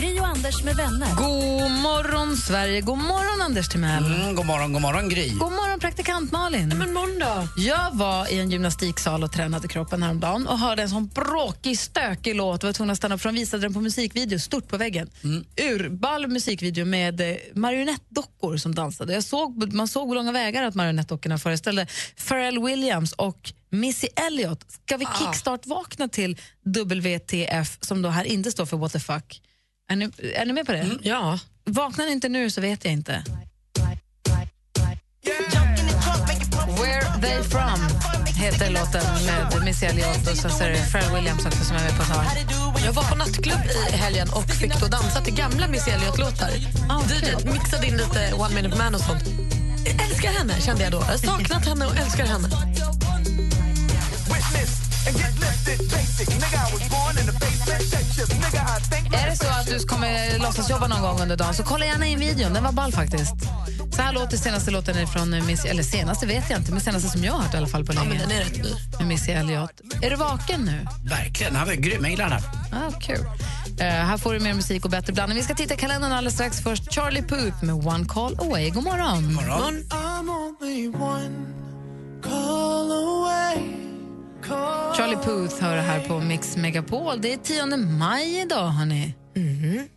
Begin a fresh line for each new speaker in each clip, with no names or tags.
Gri och Anders med vänner.
God morgon, Sverige. God morgon, Anders Timell.
Mm, god morgon, god morgon Gry.
God morgon, praktikant Malin.
Men måndag.
Jag var i en gymnastiksal och tränade kroppen häromdagen och hörde en sån bråkig, stökig låt. Jag var tvungen att stanna upp för de visade den på musikvideo, stort på väggen. Urball musikvideo med eh, marionettdockor som dansade. Jag såg, man såg på långa vägar att marionettdockorna föreställde Pharrell Williams och Missy Elliott. Ska vi kickstart-vakna till WTF, som då här inte står för what the fuck? Är ni, är ni med på det?
Ja.
Vaknar ni inte nu så vet jag inte. Where they from heter låten med Missy Elliott och sen så är det Pharrell Williams också som är med på ett hörn.
Jag var på nattklubb i helgen och fick då dansa till gamla Miss Elliot-låtar.
Ah,
DJ
kul.
mixade in lite One Minute Man och sånt. Jag älskar henne, kände jag då. Jag har saknat henne och älskar henne.
Är det så att du kommer låtsasjobba någon gång under dagen så kolla gärna in videon, den var ball faktiskt. Så här låter senaste låten från Missy, eller senaste vet jag inte, men senaste som jag har hört i alla fall på
Ja, men
länge.
den är rätt ny.
Med Missy Elliott. Är du vaken nu?
Verkligen, han var grym. Jag gillar honom.
Ah, kul. Eh, här får du mer musik och bättre blandning. Vi ska titta i kalendern alldeles strax. Först Charlie Puth med One Call Away. God morgon.
God morgon.
Charlie Puth hör här på Mix Megapol. Det är 10 maj idag, hörni.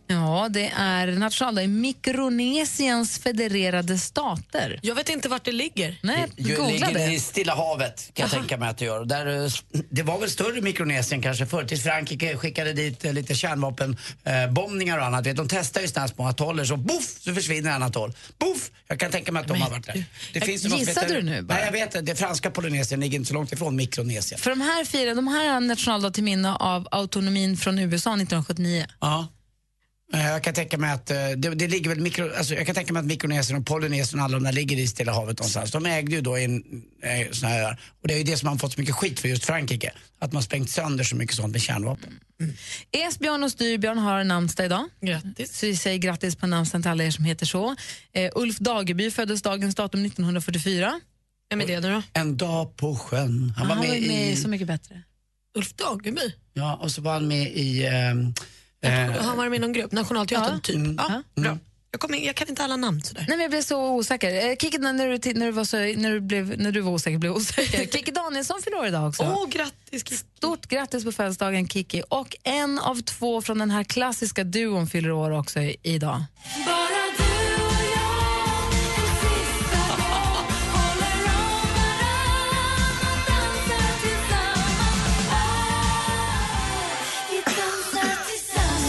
Ja, det är nationaldag i Mikronesiens federerade stater.
Jag vet inte vart det ligger.
Nej,
Ju-
googla
ligger i
det.
Stilla havet kan jag tänka mig att det gör. Och Där, eh, det var väl större Mikronesien kanske förr tills Frankrike skickade dit eh, lite kärnvapenbombningar och annat. Vet, de testar ju sådana små atoller så boff så försvinner en atoll. Boff! Jag kan tänka mig att de har varit där. Det finns ju något som
gissade
heter-
du nu bara?
Nej jag vet det. Det franska Polynesien ligger inte så långt ifrån Mikronesien.
För de här firar de här har nationaldag till minne av autonomin från USA 1979.
Ja. Eh, Jag kan tänka mig att eh, det, det ligger väl mikro, alltså jag kan tänka mig att Mikronesien och Polynesien och alla de där ligger i Stilla havet någonstans. De ägde ju då en eh, sån här öar. och det är ju det som man fått så mycket skit för just Frankrike. Att man sprängt sönder så mycket sånt med kärnvapen.
Esbjörn och Styrbjörn har namnsdag idag.
Grattis.
Så vi säger grattis på namnsdagen till alla er som heter så. Eh, Ulf Dageby föddes dagens datum 1944.
Vem är det nu då?
En dag på sjön. Han var
Han
med, i,
Så mycket bättre.
Ulf Dageby.
ja och så var han med i, ehm, eh,
Han var med i någon grupp, Nationalteatern
Ja.
Mm.
typ. Ja, bra. Jag, kommer, jag kan inte alla namn sådär.
Nej, men jag blev så osäker. Eh, Kikki, när, du, när, du var så, när, du blev, när du var osäker blev jag osäker. Kikki Danielsson fyller år idag också.
Åh, grattis Kikki.
Stort grattis på födelsedagen, Kikki. Och en av två från den här klassiska duon fyller år också i, idag.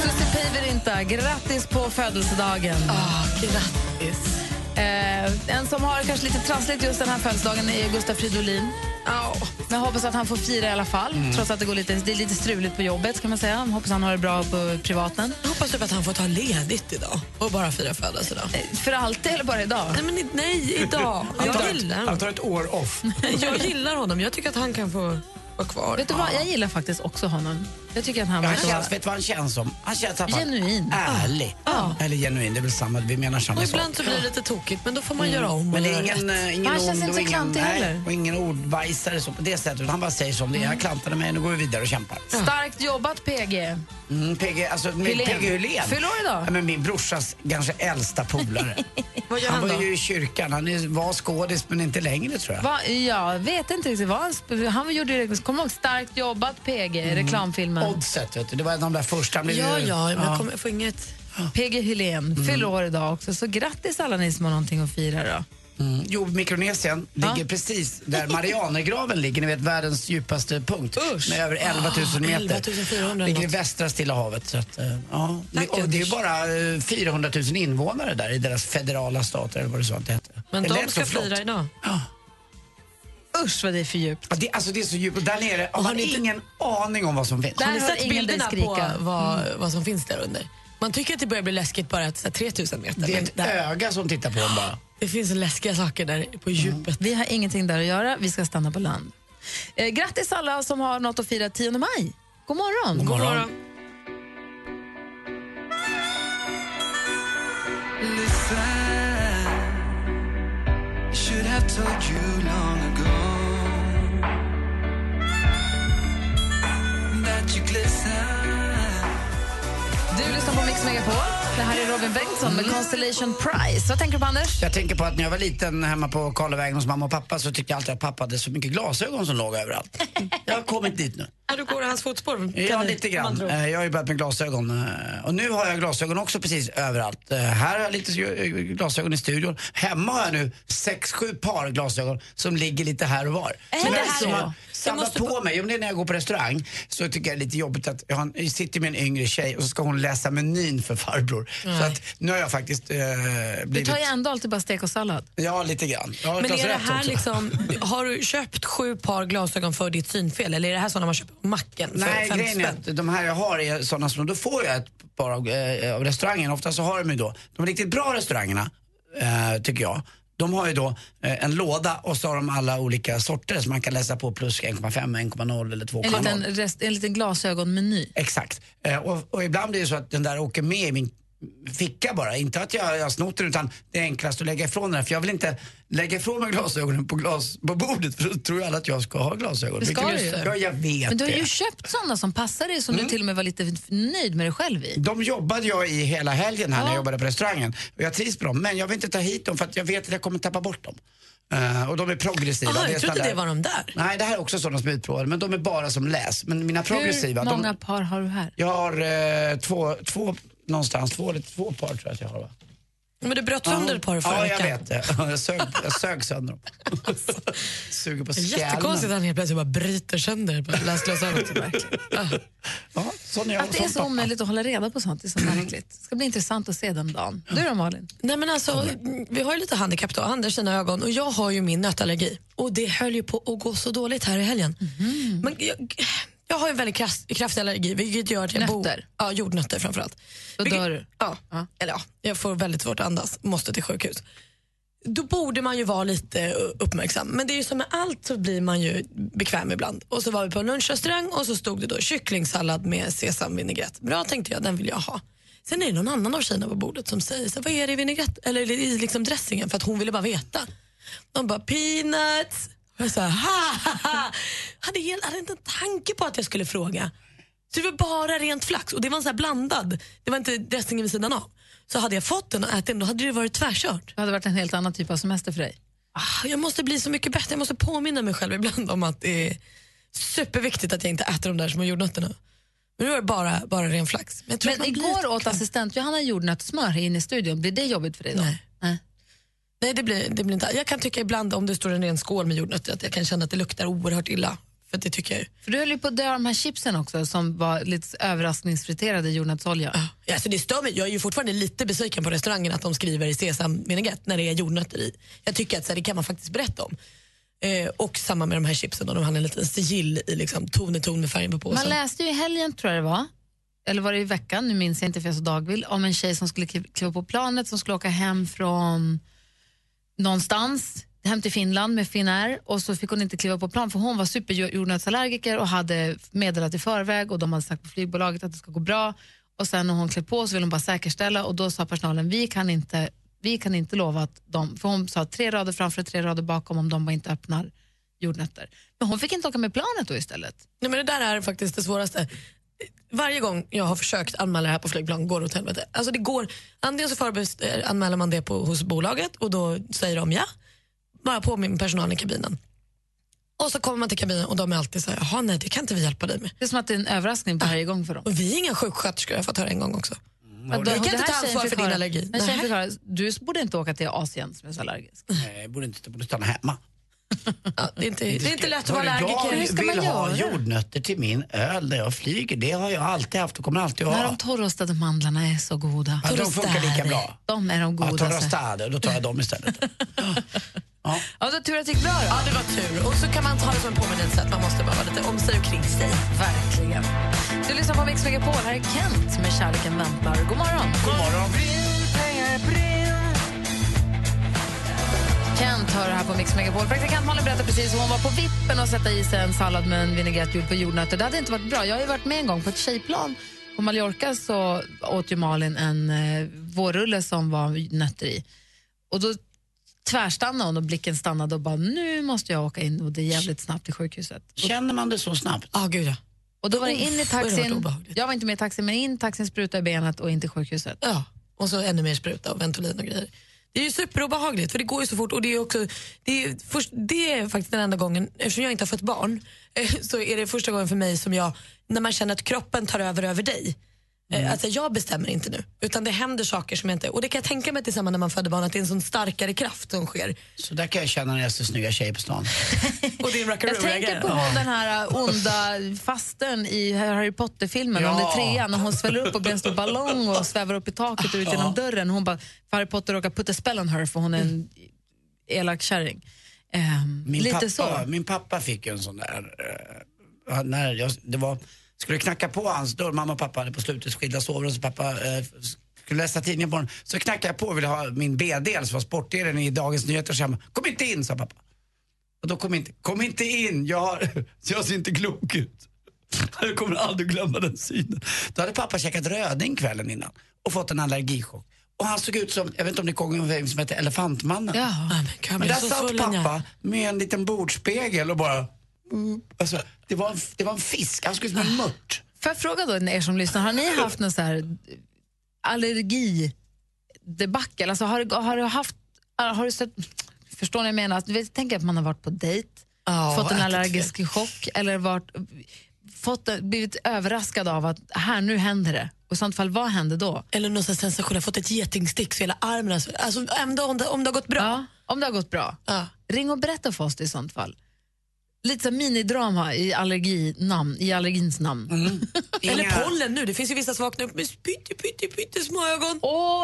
Susie Piverinta, grattis på födelsedagen.
Ah, grattis.
Eh, en som har kanske lite trassligt just den här födelsedagen är Gustaf Fridolin.
Oh.
Men jag hoppas att han får fira i alla fall,
Mm.
trots att det, går lite, det är lite struligt på jobbet. kan man säga. Jag hoppas han har det bra på privaten.
Jag hoppas typ att han får ta ledigt idag och bara fira födelsedag.
Eh, För alltid eller bara idag?
Nej, men i- nej idag.
han, tar
Jag
ett,
gillar
han
honom.
tar ett år off.
Jag gillar honom. Jag tycker att han kan få vara kvar.
Vet du vad, jag gillar faktiskt också honom. Jag tycker att han
Han
verkar vara...
känns, vet du vad han känns som? Han känns i alla fall
Genuin.
Ärlig. Eller genuin, det är väl samma, vi menar samma
Och
sak.
ibland så blir det lite tokigt, men då får man göra
Mm.
om.
Men
och
det är
göra rätt.
ingen, eh, ingen
Han känns
ond
inte
och
så
ingen-
klantig
nej,
heller.
Och ingen ordbajsare så på det sättet. utan Han bara säger som det är. Jag klantade mig, nu går vi vidare och kämpar.
Starkt jobbat, PG.
Mm, PG, alltså, med
Hylén.
PG Hylén.
Fyller år idag.
Ja, men min brorsas kanske äldsta polare.
Vad gör
han
han
var
då?
ju i kyrkan. Han är- var skådis men inte längre tror jag.
Va, jag vet inte riktigt. Vad han, sp- han gjorde direkt, kom ihåg, starkt jobbat, PG, reklamfilmen.
Oddset, vet du. Det var de Mm. där första. han blev
Ja,
ju-
ja, men jag kommer få inget...
PG Hylén fyller år idag också, så grattis alla ni som har någonting att fira. Då.
Mm. Jo, Mikronesien ligger precis där Marianergraven ligger, ni vet världens djupaste punkt
Usch.
med över 11
Ah,
000 meter.
11 400
ligger i
något.
västra Stilla havet. Så att, eh, ja.
Tack,
och det är
Anders.
bara eh, 400 000 invånare där i deras federala stater eller vad det så att det hette.
Men
det
de
lät
ska
så flott.
fira idag.
Usch vad det är för djupt.
Ja, det, alltså det är så djupt och där nere har
har
man
ni inte-
ingen aning om vad som finns.
Där
Har ni
hör
sett
ingen dig
bilderna Mm.
skrika. Mm.
på vad, vad som finns där under? Man tycker att det börjar bli läskigt bara att så här, 3000 meter.
Det är
men
ett
där,
öga som tittar på en bara.
det finns läskiga saker där på djupet.
Mm. Vi har ingenting där att göra, vi ska stanna på land. Eh, grattis alla som har något att fira 10 maj. God morgon! God
morgon.
Du lyssnar på Mix Megapol. Det här är Robin Bengtsson
Mm.
med Constellation Prize. Vad tänker du på, Anders?
Jag tänker på att när jag var liten hemma på Karlavägen hos mamma och pappa så tyckte jag alltid att pappa hade så mycket glasögon som låg överallt. Jag har kommit dit nu.
Ja, du går i hans fotspår?
Ja, lite grann. Eh, Jag har ju börjat med glasögon. eh, Och nu har jag glasögon också precis överallt. Eh, Här har jag lite eh, glasögon i studion. Hemma har jag nu sex, sju par glasögon som ligger lite här och var.
Är
Så
det
jag
så?
liksom har
Det
samlat
måste
på mig. Om det är när jag går på restaurang så tycker jag det är lite jobbigt att jag, har, jag sitter med en yngre tjej och så ska hon läsa menyn för farbror. Så att nu har jag faktiskt eh,
Du
blivit...
tar ju ändå alltid bara stek och sallad.
Ja, lite grann. Jag har
Men
klass
är det
rätt
här
också.
liksom, har du köpt sju par glasögon för ditt synfel eller är det här sådana man köper på macken? för
Nej,
fem
grejen är
spänn?
att de här jag har är sådana som, då får jag ett par av, eh, av restaurangen. Ofta så har de ju då, de riktigt bra restaurangerna, eh, tycker jag, de har ju då eh, en låda och så har de alla olika sorter som man kan läsa på plus 1,5, 1,0 eller 2,0.
En liten, rest, en liten glasögonmeny.
Exakt. Eh, och, och ibland blir det så att den där åker med i min ficka bara. Inte att jag, jag har snott den utan det är enklast att lägga ifrån den. För jag vill inte lägga ifrån mig glasögonen på, glas, på bordet för då tror ju alla att jag ska ha glasögon.
Det ska
Vilket-
du ju.
Ja, jag vet
Men du har
det. Mm.
ju köpt såna som passar dig som du till och med var lite f- nöjd med dig själv i.
De jobbade jag i hela helgen här när
Ja.
jag jobbade på restaurangen. Och jag trivs med dem, men jag vill inte ta hit dem för att jag vet att jag kommer tappa bort dem. Eh, och de är progressiva.
Jaha,
är
jag trodde
sådana
det var de där.
Nej, det här är också sådana som är utprovade, men de är bara som läs. Men mina progressiva,
Hur många
de,
par har du här?
jag har eh, två, två, någonstans, två eller två par tror jag att jag har va?
Men du bröt sönder ett par förra
Ja, jag
veckan.
vet det. Jag sög, jag sög sönder dem. Suger på
Det är Jättekonstigt att
skallen.
han helt plötsligt bara bryter sönder på läsglasögonet. Verkligen. Ja.
Ja, sån är jag
Att det är
som
så
pappa. Mm.
omöjligt att hålla reda på sånt är så märkligt. Det ska bli intressant att se den dagen. Du då Malin?
Nej men alltså, vi har ju lite handikapp då, Anders sina ögon och jag har ju min nötallergi och det höll ju på att gå så dåligt här i helgen.
Mhm.
Men jag, jag har ju en väldigt krass, kraftig allergi vilket gör att jag
Nötter?
Bor, ja, jordnötter framförallt.
Då
Vilket-
dör du.
Ja,
Ja.
eller ja, jag får väldigt svårt att andas, måste till sjukhus. Då borde man ju vara lite uh, uppmärksam. Men det är ju som med allt så blir man ju bekväm ibland. Och så var vi på en lunchrestaurang och så stod det då kycklingsallad med sesamvinägrett. Bra tänkte jag, den vill jag ha. Sen är det någon annan av tjejerna på bordet som säger så här, vad är det i vinägrett? Eller i liksom dressingen för att hon ville bara veta. De bara peanuts. Och jag sa ha ha ha. Hade, helt, hade inte en tanke på att jag skulle fråga. Så det var bara rent flax och det var en så här blandad. Det var inte dressingen vid sidan av. Så hade jag fått den och ätit den då hade det varit tvärkört.
Det hade varit en helt annan typ av semester för dig.
Ah, Jag måste bli så mycket bättre. Jag måste påminna mig själv ibland om att det är superviktigt att jag inte äter de där små jordnötterna. Men nu var det bara, bara ren flax. Men, jag tror
Men
att man blir
igår åt
bekväm.
assistent Johanna jordnötssmör här inne i studion. Blir det jobbigt för dig då?
Nej. Nej, det blir, det blir inte. Jag kan tycka ibland om det står en ren skål med jordnötter att jag kan känna att det luktar oerhört illa. För det tycker jag ju.
För du höll ju på att dö av de här chipsen också som var lite överraskningsfriterade i jordnötsolja.
Ja, Alltså det stör mig. Jag är ju fortfarande lite besviken på restaurangen att de skriver sesamvinägrett när det är jordnötter i. Jag tycker att så här, det kan man faktiskt berätta om. Eh, och samma med de här chipsen, och de hade en liten sigill i liksom, ton i ton med färgen på
Man
påsen.
läste ju i helgen, tror jag det var, eller var det i veckan, nu minns jag inte för jag är så dagvill, om en tjej som skulle kliv- kliva på planet som skulle åka hem från någonstans, hem till Finland med Finnair och så fick hon inte kliva på plan för hon var superjordnötsallergiker och hade meddelat i förväg och de hade sagt på flygbolaget att det ska gå bra och sen när hon klev på så ville hon bara säkerställa och då sa personalen vi kan inte, vi kan inte lova att de, för hon sa tre rader framför och tre rader bakom om de bara inte öppnar jordnötter. Men hon fick inte åka med planet då istället.
Nej, men det där är faktiskt det svåraste. Varje gång jag har försökt anmäla det här på flygplan går det åt helvete. Alltså det går, antingen så förbest, eh, anmäler man det på, hos bolaget och då säger de ja. Bara påminner personalen i kabinen. Och så kommer man till kabinen och de är alltid så här, jaha nej det kan inte vi hjälpa dig med.
Det är som att det är en överraskning
Ah.
varje gång för dem.
Och vi är inga sjuksköterskor, jag har fått höra en gång också.
Att
det-
då-
Vi kan
Mm. det
inte ta
här tjejen
ansvar
fick
för din
höra-
allergi.
Den tjejen
Nej.
fick höra, du borde inte åka till Asien som är så allergisk.
Nej, jag borde inte, jag borde stanna hemma.
Ja, det, är inte, det är inte lätt att vara
Hörru,
allergiker.
Hur ska
Jag vill
man
ha
göra?
jordnötter till min öl när jag flyger. Det har jag alltid haft och kommer alltid att
När
ha.
de torrostade mandlarna är så goda.
Ja, de funkar lika bra.
De är de
Ja,
goda.
Torrostade, då tar jag dem istället. Ja.
Ja, så tur att det gick bra då.
Ja, det var tur. Och så kan man ta det som en påminnelse att man måste bara vara lite om sig och kring sig.
Verkligen. Du lyssnar på Mix Megapol. Här är Kent med Kärleken väntar. God morgon.
God morgon.
Kent hör här på Mix Megapol. Praktikant Malin berättade precis hur hon var på vippen och sätta i sig en sallad med en vinägrett gjord på jordnötter. Det hade inte varit bra. Jag har ju varit med en gång på ett tjejplan. På Mallorca så åt ju Malin en eh, vårrulle som var nötter i. Och då tvärstannade hon och blicken stannade och bara nu måste jag åka in och det är jävligt snabbt till sjukhuset.
Känner man det så snabbt?
Ja, gud ja.
Och då var det in i
Uff, vad det har varit
taxin.
obehagligt.
Jag var inte med i taxin men in i taxin, spruta i benet och in till sjukhuset.
Ja, och så ännu mer spruta och Ventolin och grejer. Det är ju superobehagligt för det går ju så fort och det är också, det är, ju först, det är faktiskt den enda gången, eftersom jag inte har fått barn, eh, så är det första gången för mig som jag, när man känner att kroppen tar över över dig. Mm. Alltså jag bestämmer inte nu, utan det händer saker som jag inte... Och det kan jag tänka mig tillsammans när man föder barn, att det är en sån starkare kraft som sker.
Så där kan jag känna när jag ser snygga tjejer på stan.
Och det är en
Jag tänker på den här äh, onda fasten i Harry Potter-filmen,
Ja.
om det är trean, när hon sväller upp och blir en stor ballong och svävar upp i taket och ut genom dörren. Hon bara, för Harry Potter råkar putta spell on her för hon är en elak kärring. Ehm,
Min,
lite
pappa,
så.
min pappa fick ju en sån där... eh, han- när jag det var, skulle knacka på hans dörr, mamma och pappa hade på slutet skilda sovrum så pappa eh, skulle läsa tidningen på honom. Så knackade jag på och ville ha min B-del som var sportdelen i Dagens Nyheter. Så jag bara, kom inte in, sa pappa. Och då kom inte, kom inte in, jag, har, jag ser inte klok ut. Jag kommer aldrig glömma den synen. Då hade pappa käkat röding kvällen innan och fått en allergichock. Och han såg ut som, jag vet inte om ni kommer ihåg vem som hette Elefantmannen?
Ja.
men, gud, jag
Men
blir
där
så
satt
full när jag-
pappa med en liten bordsspegel och bara... Alltså, det, var en, det var en fisk, han skulle ut som en mört.
Får jag fråga då er som lyssnar, har ni haft någon så här allergi debacle? Alltså har, du- har du haft, har du sett, förstår ni vad jag menar? Alltså, vet- Tänk att man har varit på dejt,
Ja,
fått en
ätit
allergisk chock eller varit, fått, blivit överraskad av att här, nu händer det. Och i sånt fall, vad hände då?
Eller någon sån här sensation, jag har fått ett getingstick så hela armen... Alltså, alltså ändå om det, om det har gått bra.
Ja, om det har gått bra,
Ja.
ring och berätta för oss det i sånt fall. Lite så här minidrama i, allerginamn, i allergins namn. Åh,
Mm. Eller pollen nu, det finns ju vissa som vaknar upp med pytte, pytte, pytte små ögon.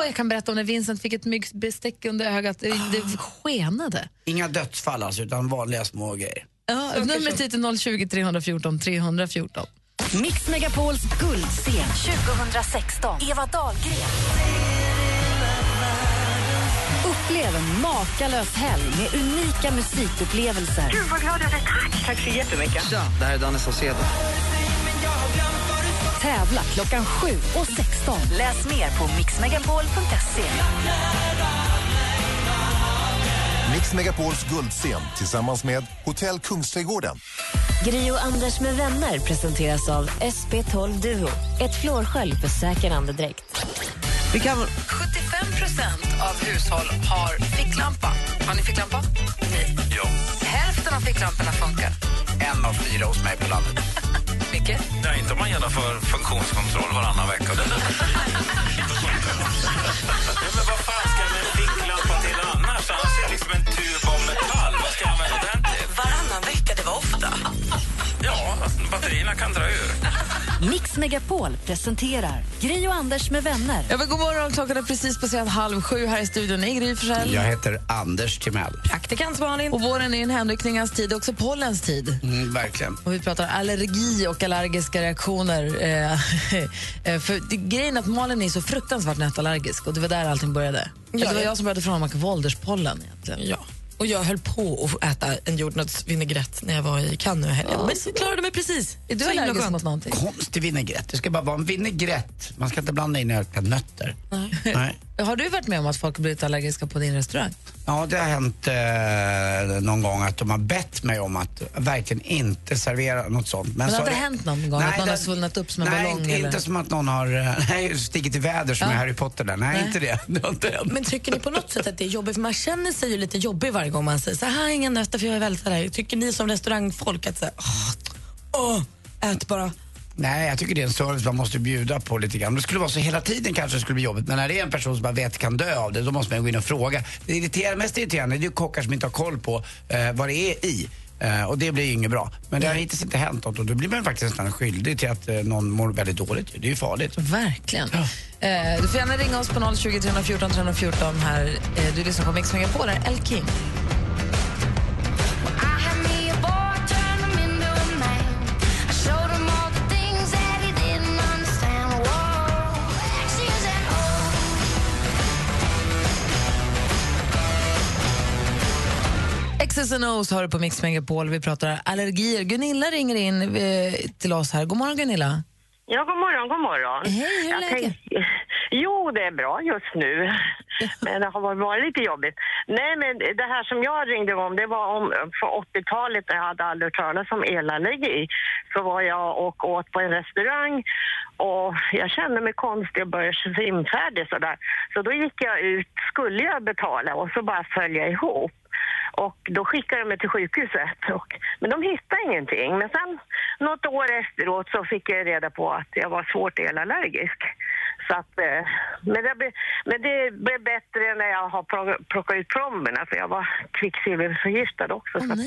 jag kan berätta om när Vincent fick ett myggbestick under ögat. Det, det skenade.
Inga dödsfall alltså, utan vanliga små grejer.
Ja, numret hit är 020 314 314.
Mix Megapols guldscen 2016. Eva Dahlgren. Upplev en makalös helg med unika musikupplevelser. Gud, vad glad jag blev. Tack! Tack så jättemycket. Ja, det här är Danne Saucedo. Tävla klockan 7 och 16. Läs mer på mixmegapol.se.
Mix Megapols guldscen tillsammans med Hotell Kungsträdgården.
Gri och Anders med vänner presenteras av SP12 Duo. Ett flårskölj för säker andedräkt.
75 av hushåll har ficklampa. Har ni ficklampa? Nej.
Ja.
Hälften av ficklamporna funkar.
En av fyra hos mig på landet.
Mycket.
Nej, inte om man genomför funktionskontroll varannan vecka. Nej, men vad fan ska jag med en ficklampa till annars? Annars är det liksom en tub av metall. Vad ska jag använda den till?
Varannan vecka, det var ofta.
Ja, alltså, batterierna kan dra ur.
Mix Megapol presenterar Gri och Anders med vänner.
Jag vill god morgon. Klockan är precis passerat halv sju här i studion. i Gry Forssell.
Jag heter Anders Timell.
Praktikant Malin.
Och våren är en hänryckningens tid, också pollens tid.
Mm, verkligen.
Och vi pratar allergi och allergiska reaktioner. Eh, eh, för det, grejen är att Malin är så fruktansvärt nätallergisk och det var där allting började.
Ja,
det var
ja.
jag som började fråga om man kan få ålderspollen egentligen.
Ja. Och jag höll på att äta en jordnötsvinägrett när jag var i Cannes nu i helgen. Men så klarade mig precis.
Är du
Så himla
allergisk
skönt.
mot någonting?
Konstig vinägrett. Det ska bara vara en vinägrett. Man ska inte blanda in ökade nötter. Nej.
Har du varit med om att folk har blivit allergiska på din restaurang?
Ja, det har hänt eh, någon gång att de har bett mig om att verkligen inte servera något sånt.
Men
så
har det
har
hänt någon gång att någon har svullnat upp som en
nej,
ballong,
Inte,
eller?
inte som att någon har eh, nej, stigit i väder som i Harry Potter där. Nej, inte det. Det har inte hänt.
Men tycker ni på något sätt att det är jobbigt? För man känner sig ju lite jobbig varje gång man säger så här, inga nötter för jag är väldigt så här. Tycker ni som restaurangfolk att så här, åh, åh, ät bara.
Nej, jag tycker det är en service man måste bjuda på lite grann. Om Det skulle vara så hela tiden kanske det skulle bli jobbigt. Men när det är en person som man vet kan dö av det, då måste man gå in och fråga. Det irriterar, mest irriterande det är ju kockar som inte har koll på eh, vad det är i. Eh, och det blir ju inget bra. Men det har hittills inte hänt något och då blir man faktiskt nästan skyldig till att eh, någon mår väldigt dåligt. ju. Det är ju farligt.
Verkligen. Eh, du får gärna ringa oss på 020 314 314. Här. Eh, du lyssnar på Mix Megapol, där är El King. X's and O's har du på Mix Megapol. Vi pratar allergier. Gunilla ringer in eh, till oss här. God morgon Gunilla.
Ja, god morgon, god morgon.
Hej, hur är
Jag
läget?
tänk- Jo, det är bra just nu. Men det har varit- varit lite jobbigt. Nej, men det här som jag ringde om, det var om på 80-talet när jag hade aldrig hört talas om elallergi. Så var jag och åt på en restaurang och jag kände mig konstig och började svimfärdig sådär. Så då gick jag ut, skulle jag betala och så bara föll jag ihop. Och då skickade de mig till sjukhuset. Och, men de hittade ingenting. Men sen något år efteråt så fick jag reda på att jag var svårt elallergisk. Så att, eh, men, det, blir- men det blev bättre när jag har plock- plockat ut plomberna för jag var kvicksilverförgiftad också. så att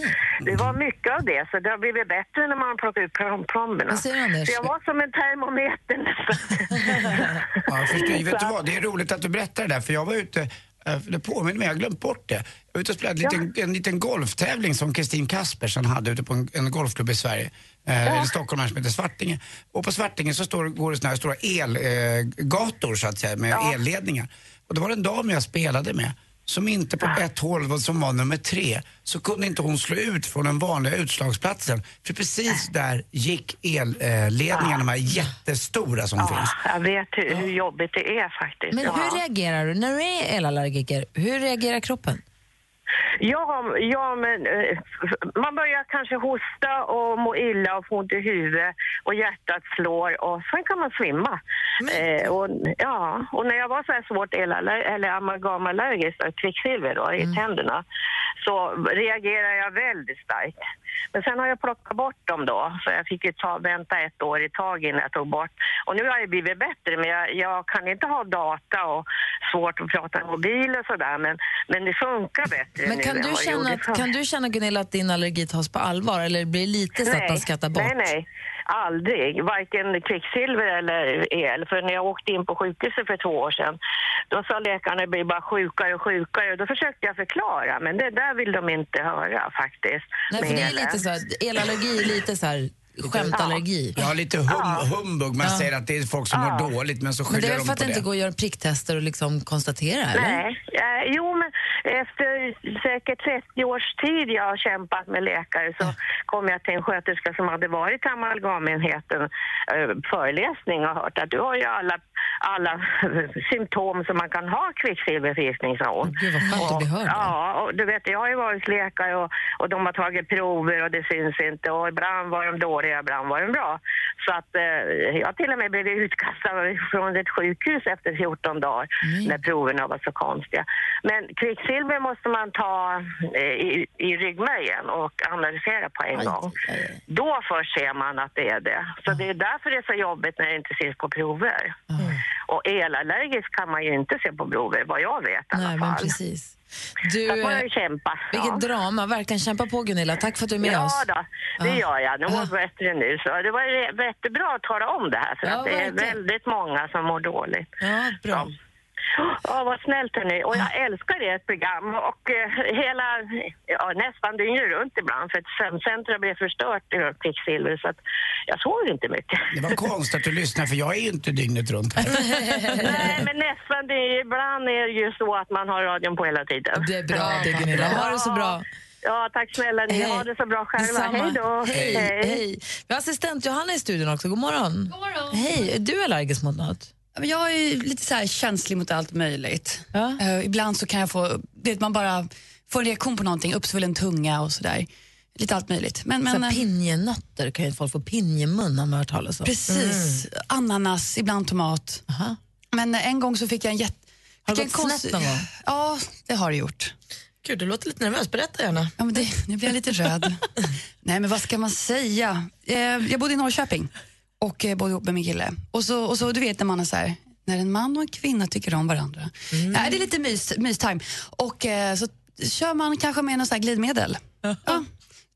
det var mycket av det, så det har blivit bättre när man plockar ut plom- plomberna.
Vad säger du, Anders?
Så jag var som en termometer nästan.
Ja, jag förstår. Vet du vad, det är roligt att du berättar det där för jag var ute, eh, det påminner mig, jag har glömt bort det. Jag var ute och spelade en liten, en liten golftävling som Kristin Kaspersen hade ute på en, en golfklubb i Sverige. Eh, I Stockholm här som heter Svartinge. Och på Svartinge så står, går det såna här stora elgator eh, gator, så att säga med elledningar. Och det var en dam jag spelade med som inte på ett hål var- som var nummer tre så kunde inte hon slå ut från den vanliga utslagsplatsen. För precis där gick elledningarna, de här jättestora som finns.
Jag vet hur, hur jobbigt det är faktiskt.
Men
Ja.
hur reagerar du när du är elallergiker? Hur reagerar kroppen?
Ja, ja men eh, man börjar kanske hosta och må illa och få ont i huvudet och hjärtat slår och sen kan man svimma. Eh, och, ja, och när jag var så här svårt elaller- eller amalgamallergisk, eh, kvicksilver då, i tänderna, så reagerar jag väldigt starkt. Men sen har jag plockat bort dem då, så jag fick ju ta, vänta ett år i taget innan jag tog bort. Och nu har jag blivit bättre, men jag, jag kan inte ha data och svårt att prata i mobil och sådär, men, men det funkar bättre
Men kan
nu än
du,
vad det
känna
gjorde
att,
förr.
kan du känna Gunilla att din allergi tas på allvar eller blir lite så att man skrattar bort?
Nej, nej. Aldrig. Varken kvicksilver eller el. För när jag åkte in på sjukhuset för två år sedan, då sa läkarna att jag blir bara sjukare och sjukare. Då försökte jag förklara, men det där vill de inte höra faktiskt.
Nej, för
med
det är lite
elen.
så här, elallergi är lite så här skämtallergi.
Ja, lite hum, humbug. Man säger att det är folk som mår dåligt, men så
Men det
skyller
är
de
för
på
att det inte
det.
går att göra pricktester och liksom konstatera, eller?
Nej, eh, jo men efter säkert 30 års tid jag har kämpat med läkare så kom jag till en sköterska som hade varit i amalgamenheten eh, föreläsning och hört att du har ju alla, alla symptom som man kan ha kvicksilverförgiftning, sa hon.
Gud, vad skönt att bli hörd.
Ja, och du vet, jag har ju varit hos läkare och, och de har tagit prover och det syns inte. Och ibland var de dåliga, ibland var de bra. Så att eh, jag till och med blev utkastad från ett sjukhus efter 14 dagar när proverna var så konstiga. Men kvicksilver måste man ta eh, i, i ryggmärgen och analysera på en
Aj,
gång.
aj, aj.
Då först ser man att det är det. Så det är därför det är så jobbigt när det inte syns på prover.
Ah.
Och elallergisk kan man ju inte se på prover, vad jag vet i alla
Nej, men
fall.
precis.
Så att
Du,
man
eh,
har ju kämpat.
vilket drama. Verkligen kämpa på, Gunilla. Tack för att du är med
ja,
oss.
då, det
Ja.
gör jag. Nu mår jag
Ja.
bättre nu. Så det var ju jättebra att tala om det här för
Ah. Ja,
att det är
verkligen.
väldigt många som mår dåligt.
Ja, bra.
Ja, vad snällt hörni. Och jag älskar ert program och eh, hela, ja, nästan dygnet runt ibland för att sömncentret blev förstört av kvicksilver så att jag sover inte mycket.
Det var konstigt att du lyssnar för jag är ju inte dygnet runt här.
Nej, men nästan. Det är, ibland är det ju så att man har radion på hela tiden.
Det är bra det, Gunilla. Ha det så bra.
Ja, tack snälla ni.
Hej.
Ha det så bra själva.
Eh, Detsamma.
Hej då.
Hej, hej. Vi har assistent Johanna i studion också. God morgon.
God morgon.
Hej. Är du allergisk mot något?
Ja, men Jag är ju lite så här känslig mot allt möjligt.
Ja.
Eh, ibland så kan jag få, du vet, man bara får en reaktion på någonting, uppsvullen tunga och sådär. Lite allt möjligt. Men, men,
Men,
eh,
pinjenötter kan ju folk få pinjemun om man har hört talas om.
precis, ananas, ibland tomat.
Mm. Aha.
Men eh, en gång så fick jag en jätte...
Har det
fick
gått
en konst-
snett någon gång?
Ja, det har det gjort.
Gud, du låter lite nervös. Berätta gärna.
Ja, men det, nu blir jag lite röd. Nej, men vad ska man säga? Eh, jag bodde i Norrköping och eh, bodde ihop med min kille. Och så, och så du vet när man är så här, när en man och en kvinna tycker om varandra. Nej, det är lite mys, mystime. Och eh, så kör man kanske med någon så här glidmedel. Ja,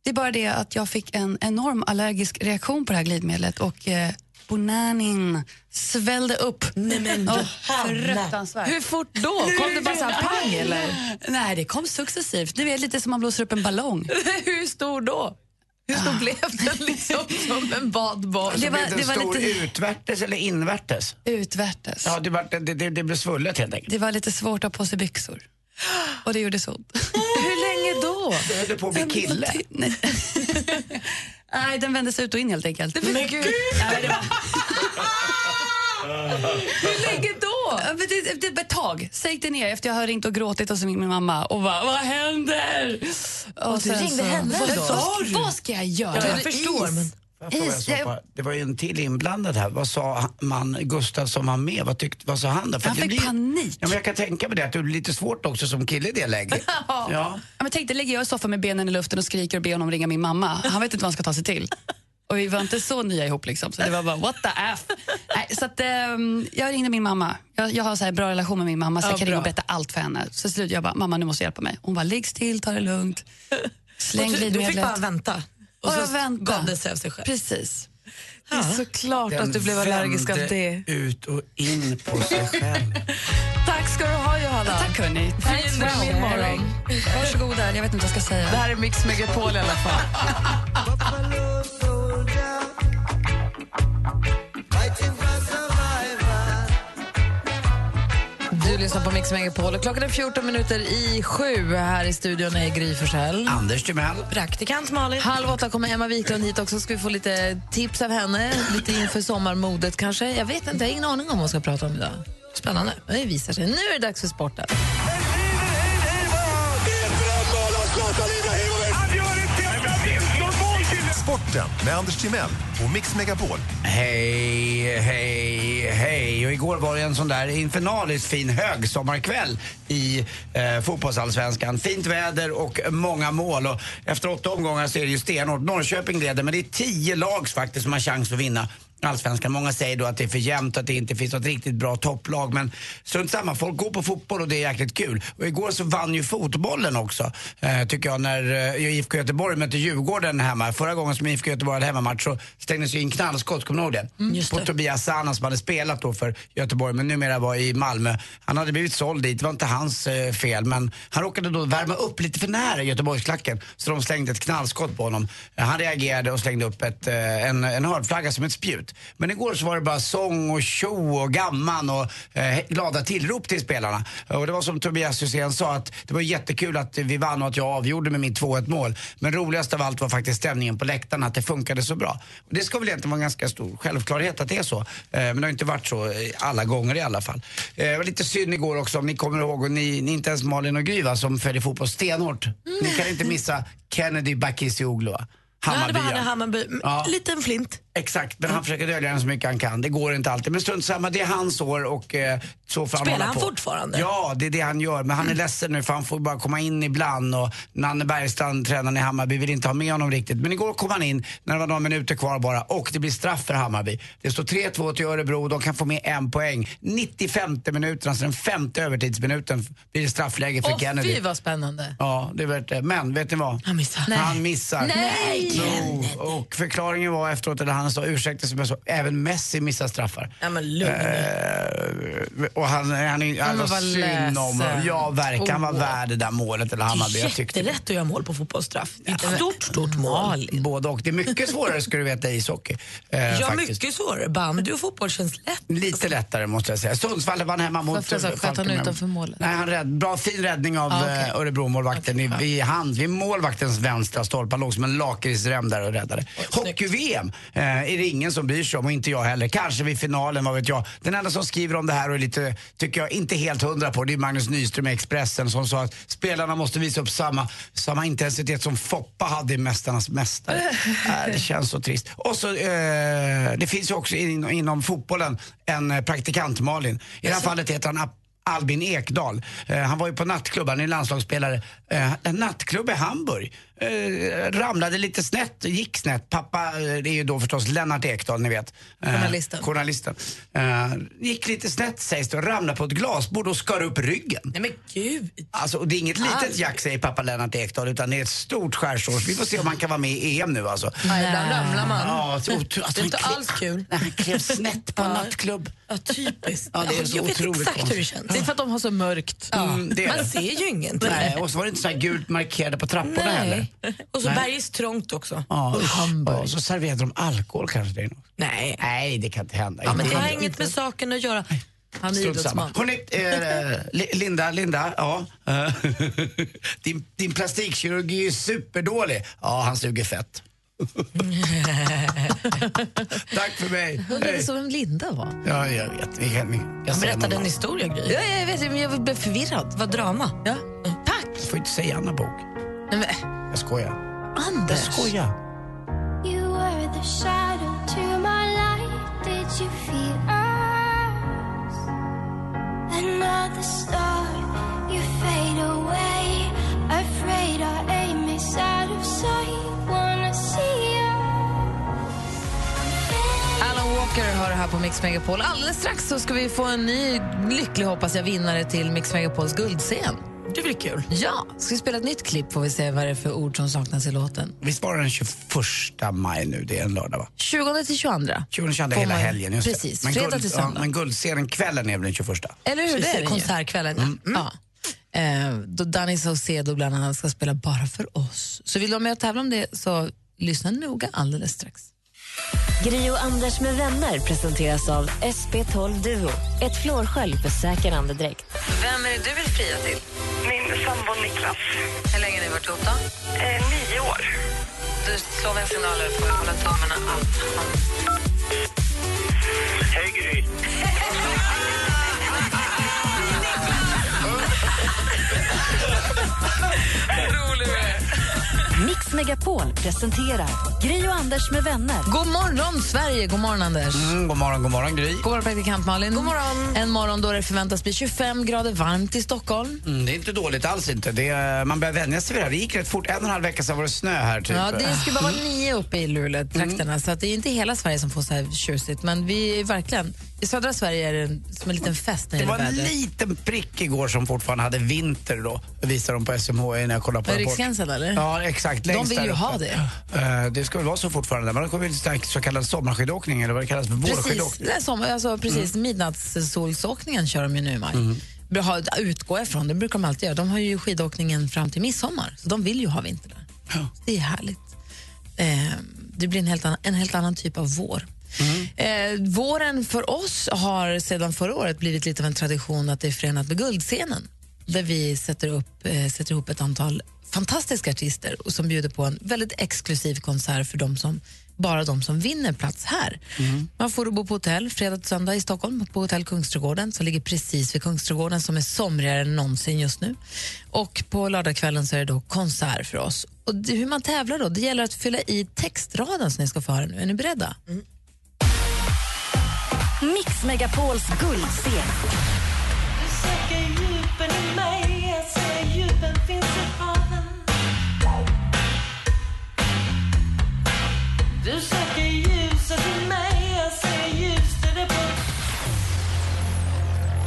det är bara det att jag fick en enorm allergisk reaktion på det här glidmedlet och eh, bananin svällde upp. Nej, men fruktansvärt.
Hur fort då? Kom det bara så här pang eller?
Nej, det kom successivt. Du vet lite som man blåser upp en ballong.
Mm. Hur stor då? Hur stor blev den liksom som en badboll?
Det var-
blev Alltså, det,
det var
en stor
lite-
utvärtes eller invärtes?
Utvärtes.
Ja, det, var, det, det, det blev svullet helt enkelt.
Det var lite svårt att ha på sig byxor. Och det gjorde så ont.
Hur länge då?
då?
Jag höll på att bli kille.
Nej. Nej, den vände sig ut och in helt enkelt. Men gud! Nej, det var... Hur länge då? Det, det, det ett tag. Så gick det ner efter jag har ringt och gråtit och så ringde min mamma och bara, vad händer?
Och du
sen
ringde henne
vad,
då?
vad, vad ska jag göra?
Ja, jag
förstår, men-
Får jag fråga en
Is,
sak
jag,
bara? Det var ju en till inblandad här. Vad sa man, Gustav som var med? Vad, tyckte, vad sa han då? För
Han
det
fick
blir-
panik.
Ja, men jag kan tänka mig det, att det är lite svårt också som kille i det läget.
Ja.
Ja.
men tänk dig, lägger jag i soffan med benen i luften och skriker och ber honom ringa min mamma. Han vet inte vad han ska ta sig till. Och vi var inte så nya ihop liksom, så det var bara what the F. Nej, så att, ehm, jag ringde min mamma. Jag, jag har så här bra relation med min mamma så
Ja,
jag kan
bra.
ringa och berätta allt för henne. Så till slut jag bara, mamma nu måste du hjälpa mig. Hon bara, ligg still, ta det lugnt. Släng
Och du- Du fick
glidmedlet.
bara vänta. Och,
Och
så
jag väntade.
gav det sig av sig själv.
Precis.
Det är såklart
Den
att du blev allergisk av
vände
det.
ut och in på sig själv.
Tack ska du ha, Johanna.
Tack hörni.
Fin min morgon.
Varsågoda, jag vet inte vad jag ska säga.
Det här är Mix Megapol i alla fall. Du lyssnar på Mix Megapol och klockan är 14 minuter i sju. Här i studion är Gry Forssell.
Anders Timell.
Praktikant Malin.
Halv åtta kommer Emma Wiklund hit också. Ska vi få lite tips av henne? Lite inför sommarmodet kanske? Jag vet inte, jag har ingen aning om vad vi ska prata om idag. Spännande. Det visar sig. Nu är det dags för sporten.
Sporten med Anders Timell och Mix Megapol.
Hej, hej, hej. Och igår var det en sån där infernaliskt fin högsommarkväll i eh, fotbollsallsvenskan. Fint väder och många mål. Och efter åtta omgångar så är det ju stenhårt. Norrköping leder, men det är tio lag faktiskt som har chans att vinna allsvenskan. Många säger då att det är för jämnt och att det inte finns något riktigt bra topplag. Men strunt samma, folk går på fotboll och det är jäkligt kul. Och igår så vann ju fotbollen också, eh, tycker jag, när eh, IFK Göteborg mötte Djurgården hemma. Förra gången som IFK Göteborg hade hemmamatch så stängdes ju in knallskott, kommer ni ihåg det? på Tobias Sana som hade spelat då för Göteborg, men numera var i Malmö. Han hade blivit såld dit, det var inte hans eh, fel, men han råkade då värma upp lite för nära Göteborgsklacken så de slängde ett knallskott på honom. Eh, Han reagerade och slängde upp ett, eh, en, en hörnflagga som ett spjut. Men igår så var det bara sång och tjo och gamman och eh, glada tillrop till spelarna. Eh, Och det var som Tobias Hysén sa att det var jättekul att vi vann och att jag avgjorde med mitt 2-1 mål. Men roligast av allt var faktiskt stämningen på läktarna, att det funkade så bra. Och det ska väl egentligen vara en ganska stor självklarhet att det är så. Eh, Men det har inte varit så eh, alla gånger i alla fall. Eh, Det var lite synd igår också om ni kommer ihåg, och ni, ni är inte ens Malin och Gry va, som följer fotboll stenhårt. Ni kan inte missa Kennedy Bakircioglu.
Ja, det var han i
Hammarbyaren.
Hammarby.
Ja.
Liten flint.
Exakt, men han försöker dölja den så mycket han kan. Det går inte alltid. Men strunt samma, det är hans år och eh, så får han
Spelar
hålla
han
på.
fortfarande? Mm.
Ja, det är det han gör. Men han är ledsen nu för han får bara komma in ibland och Nanne Bergstrand, tränaren i Hammarby, vill inte ha med honom riktigt. Men igår kom han in när det var några minuter kvar bara och det blir straff för Hammarby. Det står 3-2 till Örebro och de kan få med en poäng. 95 minuterna, alltså den femte övertidsminuten blir det straffläge för
Åh,
Kennedy.
fy vad spännande.
Ja, det är värt det. Men vet ni vad?
Han missade.
Nej.
Han missar.
Nej!
Jo, och förklaringen var efteråt, eller han sa ursäkta som jag sa, även Messi missar straffar.
Ja, men lugn nu.
Eh, och han, han, han, han
men
var
vad
synd om
ledsen.
Ja, verkligen. Han var
Åh.
värd det där målet, eller
Det
Hammarby.
är
Jag tyckte
jättelätt att göra mål på fotbollsstraff. Det är ett stort, stort mål.
Malin.
både och. Det är mycket svårare, ska du veta, i ishockey. Eh,
Ja,
faktiskt.
mycket svårare. Bandy och fotboll känns lätt.
Lite lättare måste jag säga. Sundsvall vann hemma mot...
Varför så? alltså, Sköt han
Falkenberg.
utanför målet?
Nej, han rädd, bra, fin räddning av
Ah, okej.
eh, Örebro-målvakten i, i hand, vid målvaktens vänstra stolpe. Han låg som en lakritsrem där och räddade. Hockey-VM eh, är det ingen som bryr sig om och inte jag heller. Kanske vid finalen, vad vet jag. Den enda som skriver om det här och är lite, tycker jag, inte helt hundra på det är Magnus Nyström i Expressen som sa att spelarna måste visa upp samma, samma intensitet som Foppa hade i Mästarnas Mästare. äh, det känns så trist. Och så, eh, det finns ju också in, inom fotbollen en eh, praktikant, Malin. I det här fallet heter han Ap- Albin Ekdal. Eh, han var ju på nattklubb, han är landslagsspelare. Eh, en nattklubb i Hamburg. Eh, ramlade lite snett, gick snett. Pappa, eh, det är ju då förstås Lennart Ekdal, ni vet. Eh,
Journalisten.
journalisten. Eh, gick lite snett sägs det och ramlade på ett glasbord och skar upp ryggen.
Nej men gud.
Alltså, och det är inget litet jack säger pappa Lennart Ekdal utan det är ett stort skärsår. Så Vi får se om han kan vara med i EM nu alltså.
Ja, Ibland ramlar man.
Ja, så otro- alltså,
Det är inte
han klev-
alls kul.
Nej, Han klev snett på en nattklubb.
Ja, typiskt.
Ja, det är så
jag vet
otroligt
exakt hur det
konstigt.
känns.
Det är för att de har så mörkt.
Mm, det är
Man
det.
ser ju ingenting.
Nej, och så var det inte så här gult markerade på trapporna heller.
Nej. Och så
Nej.
bergis trångt också.
Ja, usch.
Hamburg.
Ja, så serverade de alkohol kanske. Det är något.
Nej.
Nej, det kan inte hända.
Men
Inte
det har
hemma.
inget med saken att göra.
Han är
Strunt
idrottsman.
samma. Hörrni, eh, Li- Linda, Linda, ja. eh, din, din plastikkirurg är ju superdålig. Ja, han suger fett. Tack för mig.
Undrade
Hej.
som vem Linda var.
Ja, jag vet. Vi kan- vi kan säga någon annan.
Ja, jag vet, men jag blev förvirrad. Vad drama. Ja. Tack!
Du får inte säga Anna Bok.
Nej, men,
Jag skojar. Jag
Anders!
skojar.
You were the shadow to my light. Did you feel us? Another star, you fade away. Afraid our aim is out of sight. Wanna see
Alan Walker har det här på Mix Megapol. Alldeles strax så ska vi få en ny, lycklig hoppas jag, vinnare till Mix Megapols guldscen.
Det blir kul.
Ja, ska vi spela ett nytt klipp får vi se vad det är för ord som saknas i låten.
Vi sparar den 21 maj nu. Det är en lördag, va?
20 till 22.
2022
Får
hela
man-
helgen. Just det.
Precis,
Men
fredag
guld-
till
ja,
söndag.
men guldscenen-kvällen är väl den 21?
Eller hur? Det är den ju.
Konsertkvällen.
Ja. Eh, då Danny Saucedo bland annat ska spela bara för oss. Så vill du vara med och tävla om det så lyssna noga alldeles strax.
Gri och Anders med vänner presenteras av SP12 Duo. Ett flårskölj för säker andedräkt.
Vem är det du vill fria till?
Min sambo Niklas. Eh,
Hur länge har ni varit ihop då?
nio år.
Du slår väl signaler på hålla tummarna allt.
Hej Gry.
Mix Megapol presenterar Gri och Anders med vänner.
God morgon, Sverige! God morgon, Anders.
Mm, god morgon, god morgon, Gry.
God morgon, praktikant Malin. God morgon. En morgon då det förväntas bli 25 grader varmt i Stockholm.
Mm, det är inte dåligt alls inte. Det är, man börjar vänja sig vid det här. Det gick rätt fort. En och en halv vecka sedan var det snö här typ. Mm.
Ja, det skulle bara vara nio uppe i Luleå-trakterna, så att det är inte hela Sverige som får så här tjusigt. Men vi är verkligen, i södra Sverige är det som en liten fest när
Det
det
var
gäller
en
vädret.
liten prick igår som fortfarande hade vinter då. Visar de på SMHI när jag kollar på
Är det
Rapport.
Riksgränsen, eller?
Ja, exakt.
De
längst
vill
där
ju
uppe.
ha det.
Eh, det ska väl vara så fortfarande. Men det kommer ju till så kallad sommarskidåkning eller vad det kallas för.
Precis,
Vårskidåkning. Mm.
nej, som, alltså, precis midnattssolsåkningen kör de ju nu i maj. Bra, utgår jag ifrån, det brukar de alltid göra. De har ju skidåkningen fram till midsommar, så de vill ju ha vinter där. Så Det är härligt. Eh, det blir en helt, annan, en helt annan typ av vår. Eh, våren för oss har sedan förra året blivit lite av en tradition att det är förenat med guldscenen där vi sätter, upp, eh, sätter ihop ett antal fantastiska artister och som bjuder på en väldigt exklusiv konsert för de som, bara de som vinner plats här. Man får bo på hotell fredag till söndag i Stockholm på Hotell Kungsträdgården som ligger precis vid Kungsträdgården som är somrigare än någonsin just nu. Och på lördagskvällen så är det då konsert för oss. Och det, hur man tävlar då, det gäller att fylla i textraden som ni ska få höra nu. Är ni beredda?
Mm. Mix Megapols guldscen.
Du söker ljuset i mig, jag ser ljuset i dig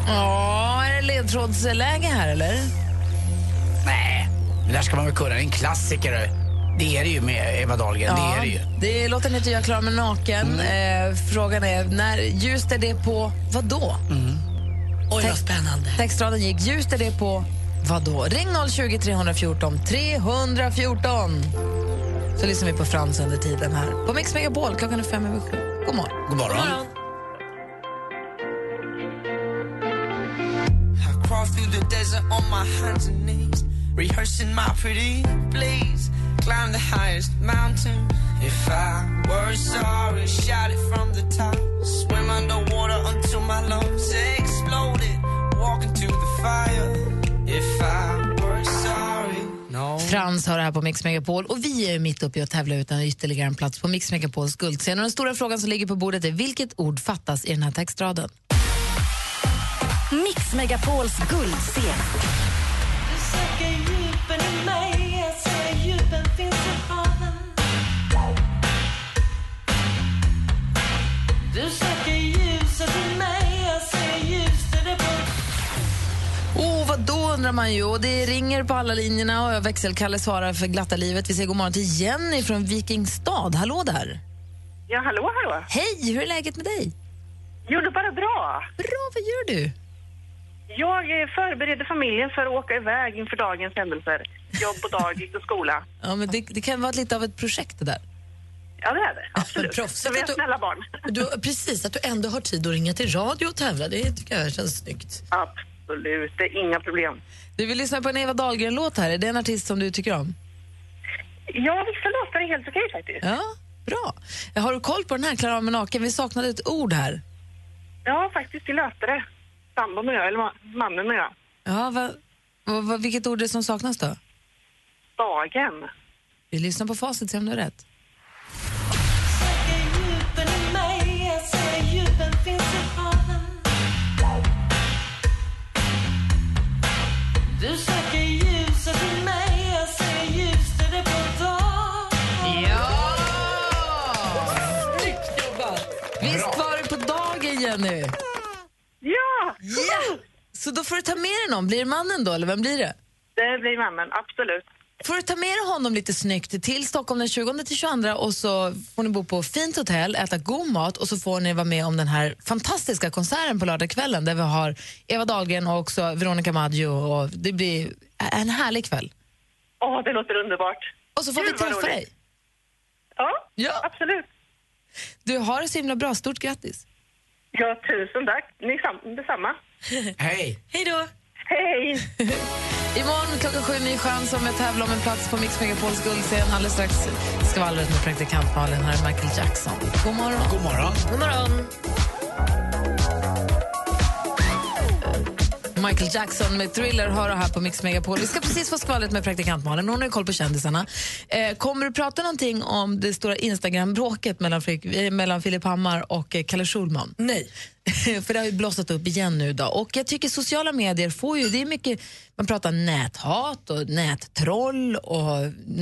Ja, är det ledtrådsläge här eller?
Nej, det där ska man väl kunna. Det är en klassiker. Det är det ju med Eva Dahlgren. Det är det ju.
Det låter heter Jag klarar mig naken.
Mm.
Eh, frågan är, när ljust är det på vad då? Oj, vad spännande. Textraden gick, ljust är det på vad då? Ring 020 314 314. Så lyssnar vi på Frans under tiden här. På Mix Megapol klockan är fem över sju. God morgon.
God morgon.
I crawl through the desert on my hands and knees, rehearsing my pretty please. Climb the highest mountain. If I were sorry, shout it from the top. Swim underwater until my lungs exploded. Walk into the fire. If I were sorry, no.
Frans har det här på Mix Megapol och vi är ju mitt uppe i att tävla ut en ytterligare en plats på Mix Megapols guldscen. Och den stora frågan som ligger på bordet är vilket ord fattas i den här textraden?
Mix Megapols guldscen.
Du söker djupen i mig, jag ser djupen finns i haven. Du söker ljuset i mig, jag ser ljuset i dig
Oh, vad då undrar man ju. Och det ringer på alla linjerna och jag växelkalle svarar för glatta livet. Vi säger god morgon till Jenny från Vikingstad. Hallå där!
Ja, hallå, hallå.
Hej, hur är läget med dig?
Jo, det är bara bra.
Bra, vad gör du?
Jag eh, förbereder familjen för att åka iväg inför dagens händelser. Jobb och dagis och skola.
Ja, men det, det kan vara lite av ett projekt det där.
Ja, det är det.
Absolut. Proffsigt att du, snälla
barn.
Du, precis, att du ändå har tid att ringa till radio och tävla. Det tycker jag känns snyggt.
Absolut, det är inga problem.
Du vill lyssna på en Eva Dahlgren-låt här. Är det en artist som du tycker om?
Ja, vissa låtar är helt okej faktiskt.
Ja, bra. Har du koll på den här, Klara med naken? Vi saknade ett ord här.
Ja, faktiskt, vi löste det. Sambo med jag, eller ma- mannen med jag.
Ja, va, va, va, vilket ord är det som saknas då?
Dagen.
Vi lyssnar på facit, se om du har rätt.
Du söker ljuset i mig, jag ser ljuset i på dag
Snyggt jobbat! Visst var det på dagen, Jenny?
Ja!
Ja! Så då får du ta med dig någon. Blir det mannen då, eller vem blir det?
Det blir mannen, absolut.
Får du ta med dig honom lite snyggt till Stockholm den 20 till 22 och så får ni bo på fint hotell, äta god mat och så får ni vara med om den här fantastiska konserten på lördagskvällen där vi har Eva Dahlgren och också Veronica Maggio och det blir en härlig kväll.
Åh, det låter underbart.
Och så får vi träffa dig.
Ja,
ja,
absolut.
Du har det så himla bra. Stort grattis.
Ja, tusen tack. Ni sam- detsamma.
Hej!
Hej då!
Hej!
Imorgon klockan sju, ny chans om jag tävlar om en plats på Mix Megapols guldscen. Alldeles strax skvallret med praktikant Malin. Här är Michael Jackson. God morgon.
God morgon.
God morgon. Michael Jackson med Thriller hör du här på Mix Megapol. Vi ska precis få skvallret med praktikant Malin. Hon har ju koll på kändisarna. Eh, kommer du prata någonting om det stora Instagram-bråket mellan, Frik, eh, mellan Filip Hammar och eh, Kalle Schulman?
Nej.
För det har ju blossat upp igen nu då. Och jag tycker sociala medier får ju, det är mycket, man pratar näthat och nättroll och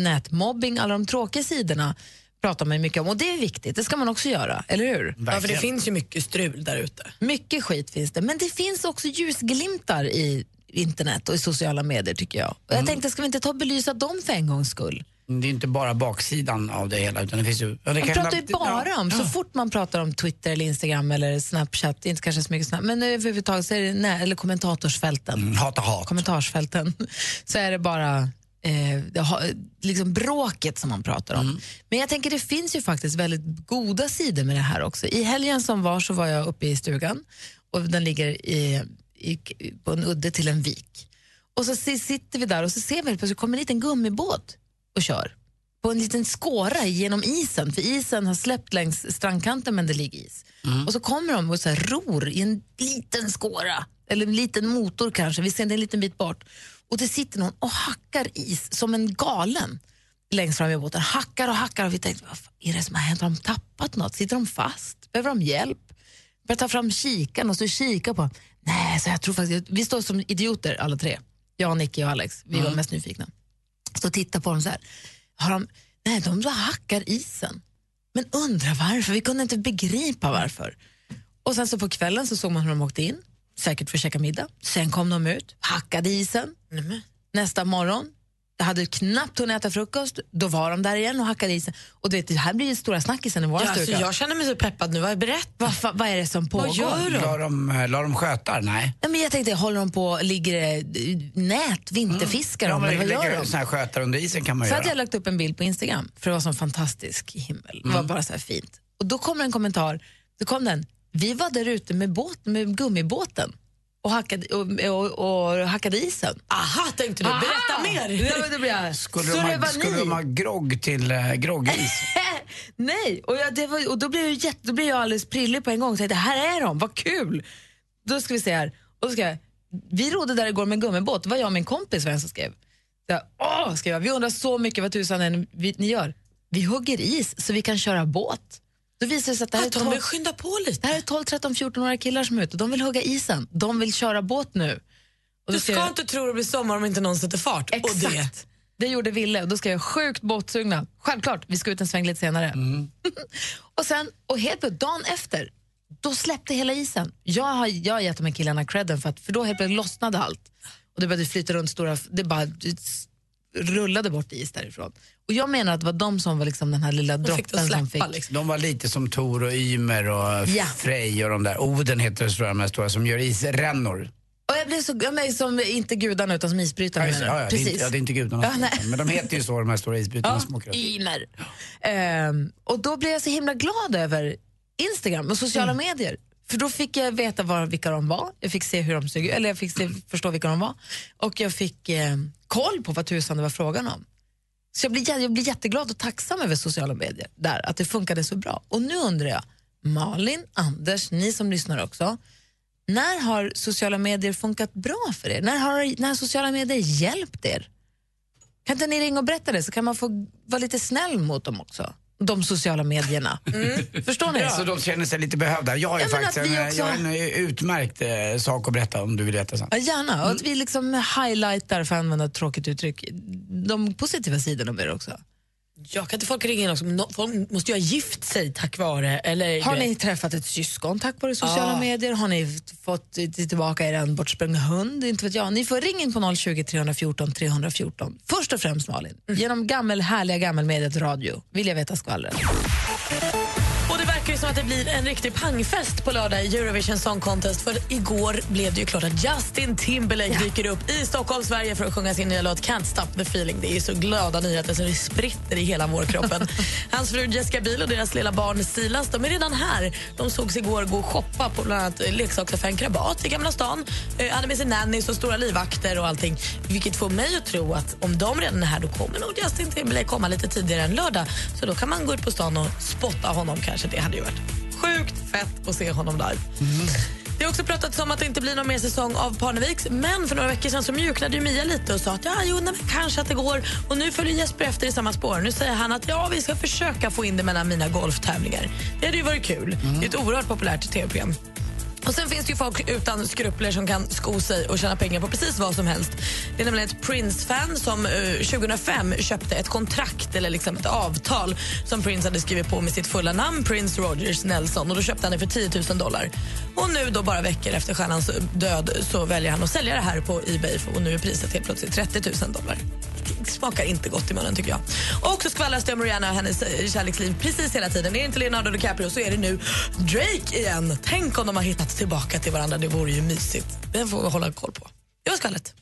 nätmobbing, alla de tråkiga sidorna pratar man ju mycket om och det är viktigt, det ska man också göra, eller hur?
Ja, för det finns ju mycket strul där ute.
Mycket skit finns det, men det finns också ljusglimtar i internet och i sociala medier tycker jag. Och
Mm.
jag tänkte, ska vi inte ta och belysa dem för en gångs skull?
Det är inte bara baksidan av det hela utan det finns ju... Ja, det
Man
kan-
pratar ju bara om, så fort man pratar om Twitter eller Instagram eller Snapchat, inte kanske så mycket Snap, men överhuvudtaget så är det, nej, eller kommentatorsfälten.
Mm, Hata hat.
kommentarsfälten så är det bara eh, det har, liksom bråket som man pratar
Mm.
om. Men jag tänker det finns ju faktiskt väldigt goda sidor med det här också. I helgen som var så var jag uppe i stugan och den ligger i, i, på en udde till en vik. Och så si- sitter vi där och så ser vi helt plötsligt kommer en liten gummibåt och kör på en liten skåra genom isen, för isen har släppt längs strandkanten men det ligger is. Och så kommer de och så här ror i en liten skåra, eller en liten motor kanske, vi ser det en liten bit bort. Och det sitter någon och hackar is som en galen längst fram i båten. Hackar och hackar och vi tänkte, vad fan är det som har hänt? Har de tappat något? Sitter de fast? Behöver de hjälp? Börjar ta fram kikaren och så kika på. Nej, så jag tror faktiskt, vi står som idioter alla tre. Jag, Nicky och Alex, vi var
Mm.
mest nyfikna. Stå och titta på dem så här. Har de, nej, de bara hackar isen. Men undrar varför, vi kunde inte begripa varför. Och sen så på kvällen så såg man hur de åkte in, säkert för att käka middag. Sen kom de ut, hackade isen. Nästa morgon, jag hade knappt hunnit äta frukost, då var de där igen och hackade isen. Och du vet, det här blir ju stora snackisen i våra
Ja, alltså,
stuga.
jag känner mig så peppad nu. Vad Berätta.
Vad, fa- vad är det som pågår?
La de, Eh, la de skötar? Nej.
Ja, men jag tänkte, håller de på, ligger det eh, nät, vinterfiskar de?
Mm. men
eller vad
lägger-
gör
lägger
de?
Såna här skötar under isen kan man
Så
göra.
hade jag lagt upp en bild på Instagram, för det var sån fantastisk himmel. Det var
Mm.
bara så här fint. Och då kommer en kommentar, då kom den, vi var där ute med, båt, med gummibåten och hackade, och, och, och hackade isen.
Aha, tänkte du. Berätta mer.
Ja, men då blir jag,
Skulle,
så det
de ha,
var
skulle
ni.
de ha grogg till eh, groggis?
Nej, och, jag, det var, och då, blev jag jätte, då blev jag alldeles prillig på en gång och tänkte, här är de, vad kul! Då ska vi se här, och då ska jag, vi rodde där igår med en gummibåt, det var jag och min kompis var den som skrev. Så jag, Åh, skrev jag, vi undrar så mycket vad tusan är ni- vi, ni gör. Vi hugger is så vi kan köra båt. Då visar det sig att det här är
Att Ah, de vill
12,
skynda på lite.
det här är 12 13, 14-åriga killar som är ute. De vill hugga isen, de vill köra båt nu. Och då
Du
ska
ska
jag-
inte tro det blir sommar om inte någon sätter fart.
Exakt.
Och det.
Det gjorde Ville och då skrev jag sjukt båtsugna. Självklart, vi ska ut en sväng lite senare.
Mm.
och sen, och helt plötsligt dagen efter, då släppte hela isen. Jag har, jag har gett de här killarna credden för att för då helt plötsligt lossnade allt. Och det började flyta runt stora, det bara det s- rullade bort is därifrån. Och jag menar att det var de som var liksom den här lilla droppen som fick.
De var lite som Tor och eh, Ymer och
Liksom. Ja.
Frej och de där. Oden heter det, tror jag, de här stora som gör isrännor.
Och jag blev så, ja, nej, som, inte gudarna utan som isbrytarna.
Ja, just det.
menar
Ja,
jag.
ja, det är inte- ja, det är inte gudarna.
Ja, nej.
Men de heter ju så, de här stora isbrytarna som åker upp.
Ymer. Ehm, och då blev jag så himla glad över Instagram och sociala medier. För då fick jag veta var, vilka de var, jag fick se hur de såg ut, eller jag fick se, förstå vilka de var. Och jag fick eh, koll på vad tusan det var frågan om. Så jag blir, jä- jag blir jätteglad och tacksam över sociala medier, där, att det funkade så bra. Och nu undrar jag, Malin, Anders, ni som lyssnar också, när har sociala medier funkat bra för er? När har, när har sociala medier hjälpt er? Kan inte ni ringa och berätta det så kan man få vara lite snäll mot dem också? De sociala medierna. Mm. Förstår ni?
Ja, så de känner sig lite behövda. Jag har ju
Ja, men
faktiskt
att vi
en,
också-
jag har en eh, utmärkt eh, sak att berätta om du vill veta sen.
Ja, gärna. Och att vi liksom highlightar, för att använda ett tråkigt uttryck, de positiva sidorna med det också.
Jag kan inte folk ringa in också, men no- folk måste ju ha gift sig tack vare... Eller,
Har ni träffat ett syskon tack vare sociala
Ja.
medier? Har ni f- fått i- tillbaka er en bortsprängd hund? Inte vet jag. Ni får ringa in på 020 314 314. Först och främst Malin, genom gammel, härliga gammelmediet radio vill jag veta skvallret.
Och det verkar ju som att det blir en riktig pangfest på lördag i Eurovision Song Contest. För igår blev det ju klart att Justin Timberlake dyker upp i Stockholm, Sverige för att sjunga sin nya låt Can't stop the feeling. Det är ju så glada nyheter så det spritter i hela vårkroppen. Hans fru Jessica Biel och deras lilla barn Silas, de är redan här. De sågs igår gå och shoppa på bland annat eh, leksaksaffären Krabat i Gamla stan. Eh, hade med sig nannies och stora livvakter och allting. Vilket får mig att tro att om de redan är här då kommer nog Justin Timberlake komma lite tidigare än lördag. Så då kan man gå ut på stan och spotta honom kanske. Det hade ju varit sjukt fett att se honom live. Det har också pratats om att det inte blir någon mer säsong av Parneviks men för några veckor sedan så mjuknade ju Mia lite och sa att ja, jo, nej, men kanske att det går. Och nu följer Jesper efter i samma spår. Nu säger han att ja, vi ska försöka få in det mellan mina golftävlingar. Det hade ju varit kul. Det är ett oerhört populärt tv-program. Och Sen finns det ju folk utan skrupler som kan sko sig och tjäna pengar på precis vad som helst. Det är nämligen ett Prince-fan som eh, 2005 köpte ett kontrakt eller liksom ett avtal som Prince hade skrivit på med sitt fulla namn Prince Rogers Nelson och då köpte han det för 10 000 dollar. Och nu då bara veckor efter stjärnans död så väljer han att sälja det här på Ebay och nu är priset helt plötsligt 30 000 dollar. Det smakar inte gott i munnen tycker jag. Och så skvallras det om Rihanna och hennes eh, kärleksliv precis hela tiden. Är det inte Leonardo DiCaprio så är det nu Drake igen. Tänk om de har hittat tillbaka till varandra. Det vore ju mysigt. Den får vi hålla koll på. Det var skvallret.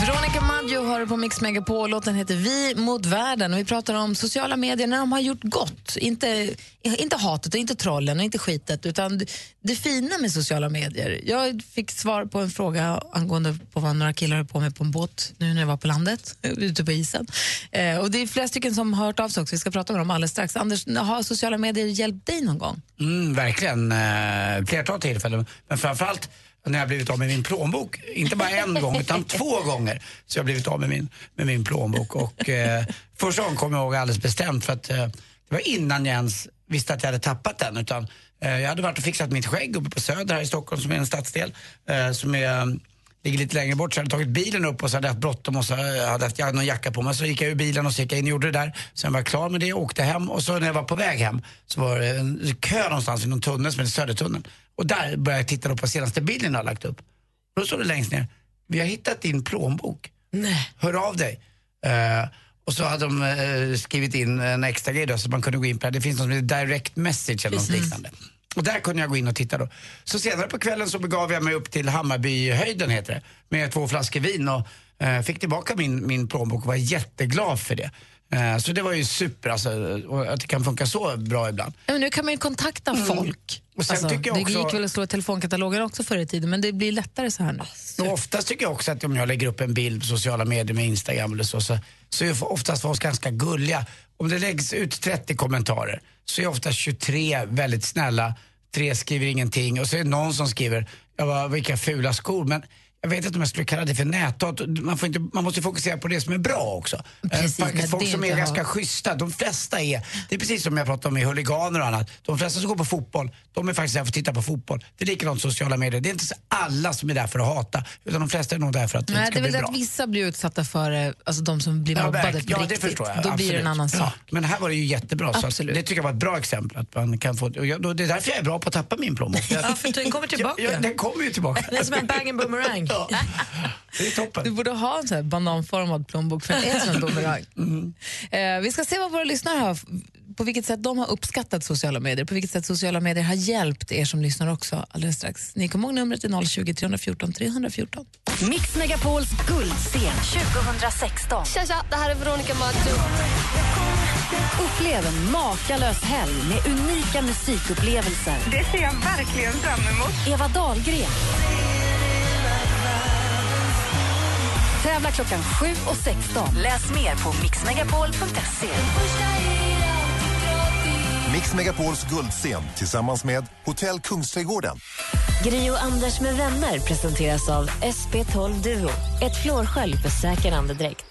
Veronica Maggio har på Mix Megapol. Låten heter Vi mot världen. Och vi pratar om sociala medier när de har gjort gott. Inte, inte hatet, och inte trollen och inte skitet, utan det- det fina med sociala medier. Jag fick svar på en fråga angående på vad några killar höll på med på en båt nu när jag var på landet, ute på isen. Eh, och det är flera stycken som har hört av sig också. Vi ska prata med dem alldeles strax. Anders, har sociala medier hjälpt dig någon gång?
Mm, verkligen. Eh, flertal tillfällen. Men framförallt när jag blivit av med min plånbok. Inte bara en gång, utan två gånger. Så jag har blivit av med min, med min plånbok. Och eh, första gången kommer jag ihåg alldeles bestämt för att eh, det var innan jag ens visste att jag hade tappat den. Utan, eh, jag hade varit och fixat mitt skägg uppe på Söder här i Stockholm som är en stadsdel. Eh, som är, eh, ligger lite längre bort. Så jag hade tagit bilen upp och så hade jag haft bråttom och så hade jag haft, jag hade någon jacka på mig. Så gick jag ur bilen och så gick jag in och gjorde det där. Sen var jag klar med det och åkte hem. Och så när jag var på väg hem så var det en kö någonstans i någon tunnel som heter Södertunneln. Och där började jag titta då på senaste bilden jag hade lagt upp. Då står det längst ner, vi har hittat din plånbok.
Nej.
Hör av dig. Eh, och så hade de eh, skrivit in en extra grej då, så man kunde gå in på det. Det finns något som heter direct message eller något
Precis.
liknande. Och där kunde jag gå in och titta då. Så senare på kvällen så begav jag mig upp till Hammarbyhöjden heter det, med två flaskor vin och eh, fick tillbaka min, min plånbok och var jätteglad för det. Eh, så det var ju super alltså, och att det kan funka så bra ibland.
Ja, men nu kan man ju kontakta folk.
Mm.
Alltså,
Och sen tycker jag också-
Det gick väl att slå i telefonkatalogen också förr i tiden, men det blir lättare så här nu.
Och oftast tycker jag också att om jag lägger upp en bild på sociala medier med Instagram eller så, så, så är oftast folk ganska gulliga. Om det läggs ut 30 kommentarer så är oftast 23 väldigt snälla, tre skriver ingenting och så är det någon som skriver, jag bara, vilka fula skor, men jag vet inte om jag skulle kalla det för näthat. Man, får inte, man måste ju fokusera på det som är bra också.
Precis,
Eh,
men
faktiskt,
det
folk som
inte
är
har-
ganska schyssta, de flesta är, det är precis som jag pratade om med huliganer och annat. De flesta som går på fotboll, de är faktiskt där för att titta på fotboll. Det är likadant sociala medier. Det är inte så alla som är där för att hata, utan de flesta är nog där för att det
Nej, det
ska
är väl
bli
det
bra.
att vissa blir utsatta för eh, alltså de som blir mobbade
verk-
på riktigt. Då blir det en
absolut.
annan sak.
Ja, men här var det ju jättebra. Så att, det
Absolut.
tycker jag var ett bra exempel. Att man kan få, och jag, då, det är därför jag är bra på att tappa min plånbok.
Ja, för den kommer tillbaka.
Ja, ja, den kommer ju tillbaka.
Det är som en bang and boomerang.
Det är toppen.
Du borde ha en sån här
Mm.
bananformad plånbok för den är som en boomerang. Eh, vi ska se vad våra lyssnare har f- på vilket sätt de har uppskattat sociala medier, på vilket sätt sociala medier har hjälpt er som lyssnar också alldeles strax. Ni kommer ihåg numret till 020 314 314.
Mix Megapols guldscen 2016.
Tja, tja, det här är Veronica Maggio.
Upplev en makalös helg med unika musikupplevelser.
Det ser jag verkligen fram emot.
Eva Dahlgren. Tävla klockan 7 och 16. Läs mer på mixmegapol.se.
Mix Megapols guldscen tillsammans med Hotell Kungsträdgården.
Gri och Anders med vänner presenteras av SP12 Duo. Ett flårskölj för säker andedräkt.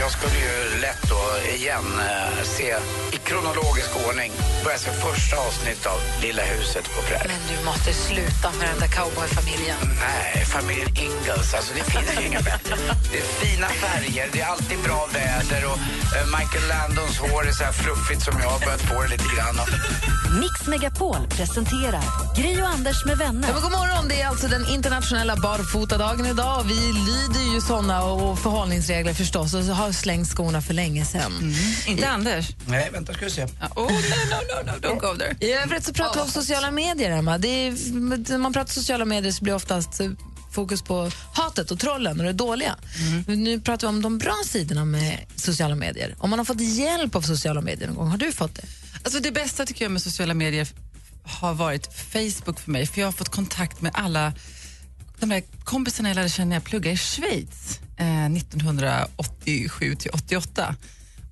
Jag skulle ju lätt då igen eh, se i kronologisk ordning börja se första avsnittet av Lilla huset på prärien.
Men du måste sluta med den där cowboyfamiljen.
Nej, familjen Ingalls, alltså det finns ju inga bättre. Det är fina färger, det är alltid bra väder och eh, Michael Landons hår är så här fluffigt som jag har börjat få det lite grann. Och
Mix Megapol presenterar Gri och Anders med vänner.
Ja, men god morgon! Det är alltså den internationella barfotadagen idag. Vi lyder ju såna och förhållningsregler förstås och har slängt skorna för länge sedan.
Mm. Inte Anders.
Nej, vänta ska vi se.
Oh, no, no, no, no, don't go there.
I övrigt så pratar vi om sociala medier, Emma. Det är, när man pratar sociala medier så blir det oftast eh, fokus på hatet och trollen och det dåliga.
Mm.
Nu pratar vi om de bra sidorna med sociala medier. Om man har fått hjälp av sociala medier någon gång, har du fått det?
Alltså det bästa tycker jag med sociala medier f- har varit Facebook för mig, för jag har fått kontakt med alla de där kompisarna jag lärde känna när jag pluggade i Schweiz eh, 1987 till 88.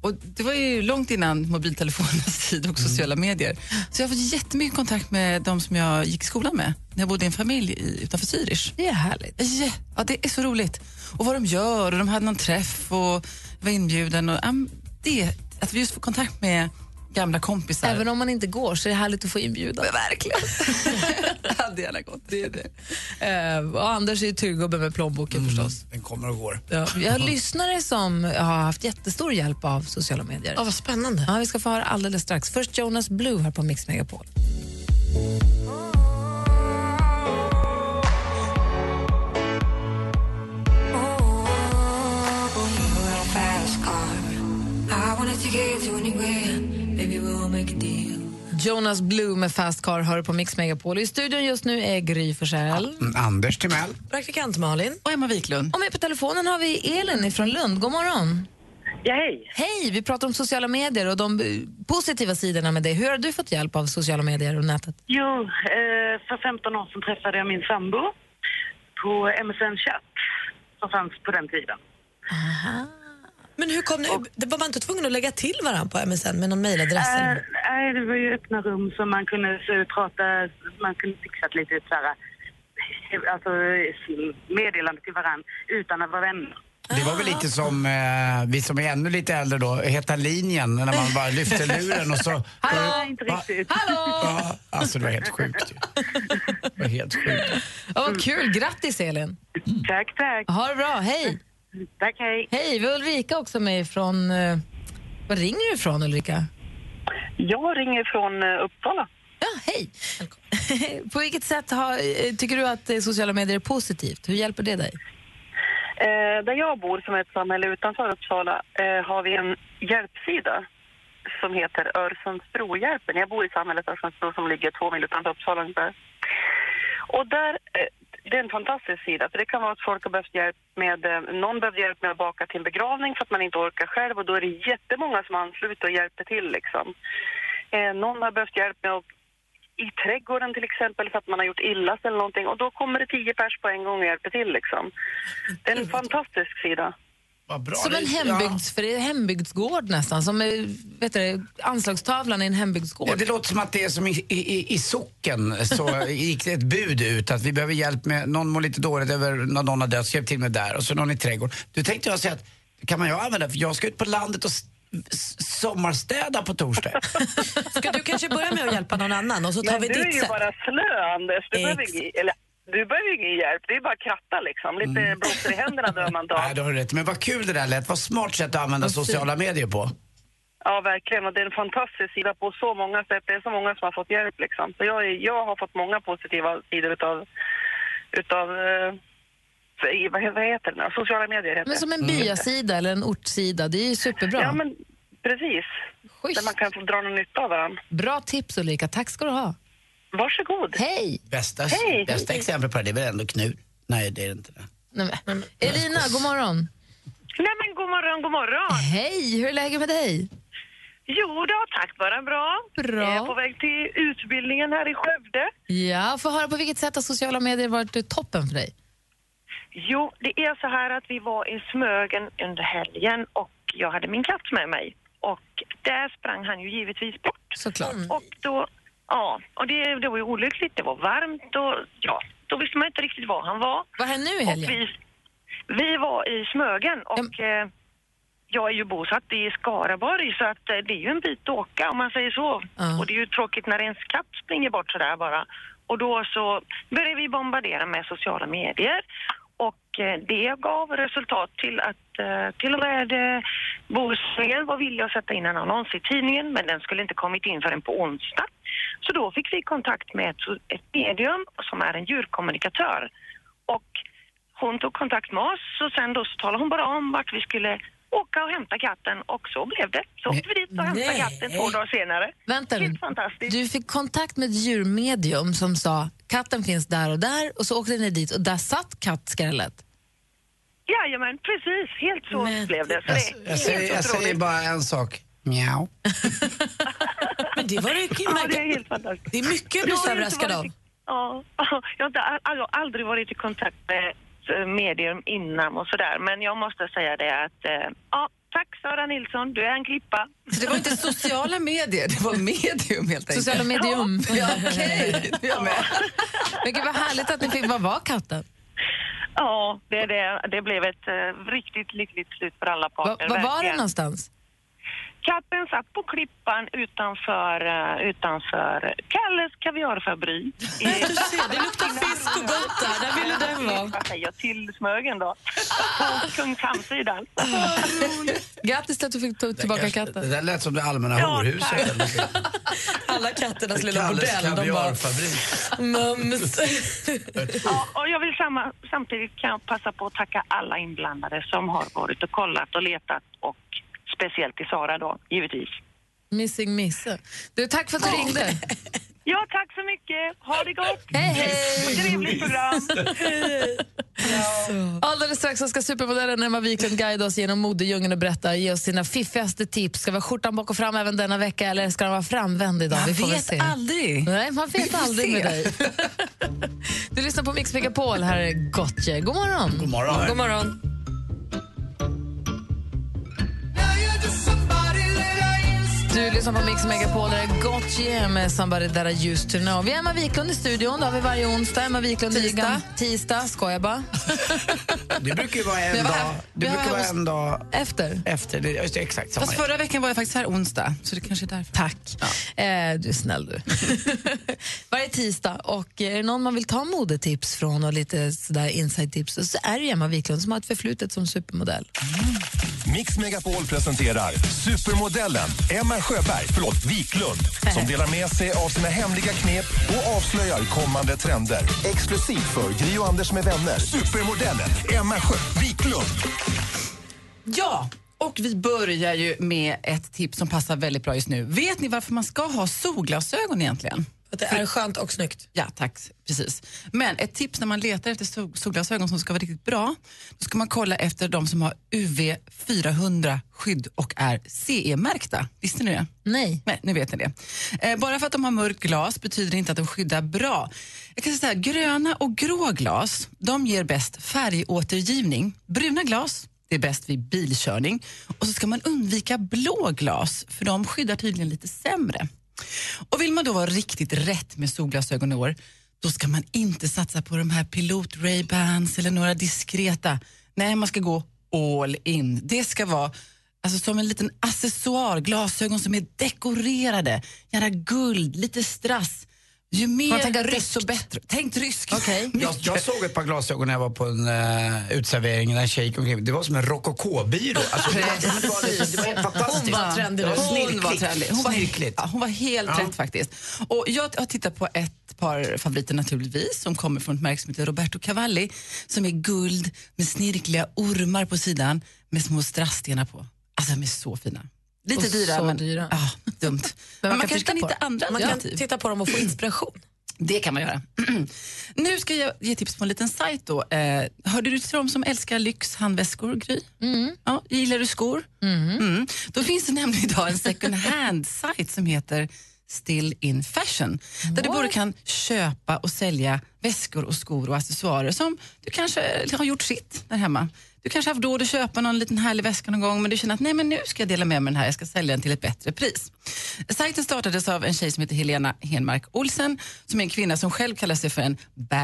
Och det var ju långt innan mobiltelefonernas tid
Mm.
och sociala medier. Så jag har fått jättemycket kontakt med de som jag gick i skolan med när jag bodde i en familj i, utanför Zürich.
Det är härligt.
Ja, ja, det är så roligt. Och vad de gör och de hade någon träff och var inbjuden. Och, ja, men det, att vi just får kontakt med gamla kompisar.
Även om man inte går så är det härligt att få inbjudan.
verkligen. det hade gärna gått. Det är det.
Eh, och Anders är ju turgubbe med plånboken förstås.
Mm, Den kommer och går.
Ja, vi har lyssnare som har haft jättestor hjälp av sociala medier.
Ja, vad spännande.
Ja, vi ska få höra alldeles strax. Först Jonas Blue här på Mix Megapol. Jonas Blue med Fast Car hör på Mix Megapol. I studion just nu är Gry Forssell.
Mm, Anders Timell.
Praktikant Malin.
Och Emma Wiklund.
Och med på telefonen har vi Elin från Lund. God morgon.
Ja, hej.
Hej, vi pratar om sociala medier och de eh, positiva sidorna med det. Hur har du fått hjälp av sociala medier och nätet?
Jo, eh, för 15 år sedan träffade jag min sambo på MSN Chat som fanns på den tiden.
Men hur kom ni, det var man inte tvungen att lägga till varandra på MSN med någon mejladress?
Eh,
eller-
nej, det var ju öppna rum som man kunde så, prata, man kunde fixa lite så här, eh, alltså meddelande till varann utan att vara vänner.
Det var väl lite som eh, vi som är ännu lite äldre då, Heta linjen, när man bara lyfte luren och så...
Nej, inte
Ah,
riktigt.
Ja, alltså det var helt sjukt ju. Det var helt sjukt.
Ja, vad kul, grattis Elin.
Tack, tack.
Ha det bra, hej.
Tack, hej.
Hej, vi har Ulrika också med från... Var ringer du ifrån Ulrika?
Jag ringer från eh, Uppsala.
Ja, hej. på vilket sätt har, eh, tycker du att eh, sociala medier är positivt? Hur hjälper det dig?
Eh, där jag bor, som är ett samhälle utanför Uppsala, eh, har vi en hjälpsida som heter Örsundsbrohjälpen. Jag bor i samhället Örsundsbro som ligger två mil utanför Uppsala ungefär. Och där, eh, det är en fantastisk sida, för det kan vara att folk har behövt hjälp med, eh, någon behöver hjälp med att baka till en begravning för att man inte orkar själv och då är det jättemånga som ansluter och hjälper till liksom. Eh, någon har behövt hjälp med att i trädgården till exempel för att man har gjort illa sig eller någonting och då kommer det tio pers på en gång och hjälper till liksom. Det är en fantastisk sida.
Vad bra.
Som en hembygds, för det är hembygdsgård nästan, som är, vet du, det, anslagstavlan i en hembygdsgård.
Ja, det låter som att det är som i, i, i- i socken så gick det ett bud ut att vi behöver hjälp med, någon mår lite dåligt över när någon har dött, så hjälp till med där och så någon i trädgården. Du tänkte jag säga att kan man ju använda, för jag ska ut på landet och s- s- sommarstäda på torsdag.
Ska du kanske börja med att hjälpa någon annan och så tar
Men
vi
du är
ditt
ju
sätt?
bara slö, Anders. Du behöver, ingen, eller, du behöver ju ingen hjälp. Det är bara att kratta liksom. Lite
Mm.
blåser i händerna dör man dag.
Nej, det har du rätt Men vad kul det där lät. Vad smart sätt att använda sociala medier på.
Ja, verkligen. Och det är en fantastisk sida på så många sätt. Det är så många som har fått hjälp liksom. Så jag, är- jag har fått många positiva sidor utav, utav eh, i- vad vad heter det nu? Sociala medier heter
Mm.
Mm.
Men som en
det.
byasida eller en ortssida, det är ju superbra.
Ja, men precis. Där man kan få dra någon nytta av varandra.
Bra tips Ulrika, tack ska du ha.
Varsågod.
Hej!
Bästa,
Hej.
bästa exempel på det, det är väl ändå Knut? Nej, det är det inte.
Nej, men. Elina, god morgon.
Nej men god morgon, god morgon.
Hej, hur är läget med dig?
Jo då, tack bara bra.
Bra.
Jag är på väg till utbildningen här i Skövde.
Ja, får höra på vilket sätt har sociala medier varit eh, toppen för dig?
Jo, det är så här att vi var i Smögen under helgen och jag hade min katt med mig. Och där sprang han ju givetvis bort. Mm.
Såklart.
Och då, ja, och det, det var ju olyckligt, det var varmt och ja, då visste man inte riktigt var han var.
Var han nu i helgen?
Och vi, vi var i Smögen och eh, jag är ju bosatt i Skaraborg så att eh, det är ju en bit att åka om man säger så.
Ja.
Och det är ju tråkigt när ens katt springer bort sådär bara. Och då så började vi bombardera med sociala medier och eh, det gav resultat till att eh, till och med eh, Bohuslän var villiga att sätta in en annons i tidningen men den skulle inte kommit in förrän på onsdag. Så då fick vi kontakt med ett, ett medium som är en djurkommunikatör. Och hon tog kontakt med oss och sen då så talade hon bara om vart vi skulle åka och hämta katten och så blev det. Så åkte vi dit och hämtade
Nej.
katten två dagar senare.
Vänta nu.
Helt fantastiskt.
Du fick kontakt med ett djurmedium som sa katten finns där och där och så åkte ni dit och där satt kattskrället.
Jajamän, precis. Helt så blev det. Så
Jag,
Alltså,
det
jag,
är
säger, jag
helt
säger
otroligt.
bara en sak. Mjau.
Men det var det
Ja, det är helt fantastiskt.
Det är mycket jag blir
Jag
så
har inte
överraskad av.
varit i- Ja, jag har inte, all, all, aldrig varit i kontakt med eh, medium innan och sådär, men jag måste säga det att eh, ja, tack Sara Nilsson, du är en klippa.
Så det var inte sociala medier, det var medium helt enkelt.
Sociala medium.
Ja, okej. Jag med.
Men gud vad härligt att ni fick, vad var katten?
Ja, det, är det, det blev ett eh, riktigt lyckligt slut för alla
Var,
parter.
var var den
verkligen.
någonstans?
Katten satt på klippan utanför, eh, utanför Kalles kaviarfabrik.
Du ser, det luktar fisk och gott där. Där ville den vara.
Vad säger jag? Till Smögen då. På Kungshamnssidan.
Grattis till att du fick ta tillbaka katten.
Det där lät som det allmänna
Ja,
horhuset.
Alla katternas lilla
Kalles
bordell. De bara...
kaviarfabrik.
Mums.
Ja, och jag vill samma, samtidigt kan jag passa på att tacka alla inblandade som har varit och kollat och letat och speciellt till Sara då, givetvis.
Missing Misse. Du, tack för att du ringde.
Ja, tack så mycket. Ha det gott.
Hej, hej.
Trevligt program.
Alldeles strax så ska supermodellen Emma Wiklund guida oss genom modedjungeln och berätta, ge oss sina fiffigaste tips. Ska vara skjortan bak och fram även denna vecka eller ska den vara framvänd idag?
Man
Vi får väl
vet
se.
aldrig.
Nej, man
Vi
vet
får
aldrig
se.
med dig. Du lyssnar på Mix Megapol. Här är Gotje. God morgon. God
morgon.
God morgon. Du lyssnar på Mix Megapol, där är Gotye med Somebody That I Used To Know. Vi har Emma Wiklund i studion, det har vi varje onsdag. Emma Wiklund
Tisdag.
Tisdag. Tisdag, skojar bara.
Det brukar ju vara en
Jag var här-
dag... Det
jag var
brukar vara
här
en dag...
Efter?
Efter, det, just det, exakt samma.
Fast förra veckan var jag faktiskt här onsdag, så det kanske är därför.
Tack. Eh, du är snäll du. Varje tisdag. Och eh, är det någon man vill ta modetips från och lite sådär insight-tips så är det Emma Wiklund som har ett förflutet som supermodell.
Mix Megapol presenterar supermodellen Emma Sjöberg, förlåt, Wiklund som delar med sig av sina hemliga knep och avslöjar kommande trender. Exklusivt för Gri och Anders med vänner. Supermodellen Emma Sjö Wiklund.
Ja, och vi börjar ju med ett tips som passar väldigt bra just nu. Vet ni varför man ska ha solglasögon egentligen?
Att det är skönt och snyggt.
Ja, tack. Precis. Men ett tips när man letar efter sol- solglasögon som ska vara riktigt bra, då ska man kolla efter de som har UV400-skydd och är CE-märkta. Visste ni det?
Nej.
Nej, nu vet ni det. Eh, bara för att de har mörkt glas betyder det inte att de skyddar bra. Jag kan säga så här, gröna och grå glas, de ger bäst färgåtergivning. Bruna glas, det är bäst vid bilkörning. Och så ska man undvika blå glas, för de skyddar tydligen lite sämre. Och vill man då vara riktigt rätt med solglasögon i år, då ska man inte satsa på de här pilot Ray-Bans eller några diskreta. Nej, man ska gå all in. Det ska vara alltså, som en liten accessoar, glasögon som är dekorerade, gärna guld, lite strass. Ju
Man
mer
tänker
desto bättre. Tänk ryskt. Okay.
Jag, jag såg ett par glasögon när jag var på en eh, utservering när en tjej gick omkring. Det var som en rokokobyrå. Alltså, det, var- det, var liksom- det var helt fantastiskt.
Hon var trendig.
Det var
Hon
snirkligt.
var, trendig. Hon var,
Snirkligt.
ja, hon var helt rätt faktiskt. Och jag har tittat på ett par favoriter naturligtvis som kommer från ett märke som heter Roberto Cavalli som är guld med snirkliga ormar på sidan med små strassstenar på. Alltså de är så fina. Lite
Och
dyra,
så
men
dyra.
Ah, dumt. Men man,
man kan
kanske kan
titta på
hitta
dem.
andra
Man kan
titta på dem och få inspiration. Det kan man göra. nu ska jag ge tips på en liten sajt. Då. Eh, hörde du till dem som älskar lyxhandväskor, Gry? Ja, gillar du skor? Mm. Då finns det nämligen idag en second hand-sajt som heter Still in fashion, där du både kan köpa och sälja väskor och skor och accessoarer som du kanske har gjort sitt där hemma. Du kanske har haft råd att köpa någon liten härlig väska någon gång men du känner att nej men nu ska jag dela med mig den här, jag ska sälja den till ett bättre pris. Sajten startades av en tjej som heter Helena Henmark Olsen som är en kvinna som själv kallar sig för en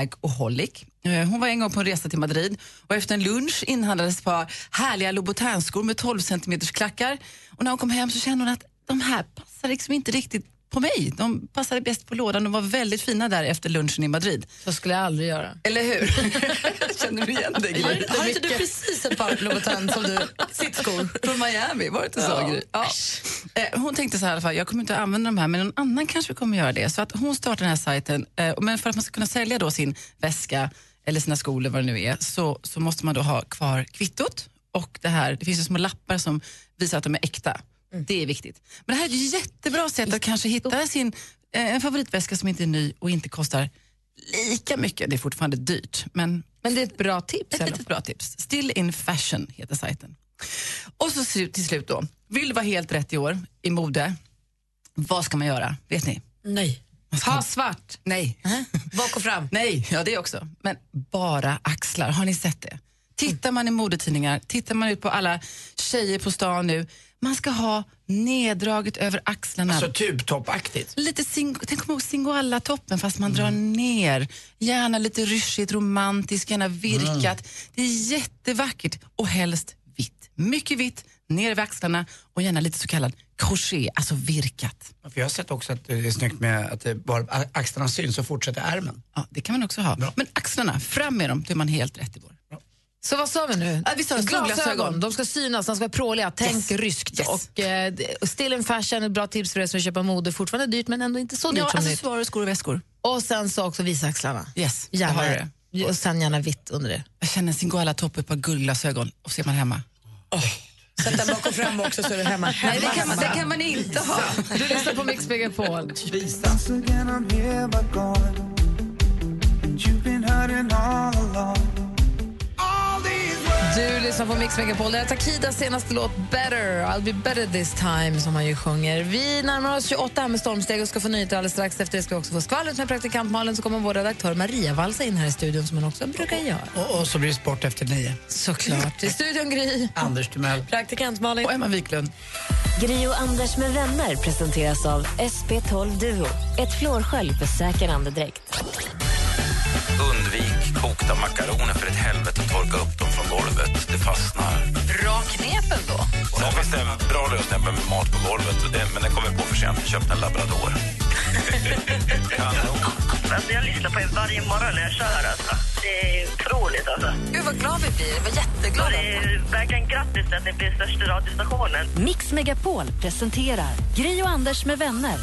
bagaholic. Eh, Hon var en gång på en resa till Madrid och efter en lunch inhandlades ett par härliga Louboutin-skor med 12 cm klackar. Och när hon kom hem så kände hon att de här passar liksom inte riktigt på mig. De passade bäst på lådan och var väldigt fina där efter lunchen i Madrid. Så skulle jag aldrig göra. Eller hur? Känner du igen det? Gry?
Har, har inte du precis ett par Louboutin som du...
sittskor från Miami, var det inte så?
Ja.
Gry? Ja. Eh, Hon tänkte så här i alla fall, jag kommer inte att använda de här men någon annan kanske kommer göra det. Så att hon startade den här sajten, eh, men för att man ska kunna sälja då sin väska eller sina skor eller vad det nu är så, så måste man då ha kvar kvittot och det här, det finns ju små lappar som visar att de är äkta.
Mm.
Det är viktigt. Men det här är ett jättebra sätt att kanske hitta sin eh, en favoritväska som inte är ny och inte kostar lika mycket. Det är fortfarande dyrt, men... Men det är ett bra tips? Ett litet bra tips. Still in fashion heter sajten. Och så slu- till slut då, vill du vara helt rätt i år i mode, vad ska man göra? Vet ni?
Nej.
Ha svart. Nej. Bak och fram. Nej, ja det också. Men bara axlar, har ni sett det? Tittar man i modetidningar, tittar man ut på alla tjejer på stan nu, man ska ha neddraget över axlarna.
Alltså tubtoppaktigt.
Lite sing- Tänk om Singoalla-toppen fast man drar
Mm.
ner. Gärna lite ryschigt, romantiskt, gärna
Mm.
virkat. Det är jättevackert och helst vitt. Mycket vitt, ner över axlarna och gärna lite så kallad crochet, alltså virkat.
För jag har sett också att det är snyggt med att det bara a- axlarna syns och fortsätter ärmen.
Ja, det kan man också ha. Men axlarna, fram med dem, då är man helt rätt i vår.
Så vad sa vi nu?
vi sa solglasögon.
De ska synas, de ska vara pråliga. Tänk ryskt. Och, eh, still in fashion, ett bra tips för er som vill köpa mode. Fortfarande dyrt, men ändå inte så dyrt
Ja, alltså,
som nytt.
accessoarer, skor och väskor.
Och sen så också visa axlarna.
Yes, jag
Gärna.
har det.
Och sen gärna vitt under det.
Jag känner sin goala topp ett par guldglasögon och så är man hemma.
Sätt den bak och fram också så är du hemma.
Nej, det kan man, det kan man inte ha. Du lyssnar på Mix Megapol. Du lyssnar på Mix Megapol. Det är Takidas senaste låt Better, I'll be better this time, som han ju sjunger. Vi närmar oss 28 här med stormsteg och ska få nyheter alldeles strax. Efter det ska vi också få skvallret med praktikant Malin så kommer vår redaktör Maria valsa in här i studion som hon också brukar göra.
Och, och så blir det sport efter nio.
Såklart. I studion Gry.
Anders Timell.
Praktikant Malin.
Och Emma Wiklund.
Gri och Anders med vänner presenteras av SP12 Duo. Ett flårskölj för säker andedräkt.
Undvik kokta makaroner för ett helvete och torka upp dem från golvet. Det fastnar.
Bra knepen då.
Sen finns det en bra lösning med mat på golvet, och det, men den kommer jag på för sent. Jag köpte en labrador. Kanon.
Alltså jag lyssnar på er varje morgon när jag kör. Alltså. Det är otroligt. Alltså.
Gud, vad glad vi blir. Vad jätteglada.
Det är verkligen grattis till att ni blir största radiostationen.
Mix Megapol presenterar Gri och Anders med vänner.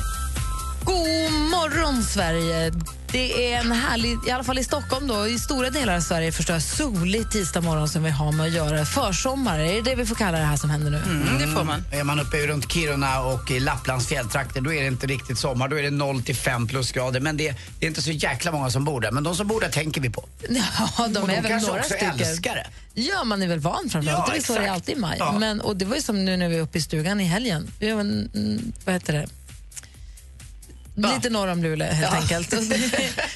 God morgon, Sverige! Det är en härlig, i alla fall i Stockholm då, i stora delar av Sverige förstås, solig tisdag morgon som vi har med att göra. Försommar, är det det vi får kalla Mm, det här som händer nu?
det får man.
Är Mm, man uppe runt Kiruna och i Lapplands fjälltrakter då är det inte riktigt sommar. Då är det 0 till 5 plusgrader. Men det, det är inte så jäkla många som bor där. Men de som bor där tänker vi på.
Ja, de
Och de
är väl
kanske
några
också
stycken.
älskar det.
Ja, man är väl van framförallt.
Ja,
det är väl så det
exakt.
är alltid i maj.
Ja.
Men, och det var ju som nu när vi var uppe i stugan i helgen. Vi var, en- mm, vad heter det? Lite norr om Luleå helt enkelt. Och det-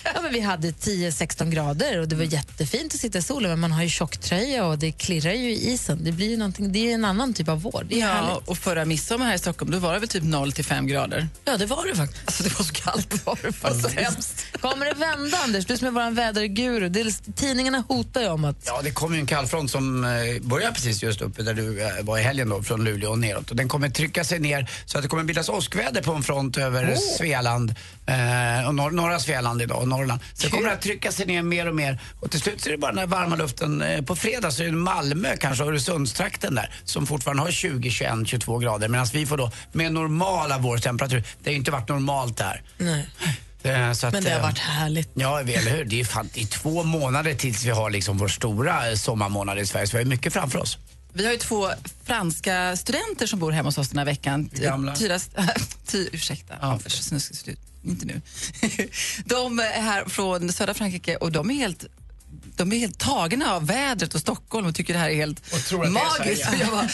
ja, men vi hade 10-16 grader och det
Mm.
var jättefint att sitta i solen men man har ju tjocktröja och det klirrar ju i isen. Det blir ju någonting, det är en annan typ av vår. Det är
Ja,
härligt.
och förra midsommar här i Stockholm då var det väl typ 0 till 5 grader.
Ja, det var det faktiskt.
Alltså det var så kallt. Var det faktiskt.
Kommer det vända Anders? Du som är vår väderguru. Det är- Tidningarna hotar ju om att
Ja, det kommer ju en kallfront som eh, börjar precis just uppe där du eh, var i helgen då, från Luleå och neråt. Och den kommer trycka sig ner så att det kommer bildas åskväder på en front över
Oh.
Svealand, eh, och norr, norra Svealand idag och Norrland. Sen kommer det att trycka sig ner mer och mer och till slut så är det bara den här varma luften. Eh, på fredag så är det Malmö, kanske Öresundstrakten där, som fortfarande har 20, 21, 22 grader. Medan vi får då med normala vårtemperaturer, det har ju inte varit normalt där.
Nej.
Eh, så att,
Men det har
eh,
varit härligt.
Ja, vi- eller hur? Det är ju fan, det är två månader tills vi har liksom vår stora eh, sommarmånad i Sverige, så vi har ju mycket framför oss.
Vi har ju två franska studenter som bor hemma hos oss den här veckan.
Hur gamla?
Tyras, ty, ursäkta, Anders, snusk, slut. inte nu. de är här från södra Frankrike och de är helt de är helt tagna av vädret och Stockholm och tycker det här är helt
tror att det är
magiskt.
Sverige.
Och jag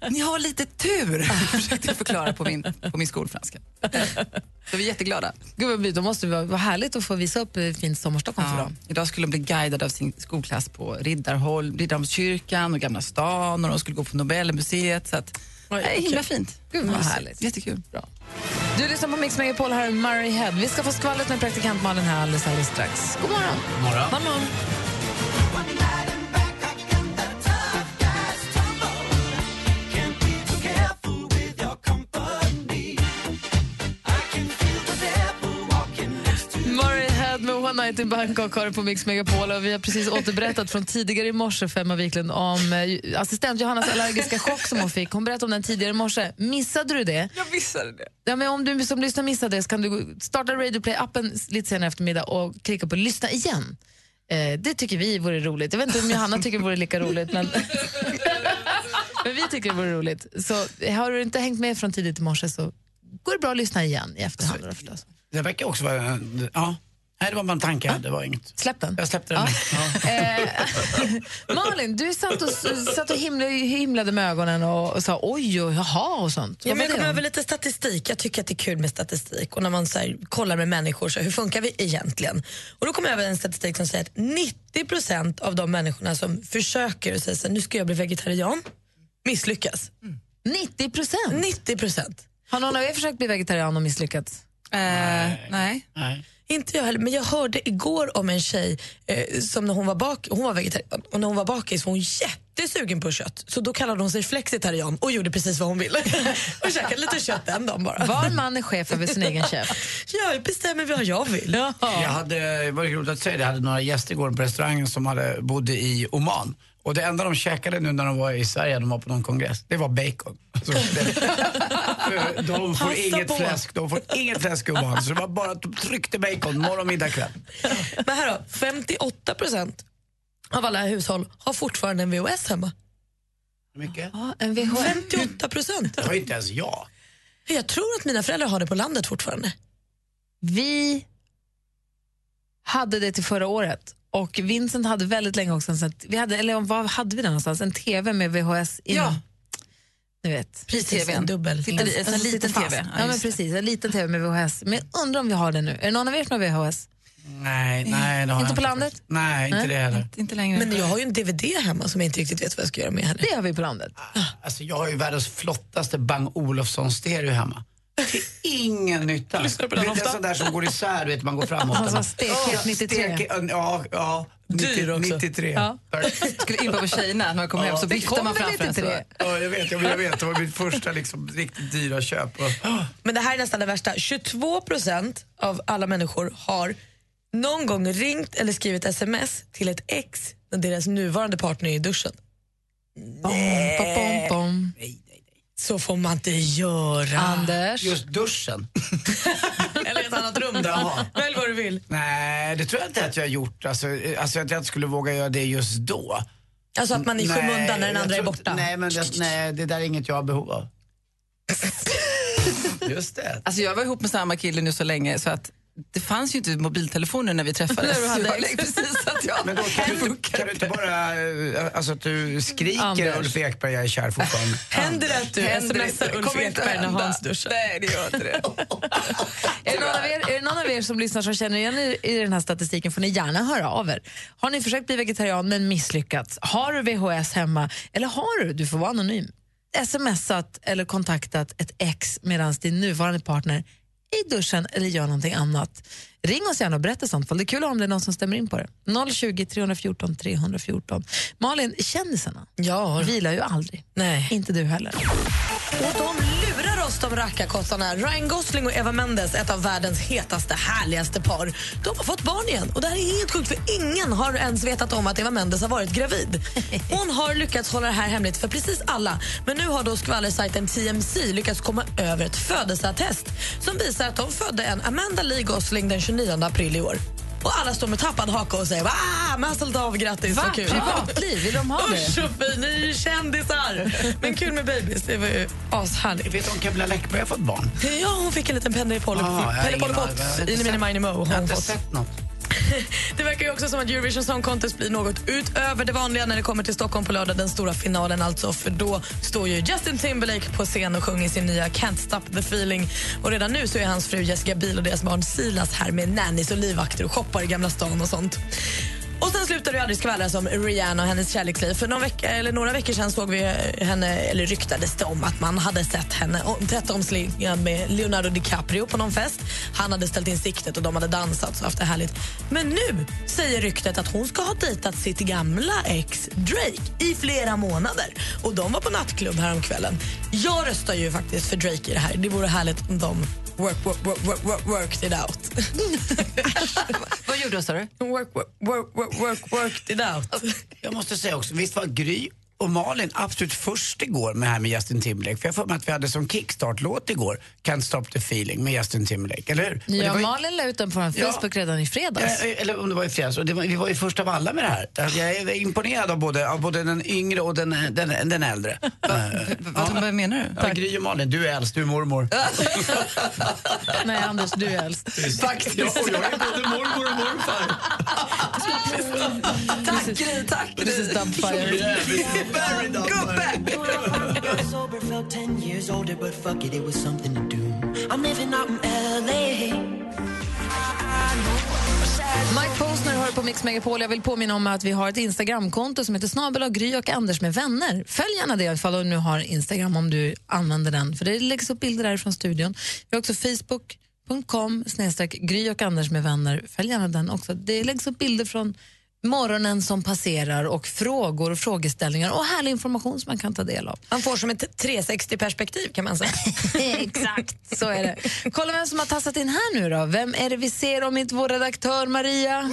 bara, ni har lite tur, försökte jag förklara på min, på min skolfranska. Så vi är jätteglada.
Gud vad mysigt, då måste det vara- vara härligt att få visa upp eh, fint sommarstockholm för
Ja.
dem.
Idag skulle Alltså de bli guidade av sin skolklass på Riddarholm, Riddarholmskyrkan och Gamla stan och de skulle gå på Nobelmuseet. Så att, det är himla
kul.
fint.
Gud, vad
Mysigt.
härligt.
Jättekul. Bra.
Du lyssnar på Mix Megapol här med Murray Head. Vi ska få skvallret med praktikant Malin här alldeles, alldeles strax. God morgon.
God morgon.
God morgon. Murray Head med One Night in Bangkok har du på Mix Megapol och vi har precis återberättat från tidigare i morse för Emma Wiklund om eh, assistent Johannas allergiska chock som hon fick. Hon berättade om den tidigare i morse. Missade du det?
Jag missade det.
Ja, men om du som lyssnar missade det så kan du gå- starta Radio Play-appen s- lite senare eftermiddag och klicka på lyssna igen. Eh, det tycker vi vore roligt. Jag vet inte om Johanna tycker det vore lika roligt, men, men vi tycker det vore roligt. Så har du inte hängt med från tidigt i morse så går det bra att lyssna igen i efterhand. då förstås.
Det verkar också vara... eh, Ja. Nej, det var bara en tanke. Det var inget.
Släpp den.
Jag släppte den. Ja.
Malin, du satt och, s- satt och himla, himlade med ögonen och, och sa oj och jaha och sånt.
Ja,
Vad
men jag
var
kom
det om?
över lite statistik. Jag tycker att det är kul med statistik och när man så här, kollar med människor, så här, hur funkar vi egentligen? Och då kom jag över en statistik som säger att 90 av de människorna som försöker och säger så här, nu ska jag bli vegetarian, misslyckas.
90 procent?
90 procent. Eh,
Har någon av er försökt bli vegetarian och misslyckats?
nej. Inte jag heller, men jag hörde igår om en tjej eh, som när hon var, bak, hon var vegetarian och när hon var bakis var hon jättesugen på kött. Så då kallade hon sig flexitarian och gjorde precis vad hon ville. och käkade lite kött den dagen bara.
Var man är chef över sin egen chef.
Jag bestämmer vad jag vill.
Jag hade, det var ju roligt att säga det, jag hade några gäster igår på restaurangen som hade, bodde i Oman. Och det enda de käkade nu när de var i Sverige, de var på någon kongress, det var bacon. Så det, de får
Passa
inget
på.
fläsk, de får inget fläsk i Oman. Så det var bara att de tryckte bacon morgon, middag, kväll.
Men här då, 58 procent av alla hushåll har fortfarande en VHS hemma.
Hur mycket?
Ja, en VHS.
58 procent.
Det var ju inte ens jag.
Jag tror att mina föräldrar har det på landet fortfarande.
Vi hade det till förra året och Vincent hade väldigt länge också en sån- vi hade, eller vad hade vi den någonstans? En TV med VHS in.
Ja.
Ni vet.
Precis, en dubbel. Sitter i- en sån liten
sitter fast.
TV. Ja,
Ja, men
just
precis, en liten TV med VHS. Men jag undrar om vi har det nu. Är det någon av er som har VHS?
Nej, nej det har jag
Inte på landet?
Nej, inte det heller.
Inte längre.
Men jag har ju en DVD hemma som jag inte riktigt vet vad jag ska göra med heller.
Det har vi på landet.
Alltså jag har ju världens flottaste Bang Olofsson-stereo hemma. Till ingen nytta. Lyssnar
på den
det är
ofta?
en sån där som går isär, du vet, man går framåt.
Han sa stekhet 93.
Steke- ja, ja. 90, 93.
Ja. Skulle impa på tjejerna när man kommer hem så
det
viftar
kom
man
den
framför en. så.
93. Ja, jag vet, jag, jag vet. Det var mitt första liksom, riktigt dyra köp. Och,
Men det här är nästan det värsta. 22 procent av alla människor har någon gång ringt eller skrivit sms till ett ex när deras nuvarande partner är i duschen.
Bom, bom, bom.
Så får man inte göra.
Anders.
Just duschen.
Eller ett annat rum då.
Jaha.
Välj vad du vill.
Nej, det tror jag inte att jag har gjort. Alltså, eh, alltså att jag inte skulle våga göra det just då.
Alltså att man är i
Nej,
skymundan när den
jag
andra är
tror inte-
borta.
Nej, men det, nej, det där är inget jag har behov av. Just det.
Alltså jag var ihop med samma kille nu så länge så att det fanns ju inte mobiltelefoner när vi träffades.
När du hade
Så jag- liksom-
ex.
precis att jag...
liksom. Men då kan, du, kan du inte bara, eh, alltså att du skriker
Anders.
Ulf Ekberg, jag är kär fortfarande.
Händer det att du smsar Ulf Ekberg när Hans duschar?
Nej, det gör inte det.
Är det, någon av er, är det någon av er som lyssnar som känner igen er i den här statistiken får ni gärna höra av er. Har ni försökt bli vegetarian men misslyckats? Har du VHS hemma? Eller har du, du får vara anonym, smsat eller kontaktat ett ex medan din nuvarande partner är i duschen eller gör någonting annat? Ring oss gärna och berätta sånt fall. Det är kul om det är någon som stämmer in på det. 020 314 314. Malin, kändisarna
Ja.
vilar ju aldrig.
Nej.
Inte du heller.
Och de lurar oss, de rackarkossarna. Ryan Gosling och Eva Mendes, ett av världens hetaste, härligaste par. De har fått barn igen. Och Det här är helt sjukt, för ingen har ens vetat om att Eva Mendes har varit gravid. Hon har lyckats hålla det här hemligt för precis alla. Men nu har då skvallersajten TMC lyckats komma över ett födelseattest som visar att de födde en Amanda Lee Gosling den 29 april i år. Och alla står med tappad haka och säger ah, Mazel tov, grattis,
Va?
så kul.
Privatliv? Vill de ha det?
Usch och fy, ni är ju kändisar. Men kul med babys, det var ju ashärligt.
Vet du om Camilla Läckberg har fått barn?
Ja, hon fick en liten Pennepollepott
Ah, jag har ingen aning.
i Mini Mini Mo. har
Jag har
hon
inte
fått.
sett något.
Det verkar ju också som att Eurovision Song Contest blir något utöver det vanliga när det kommer till Stockholm på lördag, den stora finalen alltså. För då står ju Justin Timberlake på scen och sjunger sin nya Can't Stop the Feeling. Och redan nu så är hans fru Jessica Biel och deras barn Silas här med nannies och livvakter och shoppar i Gamla stan och sånt. Och sen slutar det ju aldrig skvallras om Rihanna och hennes kärleksliv. För någon vecka, eller några veckor sedan såg vi henne, eller ryktades det om att man hade sett henne och- tätt omslingad med Leonardo DiCaprio på någon fest. Han hade ställt in siktet och de hade dansat och haft det härligt. Men nu säger ryktet att hon ska ha dejtat sitt gamla ex Drake i flera månader. Och de var på nattklubb häromkvällen. Jag röstar ju faktiskt för Drake i det här. Det vore härligt om de work, work, work, work, work, worked it out.
Vad gjorde du, sa du?
Work, work, work, work, work, worked it out.
Jag måste säga också, visst var Gry och Malin absolut först igår med det här med Justin Timberlake? För jag får för mig att vi hade som kickstart-låt igår, Can't stop the feeling med Justin Timberlake, eller hur? Och det
Ja,
var ju-
Malin la ut den på vår
Ja.
Facebook redan i fredags.
Eh, eh, Eller om det var i fredags. Och det var, vi var ju först av alla med det här. Alltså, Jag är imponerad av både, av både den yngre och den, den, den äldre.
Vad, vad menar du?
Ja, Gry och Malin, du är äldst, du är mormor.
Nej, Anders, du är äldst.
Faktiskt. Ja, och jag är både mormor och morfar.
Tack Gry, tack Gry. This is
Dumpfire.
Sober, felt 10 years older, but fuck it, it was something to do. I'm living out in LA.
Mike Posner hör på Mix Megapol. Jag vill påminna om att vi har ett Instagramkonto som heter snabel och Gry och Anders med vänner. Följ gärna det ifall du nu har Instagram om du använder den. För Det läggs upp bilder där från studion. Vi har också facebook.com snedstreck Gry och Anders med vänner. Följ gärna den också. Det läggs upp bilder från morgonen som passerar och frågor och frågeställningar och härlig information som man kan ta del av.
Man får som ett 360-perspektiv kan man säga.
Exakt, så är det. Kolla vem som har tassat in här nu då. Vem är det vi ser om inte vår redaktör Maria?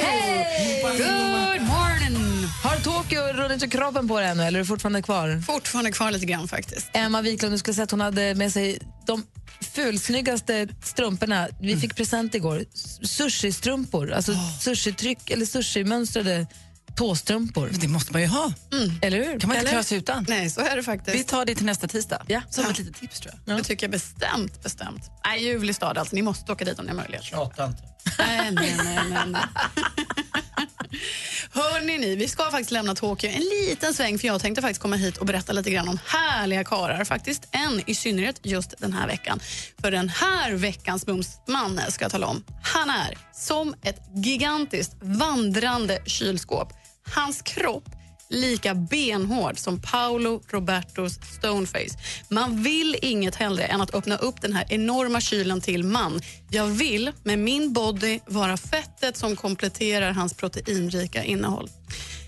Hej! Good morning! Har Tokyo runnit ur kroppen på dig ännu eller är du fortfarande kvar?
Fortfarande kvar lite grann faktiskt.
Emma Wiklund, du skulle säga att hon hade med sig de fulsnyggaste strumporna. Vi fick present igår. S- Sushi-strumpor, alltså sushi-tryck eller sushi-mönstrade tåstrumpor. Mm.
Det måste man ju ha.
Eller hur?
Kan man inte
Eller?
klara sig utan?
Nej, så är det faktiskt.
Vi tar det till nästa tisdag.
Ja.
Som ett litet tips tror jag. Det tycker jag bestämt, bestämt. Nej, ljuvlig stad alltså. Ni måste åka dit om ni har möjlighet.
Tjata inte.
Nej, nej, nej, nej, nej. Hörrni, ni, vi ska faktiskt lämna Tokyo en liten sväng för jag tänkte faktiskt komma hit och berätta lite grann om härliga karar. Faktiskt en i synnerhet just den här veckan. För den här veckans mumsman ska jag tala om. Han är som ett gigantiskt vandrande kylskåp. Hans kropp lika benhård som Paolo Robertos Stoneface. Man vill inget hellre än att öppna upp den här enorma kylen till man. Jag vill med min body vara fettet som kompletterar hans proteinrika innehåll.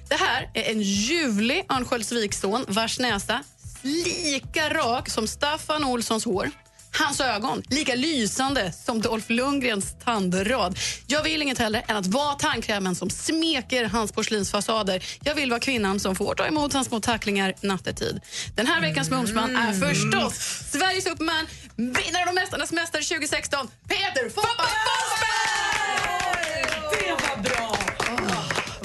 Det här är en ljuvlig Örnsköldsviksson vars näsa lika rak som Staffan Olssons hår. Hans ögon, lika lysande som Dolph Lundgrens tandrad. Jag vill inget hellre än att vara tandkrämen som smeker hans porslinsfasader. Jag vill vara kvinnan som får ta emot hans små tacklingar nattetid. Den här veckans
Mm.
Mumsman är förstås Sveriges Superman, vinnaren och Mästarnas mästare 2016, Peter Foppa Forsberg! Det var bra!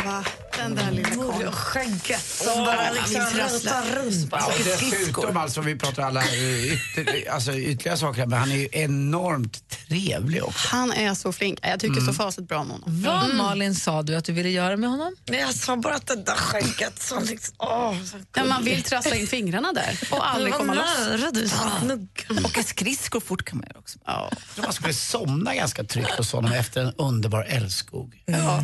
va? Den där lilla karln.
Skägget
Åh,
som bara
han
liksom
vill rassla.
rutar runt.
Ja, och dessutom, alltså, vi pratar alla eh, ytter, alltså, ytterligare saker här, men han är ju enormt trevlig också.
Han är så flink. Jag tycker
Mm.
så fasligt bra om honom.
Vad,
Mm.
Malin, sa du att du ville göra med honom?
Nej, jag sa bara att det där skägget så liksom... Åh, så
Ja, man vill trassla in fingrarna där och aldrig
Vad
komma
nära du
loss.
ska
Åka skridskor fort kan man göra också.
Ja.
Jag tror man skulle somna ganska tryggt hos honom efter en underbar älskog.
Ja.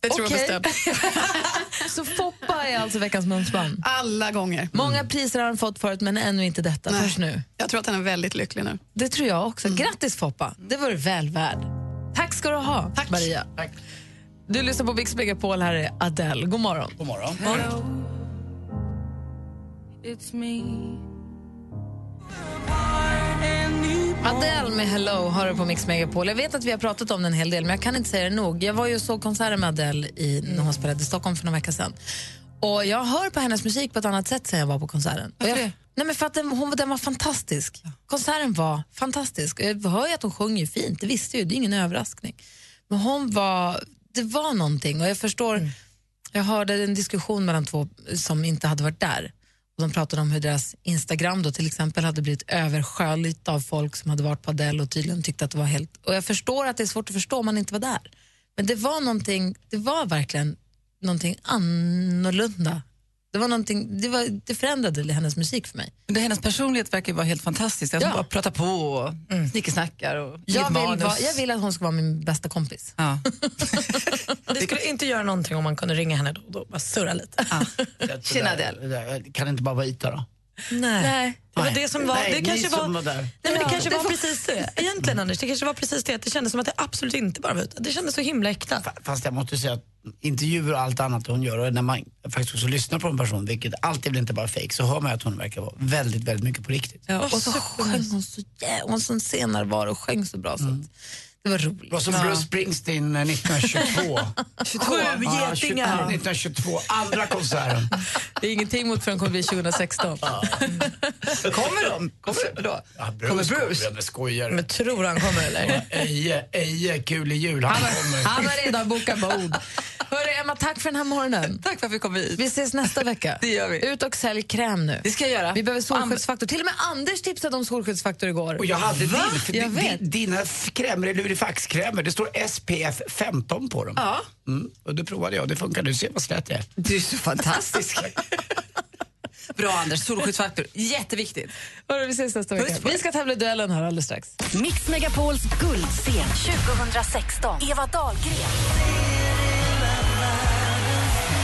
Det tror
Okej.
jag bestämt.
Så Foppa är alltså veckans mumsman?
Alla gånger.
Många
Mm.
priser har han fått förut, men ännu inte detta.
Nej.
Först nu.
Jag tror att han är väldigt lycklig nu.
Det tror jag också.
Mm.
Grattis Foppa, det var du väl värd. Tack ska du ha, Maria. Du lyssnar på Mix Megapol, här är Adele. God morgon.
God morgon.
Adele med Hello har du på Mix Megapol. Jag vet att vi har pratat om den en hel del, men jag kan inte säga det nog. Jag var ju och såg konserten med Adele i, när hon spelade i Stockholm för några veckor sedan. Och jag hör på hennes musik på ett annat sätt sen jag var på konserten. Och jag, Nej, men för att den, hon, den var fantastisk. Konserten var fantastisk. Jag hör ju att hon sjunger fint, det visste jag ju, det är ingen överraskning. Men hon var, det var någonting och jag förstår,
Mm.
jag hörde en diskussion mellan två som inte hade varit där. Och de pratade om hur deras Instagram då till exempel hade blivit översköljt av folk som hade varit på Adele och tydligen tyckte att det var helt... Och jag förstår att det är svårt att förstå om man inte var där. Men det var någonting, det var verkligen någonting annorlunda. Det, var någonting, det, var, det förändrade hennes musik för mig.
Men det, hennes personlighet verkar vara helt fantastisk. Att
Ja. Mm.
hon bara pratar på och snickesnackar. Och inget
Jag vill,
manus.
vara, jag vill att hon ska vara min bästa kompis.
Ja.
Det skulle inte göra någonting om man kunde ringa henne då och då, bara surra lite.
Tjena Adele. Kan det inte bara vara Ita då?
Nej. Det var
Nej.
det som var...
Nej,
det
ni
kanske var,
som var där.
Nej, men det
Ja,
kanske
det
var
var-
precis det. Egentligen Anders, det kanske var precis det att det kändes som att det absolut inte bara var ute. Det kändes så himla äkta.
Fast jag måste säga att intervjuer och allt annat hon gör och när man faktiskt också lyssnar på en person, vilket alltid blir inte bara fake så hör man ju att hon verkar vara väldigt, väldigt mycket på riktigt.
Ja, och så sjöng hon så jävla... Hon som senare var och sjöng så bra. Så att det var roligt.
Och som
Ja.
Bruce Springsteen eh, 1922.
22. Sju
Ja, 22,
getingar.
1922, andra konserten.
Det är ingenting mot för den kommer bli 2016.
Kommer de? Kommer de då? Ja, Bruce kommer Bruce? Kommer, jag skojar. Men
tror han kommer eller?
Eje, Eje, kul i jul, han kommer.
Han har redan bokat bord. Hörru, Emma, tack för den här morgonen.
Tack för att vi kom hit.
Vi ses nästa vecka.
Det gör vi.
Ut och sälj kräm nu.
Det ska jag göra.
Vi behöver solskyddsfaktor. Till och med Anders tipsade om solskyddsfaktor igår.
Och jag hade
Va?
din, för
Jag
di-
vet.
di- dina f- krämer är lurifaxkrämer. Det står SPF 15 på dem.
Ja.
Mm, och det provade jag. Det funkar. Du ser vad slät jag är.
Du är så fantastisk. Bra Anders, solskyddsfaktor, jätteviktigt.
Hörru, vi ses nästa vecka.
Puss på
Vi ska tävla i duellen här alldeles strax.
Mix Megapols guldscen 2016. Eva Dahlgren.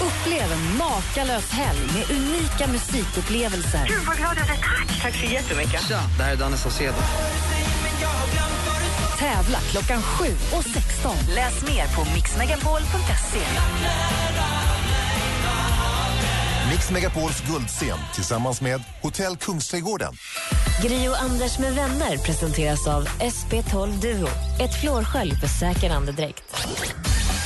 Upplev en makalös helg med unika musikupplevelser.
Gud, vad glad jag blev. Tack! Tack så jättemycket.
Det här är Danne Saucedo.
Tävla klockan 7 och 16. Läs mer på mixmegapol.se.
Mix Megapols guldscen tillsammans med Hotell Kungsträdgården.
Gri och Anders med vänner presenteras av SP12 Duo. Ett flårskölj för säker andedräkt.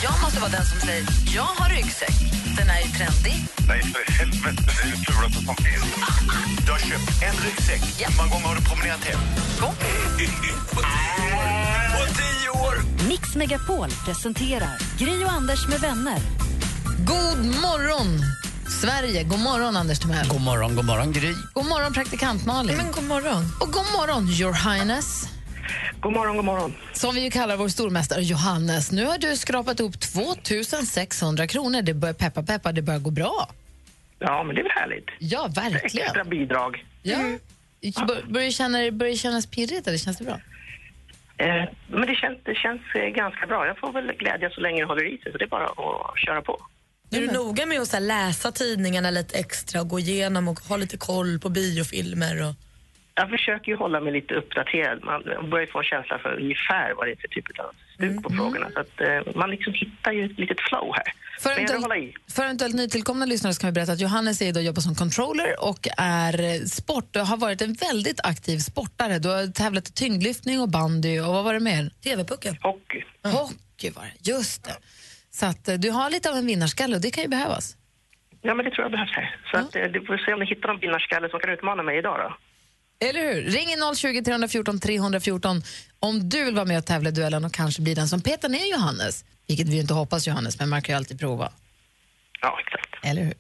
Jag måste vara den som säger jag har ryggsäck. Den är ju trendig.
Nej, för helvete. Det är det fulaste som finns. Du har köpt en ryggsäck. Hur många gånger har du promenerat hem? På tio år!
Mix Megapol presenterar Gri och Anders med vänner.
God morgon, Sverige. God morgon, Anders Timell.
God morgon, god morgon Gry.
God morgon, praktikant Malin.
Men god morgon.
Och god morgon, your highness.
God morgon, god morgon.
Som vi ju kallar vår stormästare Johannes. Nu har du skrapat ihop 2600 kronor. Det börjar peppa, peppa, det börjar gå bra.
Ja, men det är väl härligt.
Ja, verkligen.
Extra Mm. bidrag.
Ja. Bör- Börjar det känna- börjar det kännas pirrigt eller känns det bra?
Eh, men det känns, det känns eh, ganska bra. Jag får väl glädja så länge det håller i sig, så det är bara att köra på.
Är du noga med att så här, läsa tidningarna lite extra och gå igenom och ha lite koll på biofilmer? Och...
Jag försöker ju hålla mig lite uppdaterad. Man börjar ju få en känsla för ungefär vad det är för typ av stuk
Mm.
på frågorna. Så att eh, man liksom hittar ju ett litet flow här.
För
men jag vill hålla
eventuellt,
i.
för eventuellt nytillkomna lyssnare så kan vi berätta att Johannes är idag jobbar som controller och är eh, sport och har varit en väldigt aktiv sportare. Du har tävlat i tyngdlyftning och bandy och vad var det mer?
TV-pucken.
Hockey.
Hockey var det, just det. Så att eh, du har lite av en vinnarskalle och det kan ju behövas.
Ja, men det tror jag behövs här. Så att, eh, det får vi se om ni hittar någon vinnarskalle som kan utmana mig idag då.
Eller hur? Ring in 020 314 314 om du vill vara med och tävla i duellen och kanske bli den som petar ner Johannes. Vilket vi ju inte hoppas Johannes, men man kan ju alltid prova.
Ja, exakt.
Eller hur?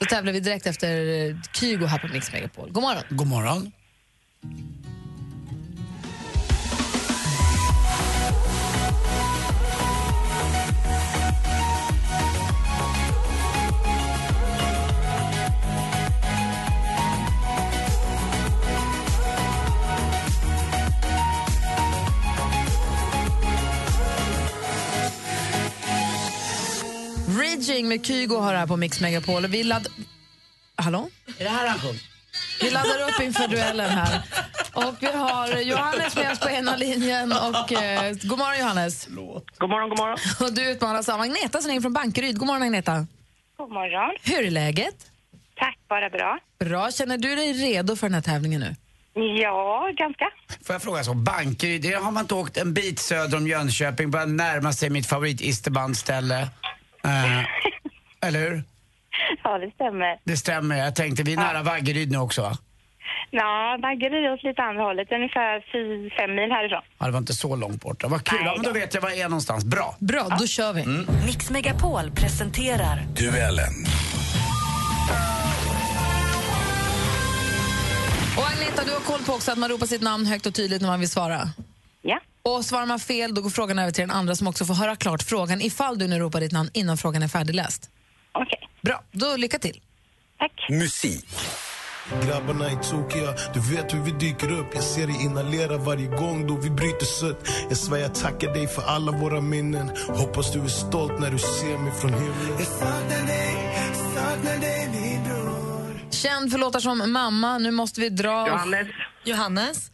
Då tävlar vi direkt efter eh, Kygo här på Mix Megapol. God morgon!
God morgon.
Raging med Kygo har här på Mix Megapol. Vi ladd... Hallå?
Är det här han sjöng?
Vi laddar upp inför duellen här. Och vi har Johannes med oss på ena linjen. Och, eh, god morgon Johannes.
God morgon, god morgon.
Och du utmanas av Agneta som ringer från Bankeryd. God morgon Agneta.
God morgon.
Hur är läget?
Tack, bara bra.
Bra. Känner du dig redo för den här tävlingen nu?
Ja, ganska.
Får jag fråga så, Bankeryd, det har man inte åkt en bit söder om Jönköping, börjar närma sig mitt favorit isterbandställe. Eh, eller hur?
Ja, det stämmer.
Det stämmer, jag tänkte vi är nära Vaggeryd nu också va?
Ja, Vaggeryd åt lite andra hållet, ungefär fy- fem mil härifrån.
Ja, det var inte så långt borta. Vad kul. Ja, men då vet jag var jag är någonstans. Bra. Mm.
Bra, då kör vi.
Mix Megapol presenterar
Duellen.
Och Agneta, du har koll på också att man ropar sitt namn högt och tydligt när man vill svara?
Ja.
Och svarar man fel, då går frågan över till den andra som också får höra klart frågan ifall du nu ropar ditt namn innan frågan är färdigläst.
Okej.
Bra, då lycka till.
Musik. Grabbarna är tokiga, du vet hur vi dyker upp Jag ser dig inhalera varje gång då vi bryter sutt Jag svär jag tackar dig för alla våra minnen Hoppas du är stolt när du ser mig från himlen Jag saknar dig, saknar dig min
Känd för låtar som Mamma, Nu måste vi dra...
Johannes. Johannes.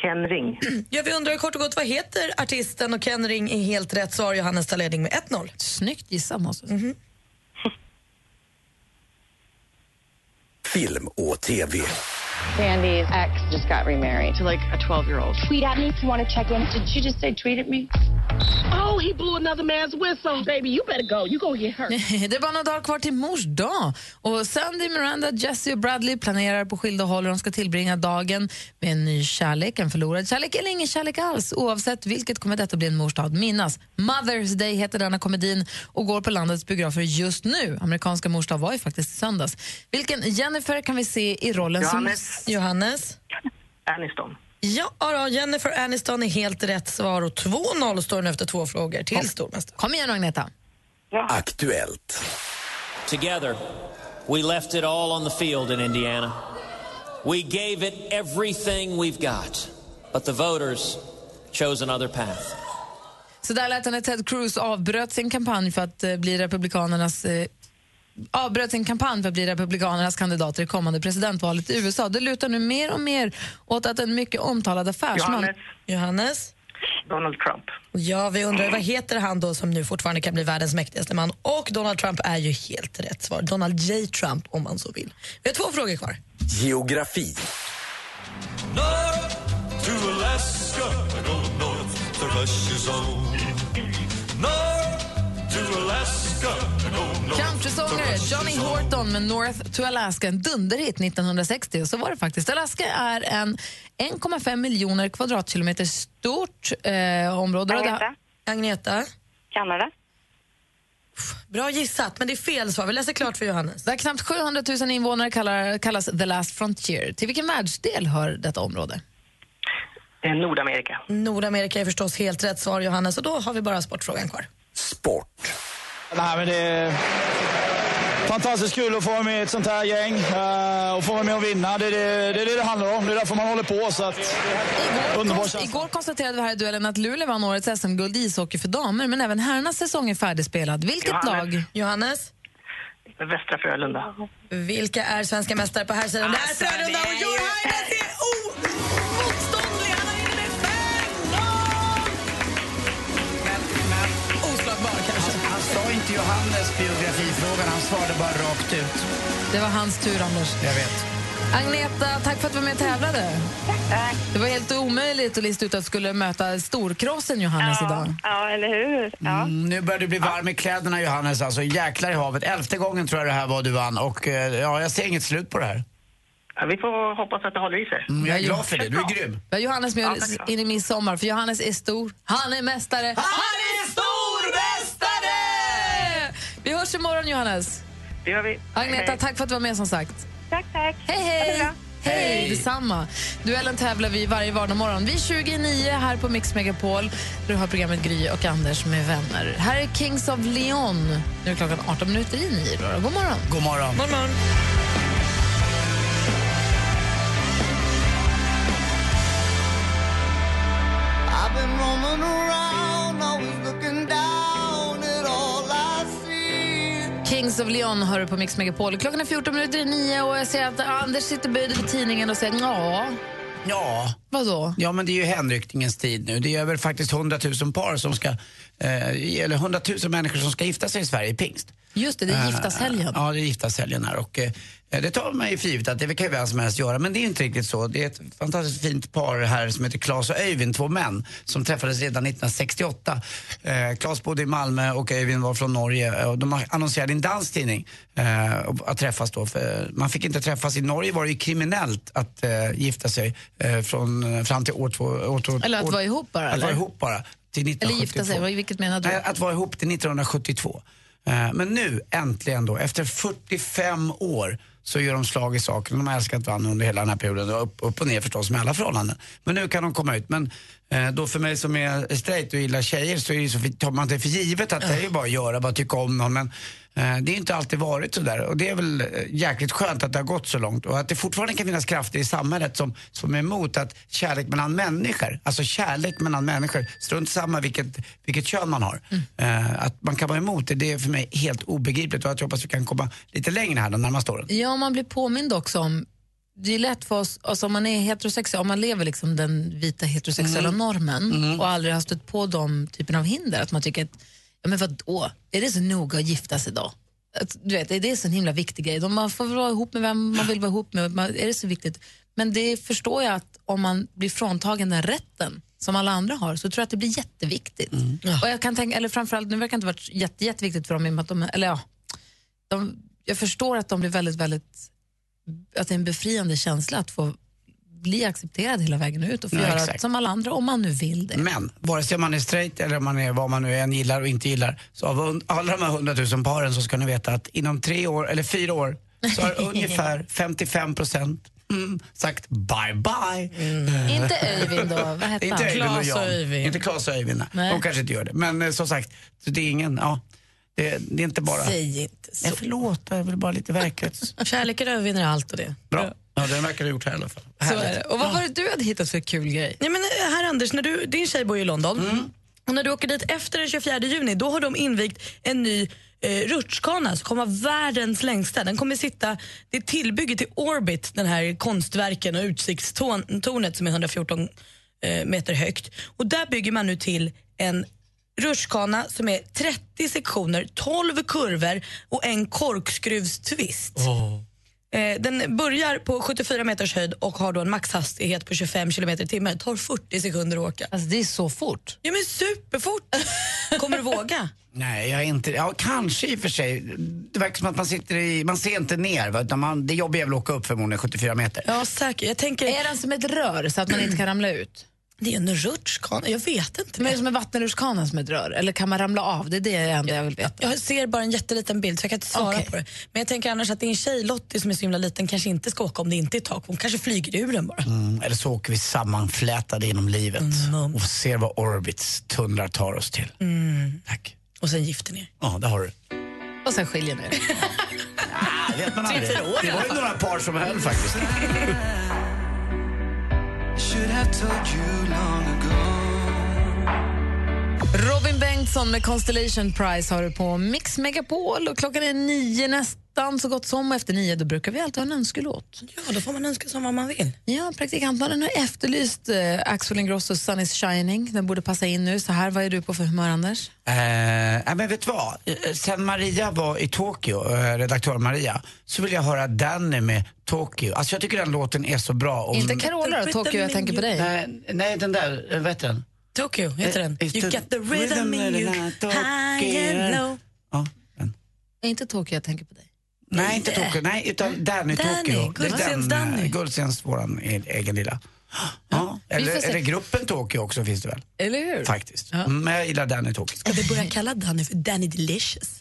Ken Ring.
Ja, vi undrar kort och gott vad heter artisten och Ken Ring är helt rätt svar. Johannes tar ledning med Mhm. 1-0.
Snyggt gissat måste jag
säga.
Film och TV.
Sandy's ex just got remarried to like a 12 year old.
Tweet at me if you want to check in. Did you just say tweet at me? Oh, he blew another man's whistle. Baby, you better go. You go get hurt.
Det är bara några dagar kvar till mors dag. Och Sandy, Miranda, Jesse och Bradley planerar på skilda håll hur de ska tillbringa dagen med en ny kärlek, en förlorad kärlek eller ingen kärlek alls. Oavsett vilket kommer detta bli en mors dag att minnas. Mother's Day heter denna komedin och går på landets biografer just nu. Amerikanska mors dag var ju faktiskt i söndags. Vilken Jennifer kan vi se i rollen
Johannes.
som...
Johannes.
Aniston.
Ja, då, Jennifer Aniston är helt rätt svar och 2-0 står den efter två frågor till stormästaren.
Kom igen Agneta.
Aktuellt.
Together, we left it all on the field in Indiana. We gave it everything we've got, but the voters chose another path.
Så där lät det när Ted Cruz avbröt sin kampanj för att eh, bli republikanernas eh, avbröt sin kampanj för att bli republikanernas kandidater i kommande presidentvalet i USA. Det lutar nu mer och mer åt att en mycket omtalad affärsman...
Johannes. Johannes.
Donald Trump.
Ja, vi undrar vad heter han då som nu fortfarande kan bli världens mäktigaste man? Och Donald Trump är ju helt rätt svar. Donald J Trump om man så vill. Vi har två frågor kvar.
Geografi.
North to Alaska. I go north to Russia's own. North to Alaska. I go north
Countrysångare Johnny Horton med North to Alaska, en dunderhit 1960. Och så var det faktiskt. Alaska är en 1,5 miljoner kvadratkilometer stort eh, område. Och det-
Agneta. Agneta.
Kanada.
Bra gissat, men det är fel svar. Vi läser klart för Johannes.
Där knappt 700 000 invånare kallar, kallas The Last Frontier. Till vilken världsdel hör detta område?
Eh, Nordamerika.
Nordamerika är förstås helt rätt svar, Johannes. Och då har vi bara sportfrågan kvar.
Nej, men det är fantastiskt kul att få vara med i ett sånt här gäng eh, och få vara med och vinna. Det är det det, är det, det handlar om. Det är därför man håller på. Så att, underbar
Konst-
känsla.
Igår konstaterade vi här i duellen att Luleå vann årets SM-guld i ishockey för damer, men även herrarnas säsong är färdigspelad. Vilket
Johannes.
lag?
Johannes?
Västra Frölunda.
Vilka är svenska mästare på här sidan?
Alltså,
det är Frölunda
det
och
är ju-
Johannes är omotståndlig! Han har inne Oslagbar kanske.
Han, han sa inte Johannes biografifrågan, han svarade bara rakt ut.
Det var hans tur, Anders.
Jag vet.
Agneta, tack för att du var med och tävlade. Det var helt omöjligt att lista ut att skulle möta storkrossen Johannes idag.
Ja, eller hur?
Mm, nu börjar du bli varm i kläderna Johannes, alltså jäklar i havet. Elfte gången tror jag det här var du vann och eh, ja, jag ser inget slut på det här.
Ja, vi får hoppas att det håller i sig.
Mm, jag är glad för det, du är grym.
Vi har Johannes med
Ja,
oss
tack.
in i midsommar, för Johannes är stor. Han är mästare. Han är stormästare! Vi hörs imorgon, Johannes.
Det gör vi.
Agneta,
Hej.
tack för att du var med som sagt.
Tack, tack.
Hej, hej! Hej! Detsamma. Duellen tävlar vi varje vardagsmorgon. Vi är 29 här på Mix Megapol. Du har programmet Gry och Anders med vänner. Här är Kings of Leon. Nu är klockan 18 minuter i nio. då. God morgon!
God morgon.
I've been roaming around, always looking down at all I see.
Kings of Leon hör du på Mix Megapol. Klockan är 14 minuter i nio och jag ser att Anders sitter böjd över tidningen och säger ja.
Ja.
Vadå?
Ja, men det är ju hänryckningens tid nu. Det är över faktiskt 100 000 par som ska, eh, eller 100 000 människor som ska gifta sig i Sverige i pingst.
Just det, det är
Eh,
giftashelgen.
Ja, det är giftashelgen här. Och, eh, det tar man ju för givet att det kan ju vem som helst göra, men det är ju inte riktigt så. Det är ett fantastiskt fint par här som heter Claes och Öyvind, två män, som träffades redan 1968. Eh, Claes bodde i Malmö och Öyvind var från Norge. eh, Och de annonserade i en danstidning eh, att träffas då. För man fick inte träffas. I Norge var det ju kriminellt att eh, gifta sig eh, från, fram till år två... År, två-
Eller att
år,
vara ihop bara,
Att
eller?
vara ihop bara. Till 1972.
Eller gifta sig, vad- vilket menar du?
Nej, att vara ihop till 1972. Eh, Men nu, äntligen då, efter 45 år så gör de slag i saken. De har älskat varandra under hela den här perioden. Och Upp, upp och ner förstås med alla förhållanden. Men nu kan de komma ut. Men eh, då för mig som är straight och gillar tjejer så, är det ju så tar man det för givet att det är ju bara att göra, bara tycka om någon. Men eh, det är ju inte alltid varit så där. Och det är väl eh, jäkligt skönt att det har gått så långt. Och att det fortfarande kan finnas krafter i samhället som, som är emot att kärlek mellan människor, alltså kärlek mellan människor, strunt samma vilket, vilket kön man har. Eh, att man kan vara emot det, det är för mig helt obegripligt. Och att jag hoppas vi kan komma lite längre här de närmaste åren.
Ja, man blir påmind också om... Det är lätt för oss, alltså om man är heterosexuell, om man lever liksom den vita heterosexuella
Mm.
normen
Mm.
och aldrig har stött på de typen av hinder, att man tycker att, ja men vadå, är det så noga att gifta sig då? Att, du vet, är det så en himla viktig grej? De- Man får väl vara ihop med vem man vill vara ihop med, man, är det så viktigt? Men det förstår jag att om man blir fråntagen den rätten som alla andra har, så tror jag att det blir jätteviktigt. Och jag kan tänka, eller framförallt, nu verkar det inte varit jätte, jätteviktigt för dem, i och med att de, eller ja, de, jag förstår att de blir väldigt, väldigt, att det är en befriande känsla att få bli accepterad hela vägen ut och få
Ja,
göra
exakt.
som alla andra om man nu vill det.
Men vare sig man är straight eller om man är vad man nu än gillar och inte gillar, så av un- alla de här hundratusen paren så ska ni veta att inom tre år, eller fyra år, så har ungefär 55 procent mm, sagt bye bye.
Mm. Inte Öyvind då, vad hette han?
inte Öyvind och
Claes och
jag.
Öyvind.
Inte Claes och Öyvind, nej.
Nej.
De kanske inte gör det. Men eh, som sagt, så det är ingen, ja. Det, det är inte bara...
Säg inte så.
Nej, förlåt, jag vill bara lite verklighets...
Kärleken övervinner allt och det.
Bra. Ja, den verkar ha gjort här i alla fall.
Så är det. Och vad var det
du hade hittat för kul grej? Mm.
Nej, men eh, här Anders, när du, din tjej bor ju i London. Och när du åker dit efter den 24 juni, då har de invigt en ny eh, rutschkana som kommer vara världens längsta. Den kommer sitta, det är tillbygget till Orbit, den här konstverken och utsiktstornet som är 114 eh, meter högt. Och där bygger man nu till en rutschkana som är 30 sektioner, 12 kurvor och en korkskruvstvist. Eh, Den börjar på 74 meters höjd och har då en maxhastighet på 25 km i timmen. Det tar 40 sekunder att åka.
Alltså det är så fort.
Ja men superfort! Kommer du våga?
Nej, jag är inte... Ja, kanske i och för sig. Det verkar som att man sitter i... Man ser inte ner, va? utan man, det jobbiga är väl att åka upp förmodligen 74 meter.
Ja säkert. Jag tänker...
Är den som ett rör så att man inte kan ramla ut?
Det är en rutschkana, jag vet inte.
Men är det som en vattenrutschkana som ett rör? Eller kan man ramla av? Det är det enda jag vill veta.
Jag ser bara en jätteliten bild så jag kan inte svara på det. Men jag tänker annars att din tjej Lottie som är så himla liten kanske inte ska åka om det inte är tak. Hon kanske flyger ur den bara.
Mm, eller så åker vi sammanflätade inom livet
Mm.
och ser vad Orbits tunnlar tar oss till. Tack.
Mm. Och sen gifter ni er.
Ja, det har du.
Och sen skiljer ni er.
Ah, vet man aldrig.
Tre, fyra år i
Det var
alla
ju
fall.
några par som höll faktiskt.
Should have told you long
Robin Bengtsson med Constellation Prize har du på Mix Megapol och klockan är nio nästan så gott som och efter nio då brukar vi alltid ha en önskelåt.
Ja, då får man önska som vad man vill.
Ja, praktikantmannen har efterlyst eh, Axel Ingrossos Sun is shining. Den borde passa in nu. Så här, vad är du på för humör, Anders?
Eh, ja, men vet du vad? Eh, Sen Maria var i Tokyo, eh, redaktör Maria, så vill jag höra Danny med Tokyo. Alltså jag tycker den låten är så bra. Och-
Inte Carola då, Tokyo, jag tänker på dig.
Nej, nej den där, eh, vad heter den?
Tokyo heter den.
Eh,
You got the rhythm in you, high and
Tokyo.
low.
Inte Tokyo, jag tänker på dig. Eh,
Nej, inte Tokyo. Nej, utan Danny,
Danny,
Tokyo. Det är
Guldsens
den, eh,
Danny.
Guldsens, våran e- egen lilla. Ja, eller,
får se.
eller gruppen Tokyo också finns det väl?
Eller hur?
Faktiskt. Mm, Men jag gillar Danny Tokyo.
Ska vi börja kalla Danny för Danny Delicious?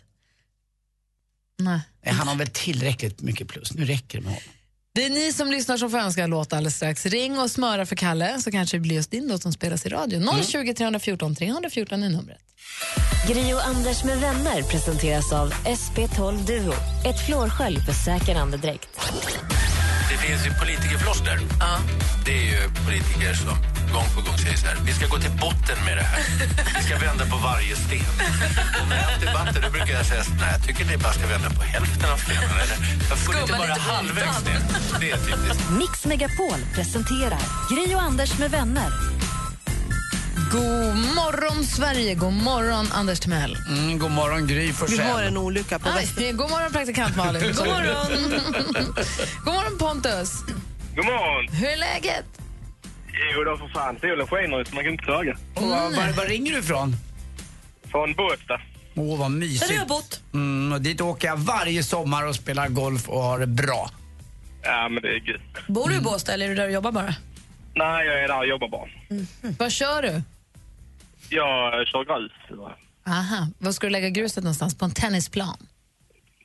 Nej.
Eh, Han har väl tillräckligt mycket plus. Nu räcker det med honom.
Det är ni som lyssnar som får önska en låt alldeles strax. Ring och smöra för Kalle så kanske det blir just din låt som spelas i
Mm.
radion. 020 314 314 är numret.
Gri och Anders med vänner presenteras av SP12 Duo. Ett flårskölj för säker andedräkt.
Det finns ju politikerfloskler. Det är ju politiker som gång på gång säger så här. Vi ska gå till botten med det här. Vi ska vända på varje sten. Och när jag har haft debatter då brukar jag säga så här, nej, jag tycker ni bara ska vända på hälften av stenen. Eller, varför inte bara halvvägs ner? Det är typiskt.
Mix Megapol presenterar Gri och Anders med vänner.
God morgon, Sverige! God morgon, Anders Timell.
Mm, god morgon, Gry Forssell.
Vi har en
olycka
Aj, God morgon, praktikant Malin. God morgon, God morgon Pontus.
God morgon!
Hur är läget?
Jo då för fan, solen skiner ut man kan inte klaga.
Och var, var, var ringer du ifrån?
Från Båstad.
Åh, vad mysigt.
Där har jag bott.
Mm, och dit åker jag varje sommar och spelar golf och har det bra.
Ja men det är gött.
Bor du i Båstad eller är du där och jobbar bara?
Nej jag är där och jobbar bara.
Mhm.
Vad kör du?
Jag eh, kör grus. va?
Aha. Var ska du lägga gruset någonstans? På en tennisplan?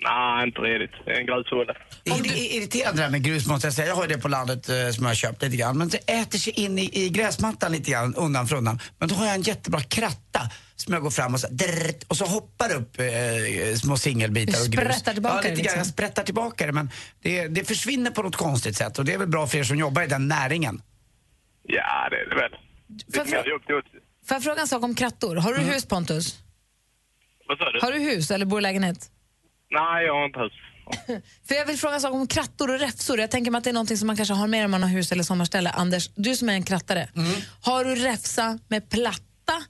Nej inte riktigt, Det är en grushåla.
Det är irriterande det här med grus måste jag säga. Jag har ju det på landet eh, som jag har köpt lite grann. Men det äter sig in i, i gräsmattan lite grann undan för undan. Men då har jag en jättebra kratta som jag går fram och så, drrrt, och så hoppar upp eh, små singelbitar och
Du
grus.
sprättar tillbaka
ja,
det
lite grann.
liksom.
Jag sprättar tillbaka det men det, det försvinner på något konstigt sätt och det är väl bra för er som jobbar i den näringen.
Ja det är det väl. Det är
Varför-
mer jobb till oss.
Får jag fråga en sak om krattor? Har du hus, Pontus?
Vad sa du?
Har Mm. du hus eller bor i lägenhet?
Nej jag har inte hus.
För jag vill fråga en sak om krattor och räfsor. Jag tänker mig att det är någonting som man kanske har med om man har hus eller sommarställe. Anders, du som är en krattare. Har du räfsa med platta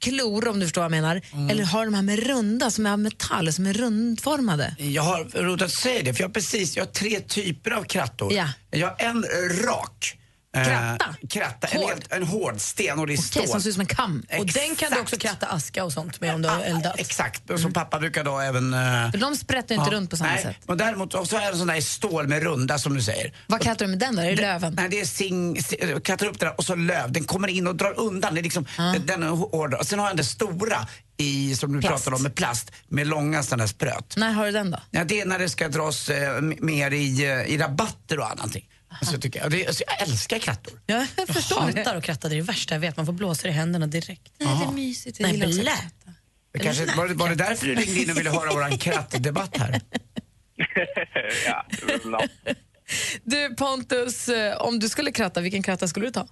klor, om du förstår vad jag menar? Eller har du de här med runda, som är av metall, som är rundformade?
Jag har rotat sig det för jag har precis, jag har tre typer av krattor.
Ja.
Jag har en eh, rak. eh,
Kratta?
kratta. En,
Hård.
helt, en hård, stenhård i
Okej,
stål.
som ser ut som en kam. Och den kan
Exakt.
du också kratta aska och sånt med om du har eldat.
Exakt, och som pappa brukar då även... eh,
För de sprätter ju inte runt på samma
nej.
sätt.
Och däremot och så är det en sån där i stål med runda som du säger.
Vad krattar du med den då? Är det löven?
Nej, det är sing, si- krattar upp det där och så löv. Den kommer in och drar undan. Det är liksom, den är hård. Och sen har jag den stora i, som du
Plast.
pratade om, med plast. Med långa sådana där spröt.
När har du den då?
Ja, det är när det ska dras eh, m- mer i, eh, i rabatter och annat. Alltså, jag, tycker, jag- det, alltså, jag älskar krattor.
Ja, jag förstår hatar att kratta, det är det värsta jag vet. Man får blåsor i händerna direkt.
Nej, det är Aha.
mysigt.
Jag
Nej,
gillar också
blä.
Det Kanske, var, det, var det därför du ringde in och ville höra vår krattdebatt här?
ja, det är väl bra.
Du Pontus, eh, om du skulle kratta, vilken kratta skulle du ta?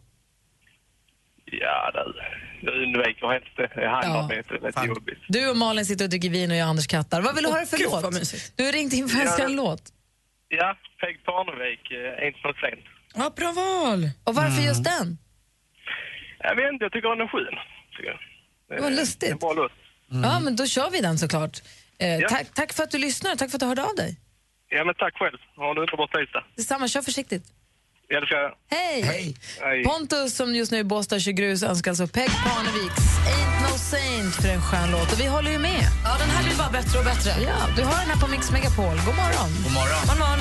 ja det jag undviker helst det. Handarbete är lite jobbigt.
Du och Malin sitter och dricker vin och jag och Anders krattar. Vad vill du höra för
Gud, vad
låt?
mysigt.
Du har ringt in för att önska en
Ja.
låt.
Ja, Peg Parnevik, eh, Ain't No Saint.
Ja, bra val! Och varför
Mm.
just den?
Jag vet inte, jag tycker den är skön. tycker jag.
Det var lustigt.
Det är en bra låt.
Ja, men då kör vi den såklart. Eh, tack, tack för att du lyssnar, tack för att du hörde av dig.
Ja, men tack själv. Ha en underbar tisdag.
Detsamma, kör försiktigt.
Ja, det ska jag.
Hej!
Hej.
Pontus som just nu är i Båstad och kör grus önskar alltså Peg Parneviks Ain't No Saint för en skön låt. Och vi håller ju med.
Ja, den här blir bara bättre och bättre.
Ja, du har den här på Mix Megapol. God morgon!
God morgon!
God morgon.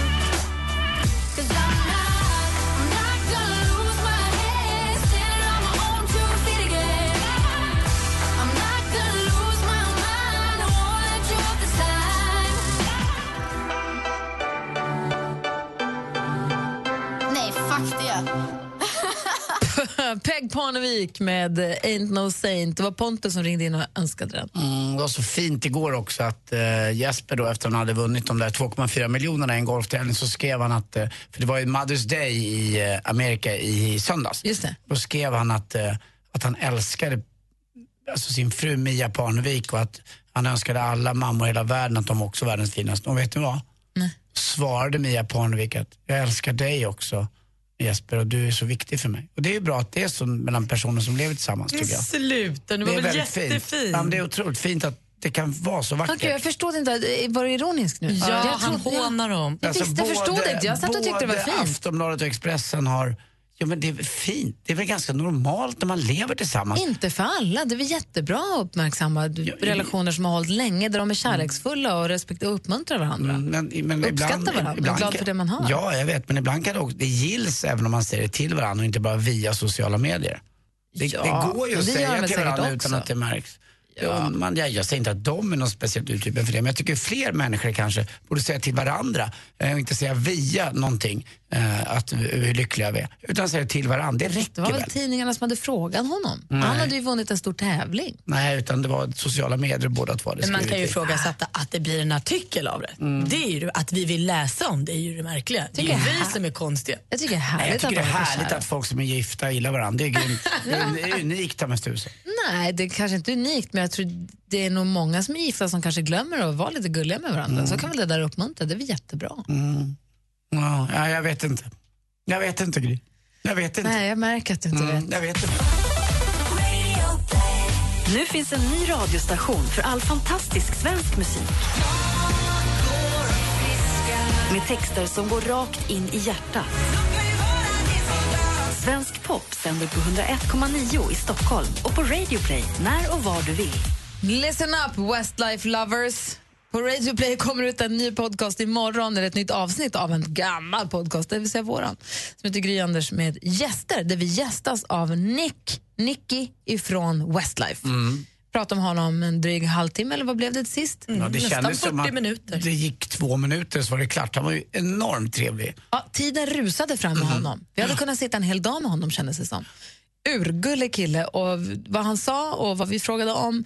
Nej, fuck det.
Peg Parnevik med eh, Ain't No Saint. Det var Pontus som ringde in och önskade den.
Mm, det var så fint igår också att eh, Jesper då efter han hade vunnit de där 2,4 miljonerna i en golftävling så skrev han att, eh, för det var ju Mother's Day i eh, Amerika i söndags.
Just det.
Då skrev han att, eh, att han älskade alltså sin fru Mia Parnevik och att han önskade alla mammor i hela världen att de också var världens finaste. Och vet ni vad? Svarade Mia Parnevik att jag älskar dig också Jesper och du är så viktig för mig. Och det är ju bra att det är så mellan personer som lever tillsammans tycker jag.
Sluta, det var väl
väldigt fint.
jättefint.
Ja, men det är otroligt fint att det kan vara så vackert.
Okej, jag förstod inte. Var du ironisk nu?
Ja,
jag
han hånar dem.
Jag, visste, jag förstod
Alltså, både-
det inte. Jag satt och tyckte det var
både
fint.
Aftonbladet och Expressen har... Ja, men det är väl fint. Det är väl ganska normalt när man lever tillsammans.
Inte för alla. Det är väl jättebra att uppmärksamma relationer som har hållit länge där de är kärleksfulla och, respekt och uppmuntrar varandra.
Mm, Men, men
Uppskatta varandra, glad för det man har.
Ja, jag vet. Men ibland kan det, också, det gills även om man säger det till varandra och inte bara via sociala medier. Det,
Ja,
det går ju
men
att
det gör
säga
man
till
säkert
varandra
också.
utan att det märks. Ja. Man, jag, jag säger inte att de är någon speciellt uttypen för det, men jag tycker fler människor kanske borde säga till varandra eh, och inte säga via någonting eh, att, hur lyckliga vi är. Utan säga till varandra, det
Det
räcker
var
väl?
väl tidningarna som hade frågat honom.
Nej.
Han hade ju vunnit en stor tävling.
Nej, utan det var sociala medier båda två hade
Men man
skrivit
kan ju
till.
ifrågasätta att det blir en artikel av det. Det är ju att vi vill läsa om det är ju det märkliga. Det är ju
Tycker jag
vi
här-
som är konstiga.
Jag tycker det är
Nej, jag
härligt
tycker det är
att de är
härligt
kära.
att folk som är gifta gillar varandra. Det är grymt. Det är, det är unikt, ta mig tusan.
Nej, det är kanske inte unikt, men jag tror det är nog många som är gifta som kanske glömmer att vara lite gulliga med varandra. Så kan väl det där uppmuntra, det är väl jättebra.
Mm. Ja, ja, jag vet inte. Jag vet inte, Gry. Jag vet inte.
Nej, jag märker att du inte
Mm,
vet.
jag vet inte.
Nu finns en ny radiostation för all fantastisk svensk musik. Med texter som går rakt in i hjärtat. Svensk pop sänder på 101,9 i Stockholm och på Radio Play när och var du vill.
Listen up, Westlife lovers! På Radio Play kommer ut en ny podcast imorgon, eller ett nytt avsnitt av en gammal podcast, det vill säga våran, som heter Gry Anders med gäster, där vi gästas av Nick, Nicky ifrån Westlife.
Mm.
Prata om honom en dryg halvtimme, eller vad blev det till sist?
Ja, det
Nästan 40
kändes som att
minuter.
det gick två minuter så var det klart. Han var ju enormt trevlig.
Ja, tiden rusade fram
Mhm.
med honom. Vi hade kunnat sitta en hel dag med honom kändes det som. Urgullig kille och vad han sa och vad vi frågade om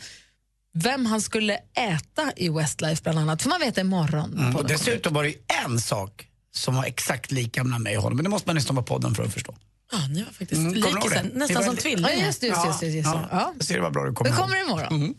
vem han skulle äta i Westlife bland annat, för man vet det imorgon.
Mm.
på
Och
podden.
dessutom var det ju en sak som var exakt lika mellan mig och honom. Men det måste man lyssna på podden för att förstå.
Ja, Ah, ni var faktiskt
Mm, kommer du ihåg det?
likisar,
Det
nästan
var
som
li-
tvillingar.
Ja, just det, just det, just det, just det. Ja.
Jag ser vad bra du
Det
kommer
kommer
ihåg.
imorgon.
Mm.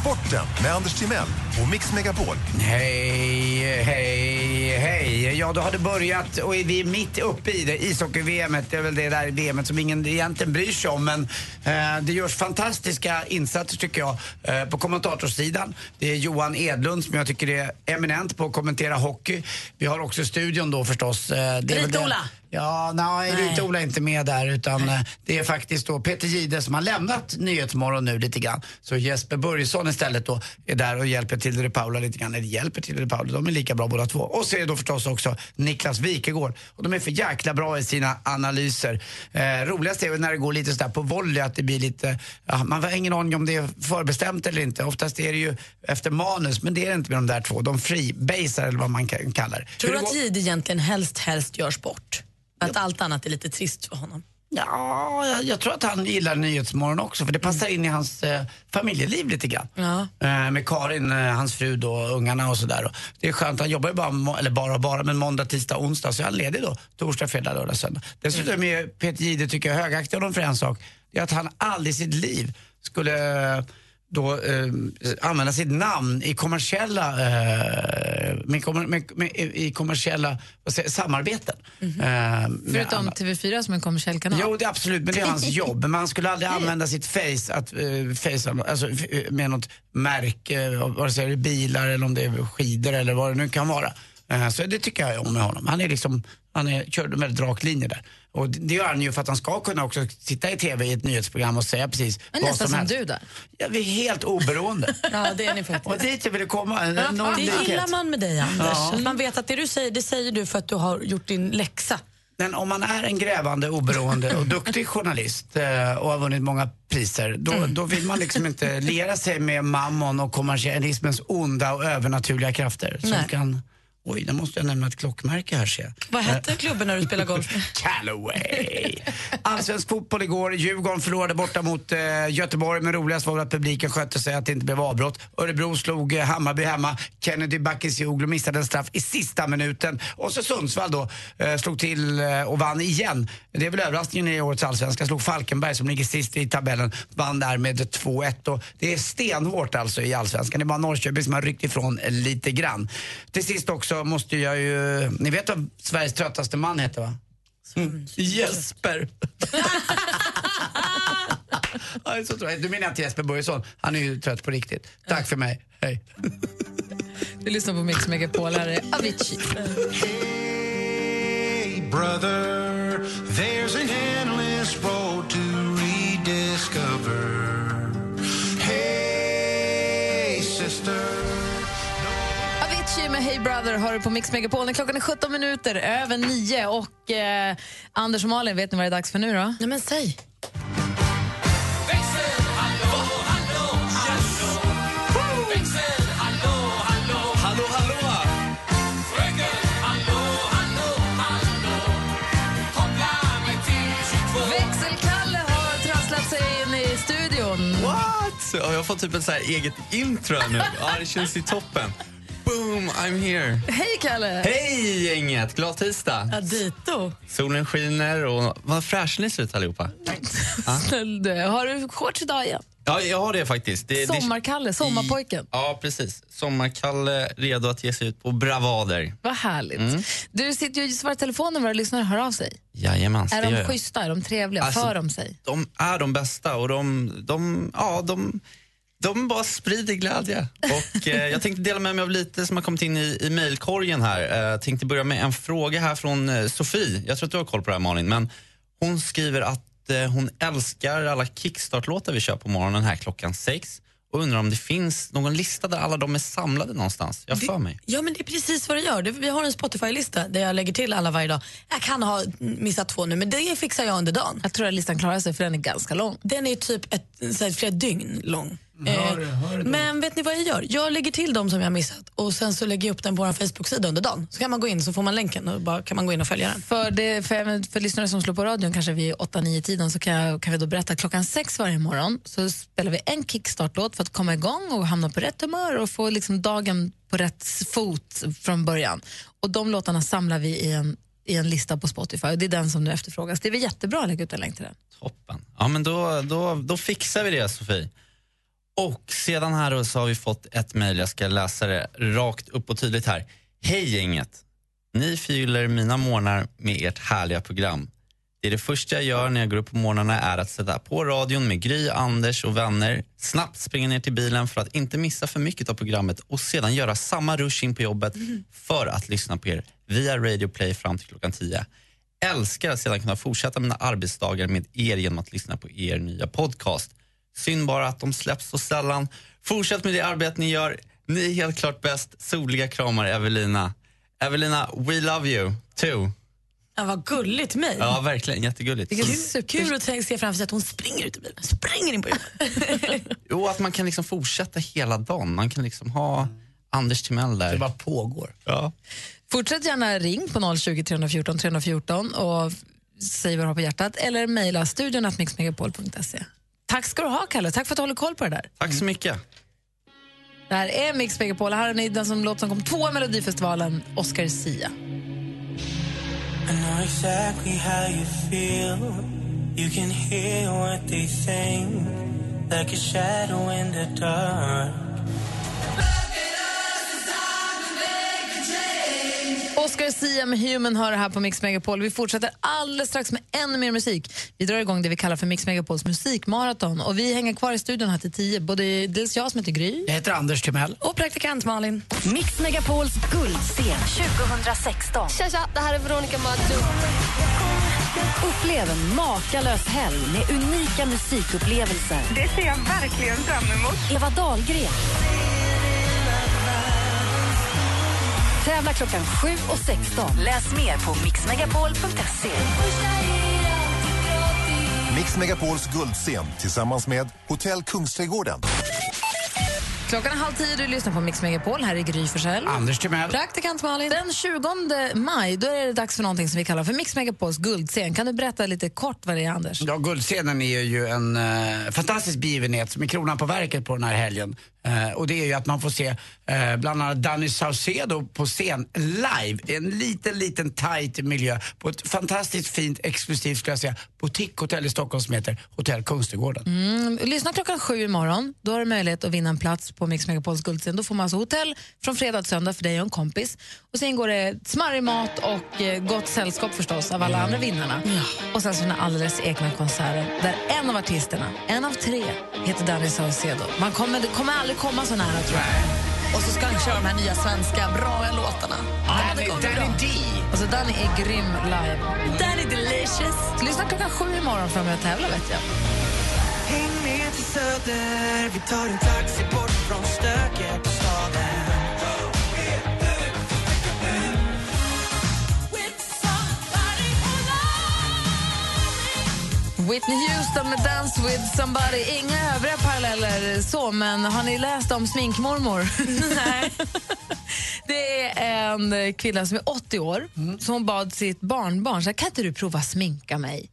Sporten med Anders Timell och Mix Megapol.
Hej, hej, hej. Ja, då har det börjat och vi är mitt uppe i det. Ishockey-VM, det är väl det där VM som ingen egentligen bryr sig om. Men eh, det görs fantastiska insatser tycker jag eh, på kommentatorssidan. Det är Johan Edlund som jag tycker är eminent på att kommentera hockey. Vi har också studion då förstås. Eh, det är väl det-
Rit-Ola.
Ja, nej,
Nej.
Rita-Ola är inte med där utan eh, det är faktiskt då Peter Gide som har lämnat Nyhetsmorgon nu lite grann. Så Jesper Börjesson istället då är där och hjälper till de Paula lite grann. Eller hjälper till de Paula, de är lika bra båda två. Och så är det då förstås också Niklas Wikegård. Och de är för jäkla bra i sina analyser. Eh, roligast är väl när det går lite sådär på volley att det blir lite, ja, man har ingen aning om det är förbestämt eller inte. Oftast är det ju efter manus, men det är det inte med de där två. De freebasar eller vad man kan- kallar det.
Tror
Hur
du
det
att
går-
Jihde egentligen helst, helst görs bort? Att allt annat är lite trist för honom?
Ja, jag, jag tror att han gillar Nyhetsmorgon också för det passar in i hans eh, familjeliv lite grann.
Ja.
Eh, med Karin, eh, hans fru då, ungarna och sådär. Och Det är skönt, han jobbar ju bara, må- eller bara och bara, men måndag, tisdag, onsdag så är han ledig då. Torsdag, fredag, lördag, söndag. Dessutom är Peter Jihde, tycker jag, högaktig honom för en sak. Det är att han aldrig i sitt liv skulle eh, då eh, använda sitt namn i kommersiella, eh, med, kommer- med, med, i kommersiella vad säger, jag, samarbeten. Eh, med
Förutom
andra.
TV4 som en kommersiell kanal.
Jo, det är absolut, men det är hans jobb. Men han skulle aldrig använda sitt face, att, eh, face alltså, f- eh, med något märke, eh, vare sig det är bilar eller om det är skidor eller vad det nu kan vara. Eh, så det tycker jag om med honom. Han är liksom, han är, körde en väldigt rak linje där. Och det det gör han ju för att han ska kunna också sitta i TV i ett nyhetsprogram och säga precis
Men
vad
nästan
som
som
helst.
du där.
Ja, vi är helt oberoende.
Ja, det är ni faktiskt.
och dit jag ville komma, Eh, en
Ja,
enorm
det
likhet.
gillar man med dig, Anders.
Ja.
Att Man vet att det du säger, det säger du för att du har gjort din läxa.
Men om man är en grävande, oberoende och duktig journalist eh, och har vunnit många priser, då, då vill man liksom inte lera sig med mammon och kommersialismens onda och övernaturliga krafter. Som
Nej.
kan... Oj, där måste jag nämna ett klockmärke här ser jag.
Vad hette klubben när du spelade golf?
Callaway. Allsvensk fotboll igår. Djurgården förlorade borta mot eh, Göteborg, men roligast var väl att publiken skötte sig att det inte blev avbrott. Örebro slog eh, Hammarby hemma. Kennedy Bakircioglu missade en straff i sista minuten. Och så Sundsvall då, eh, slog till eh, och vann igen. Det är väl överraskningen i årets allsvenska. Slog Falkenberg som ligger sist i tabellen, vann där med 2-1. Och det är stenhårt alltså i allsvenskan. Det är bara Norrköping som har ryckt ifrån eh, lite grann. Till sist också måste jag ju... Ni vet vad Sveriges tröttaste man heter va? Mm. Jesper. Ja, det är så tråkigt. Du menar inte Jesper Börjesson? Han är ju trött på riktigt. Tack för mig. Hej.
Du lyssnar på Mix Megapol, här är Avicii.
brother, there's an endless road to rediscover. Hey, sister.
Avicii med Hey Brother hör du på Mix Megapol. När Klockan är 17 minuter över 9 och eh, Anders och Malin, vet ni vad det är dags för nu då?
Nej men säg.
Hallå, hallå!
Växelkalle har trasslat sig in i studion.
What? Ja, jag får typ ett så här eget intro här nu. Ja, det känns ju toppen. Boom, I'm here!
Hej Kalle!
Hej gänget! Glad tisdag!
Ja, dito.
Solen skiner och vad fräscha ni ser ut allihopa.
Snäll du. Har du shorts idag igen?
Ja, jag har det faktiskt. Det, det,
Sommarkalle, sommarpojken.
ja, precis. Sommarkalle redo att ge sig ut på bravader.
Vad härligt.
Mm.
Du sitter ju och svarar telefonen när våra lyssnare hör av sig.
Jajamans,
är
det gör
de
jag.
schyssta? Är de trevliga?
Alltså,
För de sig?
De är de bästa och de, de, ja, de, de bara sprider glädje. Och, eh, jag tänkte dela med mig av lite som har kommit in i, i mejlkorgen här. Eh, tänkte börja med en fråga här från eh, Sofie. Jag tror att du har koll på det här Malin, men hon skriver att eh, hon älskar alla kickstart-låtar vi kör på morgonen här klockan sex och undrar om det finns någon lista där alla de är samlade någonstans. Jag har för mig.
Ja, men det är precis vad det gör. Det- Vi har en Spotify-lista där jag lägger till alla varje dag. Jag kan ha missat två nu, men det fixar jag under dagen.
Jag tror att listan klarar sig, för den är ganska lång.
Den är typ ett, så här, flera dygn lång.
Hör
Eh,
det, hör det.
men vet ni vad jag gör? Jag lägger till dem som jag har missat och sen så lägger jag upp den på vår Facebook-sida under dagen. Så kan man gå in så får man länken och bara kan man gå in och följa den.
För, det, för, även för lyssnare som slår på radion kanske vid 8-9-tiden så kan, jag, kan vi då berätta att klockan sex varje morgon så spelar vi en kickstart-låt för att komma igång och hamna på rätt humör och få liksom dagen på rätt s- fot från början. Och de låtarna samlar vi i en, i en lista på Spotify och det är den som nu efterfrågas. Det är väl jättebra att lägga ut en länk till den.
Ja, men då, då, då fixar vi det, Sofie. Och sedan här då så har vi fått ett mejl, jag ska läsa det rakt upp och tydligt här. Hej gänget! Ni fyller mina morgnar med ert härliga program. Det är det första jag gör när jag går upp på morgnarna är att sätta på radion med Gry, Anders och vänner, snabbt springa ner till bilen för att inte missa för mycket av programmet och sedan göra samma rush in på jobbet för att lyssna på er via Radio Play fram till klockan 10 älskar att sedan kunna fortsätta mina arbetsdagar med er genom att lyssna på er nya podcast. Synd bara att de släpps så sällan. Fortsätt med det arbete ni gör. Ni är helt klart bäst. Soliga kramar, Evelina. Evelina, we love you too.
Ja, vad gulligt mig.
Ja, verkligen. Jättegulligt.
Vilket
Så-
Kul att se framför sig att hon springer ut i bilen. Springer in på jobbet.
Jo, att man kan liksom fortsätta hela dagen. Man kan liksom ha Anders Timell där. Det bara
pågår.
Ja.
Fortsätt gärna ring på 020 314 314 och f- säg vad du har på hjärtat eller mejla studion att mixmegapol.se. Tack ska du ha, Kalle. Tack för att du håller koll på det där.
Tack så mycket.
Det här är Mix Megapol. Här har ni den som låt som kom tvåa i Melodifestivalen, Oscar
I
Sia.
know exactly how you feel. You can hear what they think, like a shadow in the dark.
Oscar Sia med Human hör här på Mix Megapol. Vi fortsätter alldeles strax med ännu mer musik. Vi drar igång det vi kallar för Mix Megapols musikmaraton och vi hänger kvar i studion här till tio. Både dels jag som heter Gry.
Jag heter Anders Timell.
Och praktikant Malin.
Mix Megapols guldscen 2016.
Tja, tja, det här är Veronica Maggio.
Upplev en makalös helg med unika musikupplevelser.
Det ser jag verkligen fram emot.
Eva Dahlgren. Tävla klockan 7 och 16. Läs mer på mixmegapol.se.
Mix Megapols guldscen tillsammans med Hotell Kungsträdgården.
Klockan är halv tio du lyssnar på Mix Megapol. Här är Gry Forssell.
Anders Timell.
Praktikant Malin. Den 20 maj då är det dags för någonting som vi kallar för Mix Megapols guldscen. Kan du berätta lite kort vad det är, Anders?
Ja, Guldscenen är ju en eh, fantastisk begivenhet som är kronan på verket på den här helgen. Eh, och det är ju att man får se eh, bland annat Danny Saucedo på scen live i en liten, liten tight miljö på ett fantastiskt fint, exklusivt, ska jag säga, boutiquehotell i Stockholm som heter Hotell Kungsträdgården.
Mm, lyssna klockan sju imorgon. Då har du möjlighet att vinna en plats på Mix Megapols guldscen. Då får man alltså hotell från fredag till söndag för dig och en kompis. Och sen går det smarrig mat och eh, gott sällskap förstås av alla andra vinnarna. Och sen så den alldeles egna konserten där en av artisterna, en av tre, heter Danny Saucedo. Man kommer, det kommer aldrig komma så nära tror jag. Och så ska han köra de här nya svenska bra låtarna.
Danny- Danny D.
Alltså Danny är grym live. Danny Delicious. Så lyssna klockan sju imorgon för att jag tävla vet jag.
Häng med till Söder, vi tar en taxi bort från stöket på staden.
Whitney Houston med Dance with somebody. Inga övriga paralleller så, men har ni läst om sminkmormor? Nej. Det är en kvinna som är 80 år som bad sitt barnbarn så här, kan inte du prova sminka mig?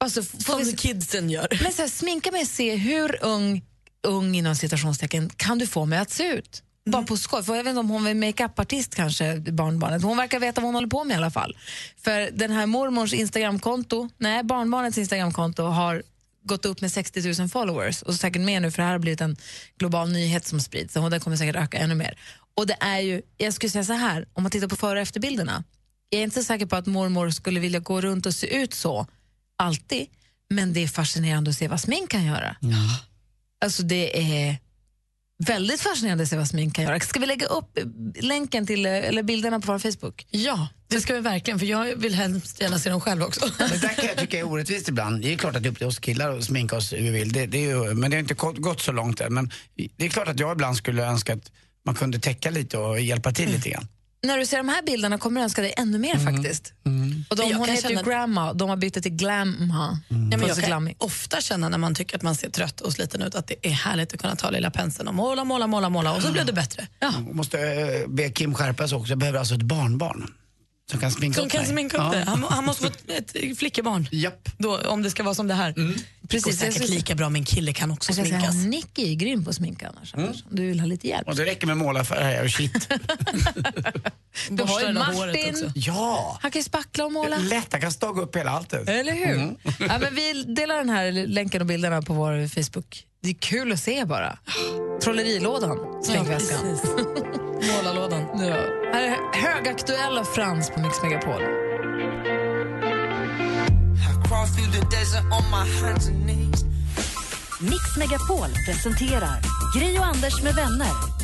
Alltså, som
kidsen gör.
Men så här, sminka mig och se hur ung, ung inom citationstecken, kan du få mig att se ut? Bara
Mm.
på skoj. För jag vet inte om hon är makeupartist kanske, barnbarnet. Hon verkar veta vad hon håller på med i alla fall. För den här mormors Instagramkonto, nej barnbarnets Instagramkonto har gått upp med 60 000 followers och säkert mer nu för det här har blivit en global nyhet som sprids och den kommer säkert öka ännu mer. Och det är ju, jag skulle säga så här, om man tittar på före och efterbilderna, jag är inte säker på att mormor skulle vilja gå runt och se ut så alltid, men det är fascinerande att se vad smink kan göra. Alltså det är väldigt fascinerande att se vad smink kan göra. Ska vi lägga upp eh, länken till, eh, eller bilderna på vår Facebook?
Ja, det ska vi verkligen, för jag vill hemskt gärna se dem själv också.
Det där kan jag tycka är orättvist ibland. Det är ju klart att det är upp till oss killar att sminka oss hur vi vill. Det, det är ju, men det har inte gått gått så långt än. Men det är klart att jag ibland skulle önska att man kunde täcka lite och hjälpa till lite grann.
När du ser de här bilderna kommer du önska dig ännu mer faktiskt.
Mm.
Och de,
Mm. Jag
hon
kan
heter ju
känna-
Grandma, de har bytt det till Glamma.
Ja, men
Alltså
jag kan
glammig.
ofta känna när man tycker att man ser trött och sliten ut att det är härligt att kunna ta lilla penseln och måla, måla, måla, måla och så blir det bättre.
Jag måste eh, be Kim skärpa sig också. Jag behöver alltså ett barnbarn som kan sminka
Som
upp
kan
mig.
sminka upp det. Han, må- han måste få ett, ett flickebarn.
Japp.
Då, om det ska vara som det här. Mm. Precis,
Precis,
det går
jag
säkert
skulle-
lika bra, men kille kan också
Jag kan säga,
sminkas.
Nicky är grym på att sminka annars.
Mm.
Om du vill ha lite hjälp.
Och det räcker med målarfärg och shit.
Du har ju
Borstar av håret
Martin.
också.
Ja!
Han kan ju spackla och måla.
Lätt, jag kan staga upp hela alltet.
Eller hur?
Mm.
ja, men vi delar den här länken och bilderna på vår Facebook. Det är kul att se bara. Trollerilådan, slängväskan.
Målarlådan.
Ja. Här är högaktuella Frans på Mix Megapol.
Crawl through the desert on my hands and knees.
Mix Megapol presenterar Gri och Anders med vänner.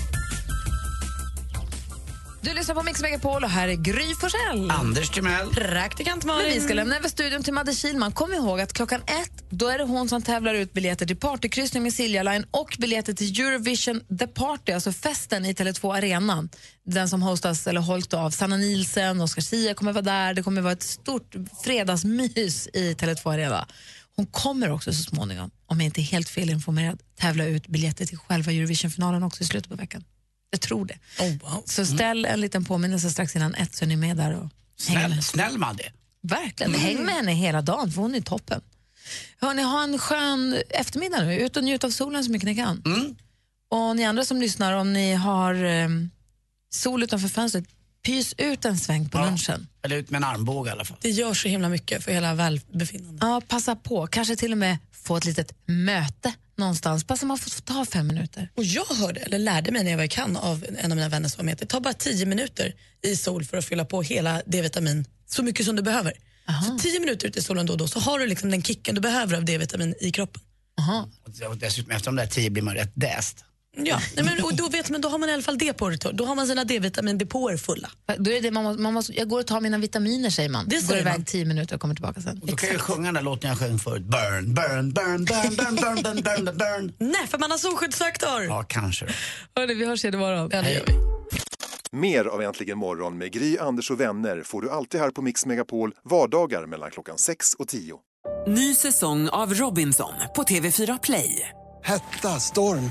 Du lyssnar på Mix Megapol och här är Gry Forssell.
Anders Timell.
Praktikant Malin.
Men vi ska lämna över studion till Madde Kihlman. Kom ihåg att klockan ett då är det hon som tävlar ut biljetter till partykryssning med Silja Line och biljetter till Eurovision The Party, alltså festen i Tele2 Arena. Den som hostas eller hållt av Sanna Nielsen, Oscar Zia kommer vara där. Det kommer vara ett stort fredagsmys i Tele2 Arena. Hon kommer också så småningom, om jag inte är helt felinformerad, tävla ut biljetter till själva Eurovisionfinalen också i slutet på veckan. Jag tror det.
Oh,
Så
Mm.
ställ en liten påminnelse strax innan ett så är ni med där och hänger med.
Snäll, snäll Madde.
Verkligen. Häng med henne hela dagen, för hon är toppen. Hörrni, ha en skön eftermiddag nu. Ut och njut av solen så mycket ni kan. Och ni andra som lyssnar, om ni har eh, sol utanför fönstret, pys ut en sväng på lunchen.
Eller ut med en armbåge i alla fall.
Det gör så himla mycket för hela välbefinnandet.
Ja, passa på. Kanske till och med få ett litet möte någonstans. Bara så man får ta fem minuter.
Och jag hörde, eller lärde mig när jag var i Cannes av en av mina vänner som var med, att det tar bara 10 minuter i sol för att fylla på hela D-vitamin, så mycket som du behöver. Så 10 minuter ute i solen då och då så har du liksom den kicken du behöver av D-vitamin i kroppen.
Och dessutom efter de där tio blir man rätt däst.
Ja, nej, men, och då, vet man, då har man i alla fall det på retur. Då har man sina D-vitamindepåer fulla.
Då är det, man måste, man måste, jag går och tar mina vitaminer, säger man.
Det
går
säger
iväg
man.
tio minuter och kommer tillbaka sen.
Och då kan jag ju sjunga den där låten jag sjöng förut. Burn, burn, burn, burn, burn, burn, burn, burn, burn, burn.
Nej, för man har solskyddsfaktor!
Ja, kanske då.
Hörrni, vi hörs igen imorgon.
Mer av Äntligen morgon med Gry, Anders och vänner får du alltid här på Mix Megapol vardagar mellan klockan 6 och 10.
Ny säsong av Robinson på TV4 Play.
Hetta, storm,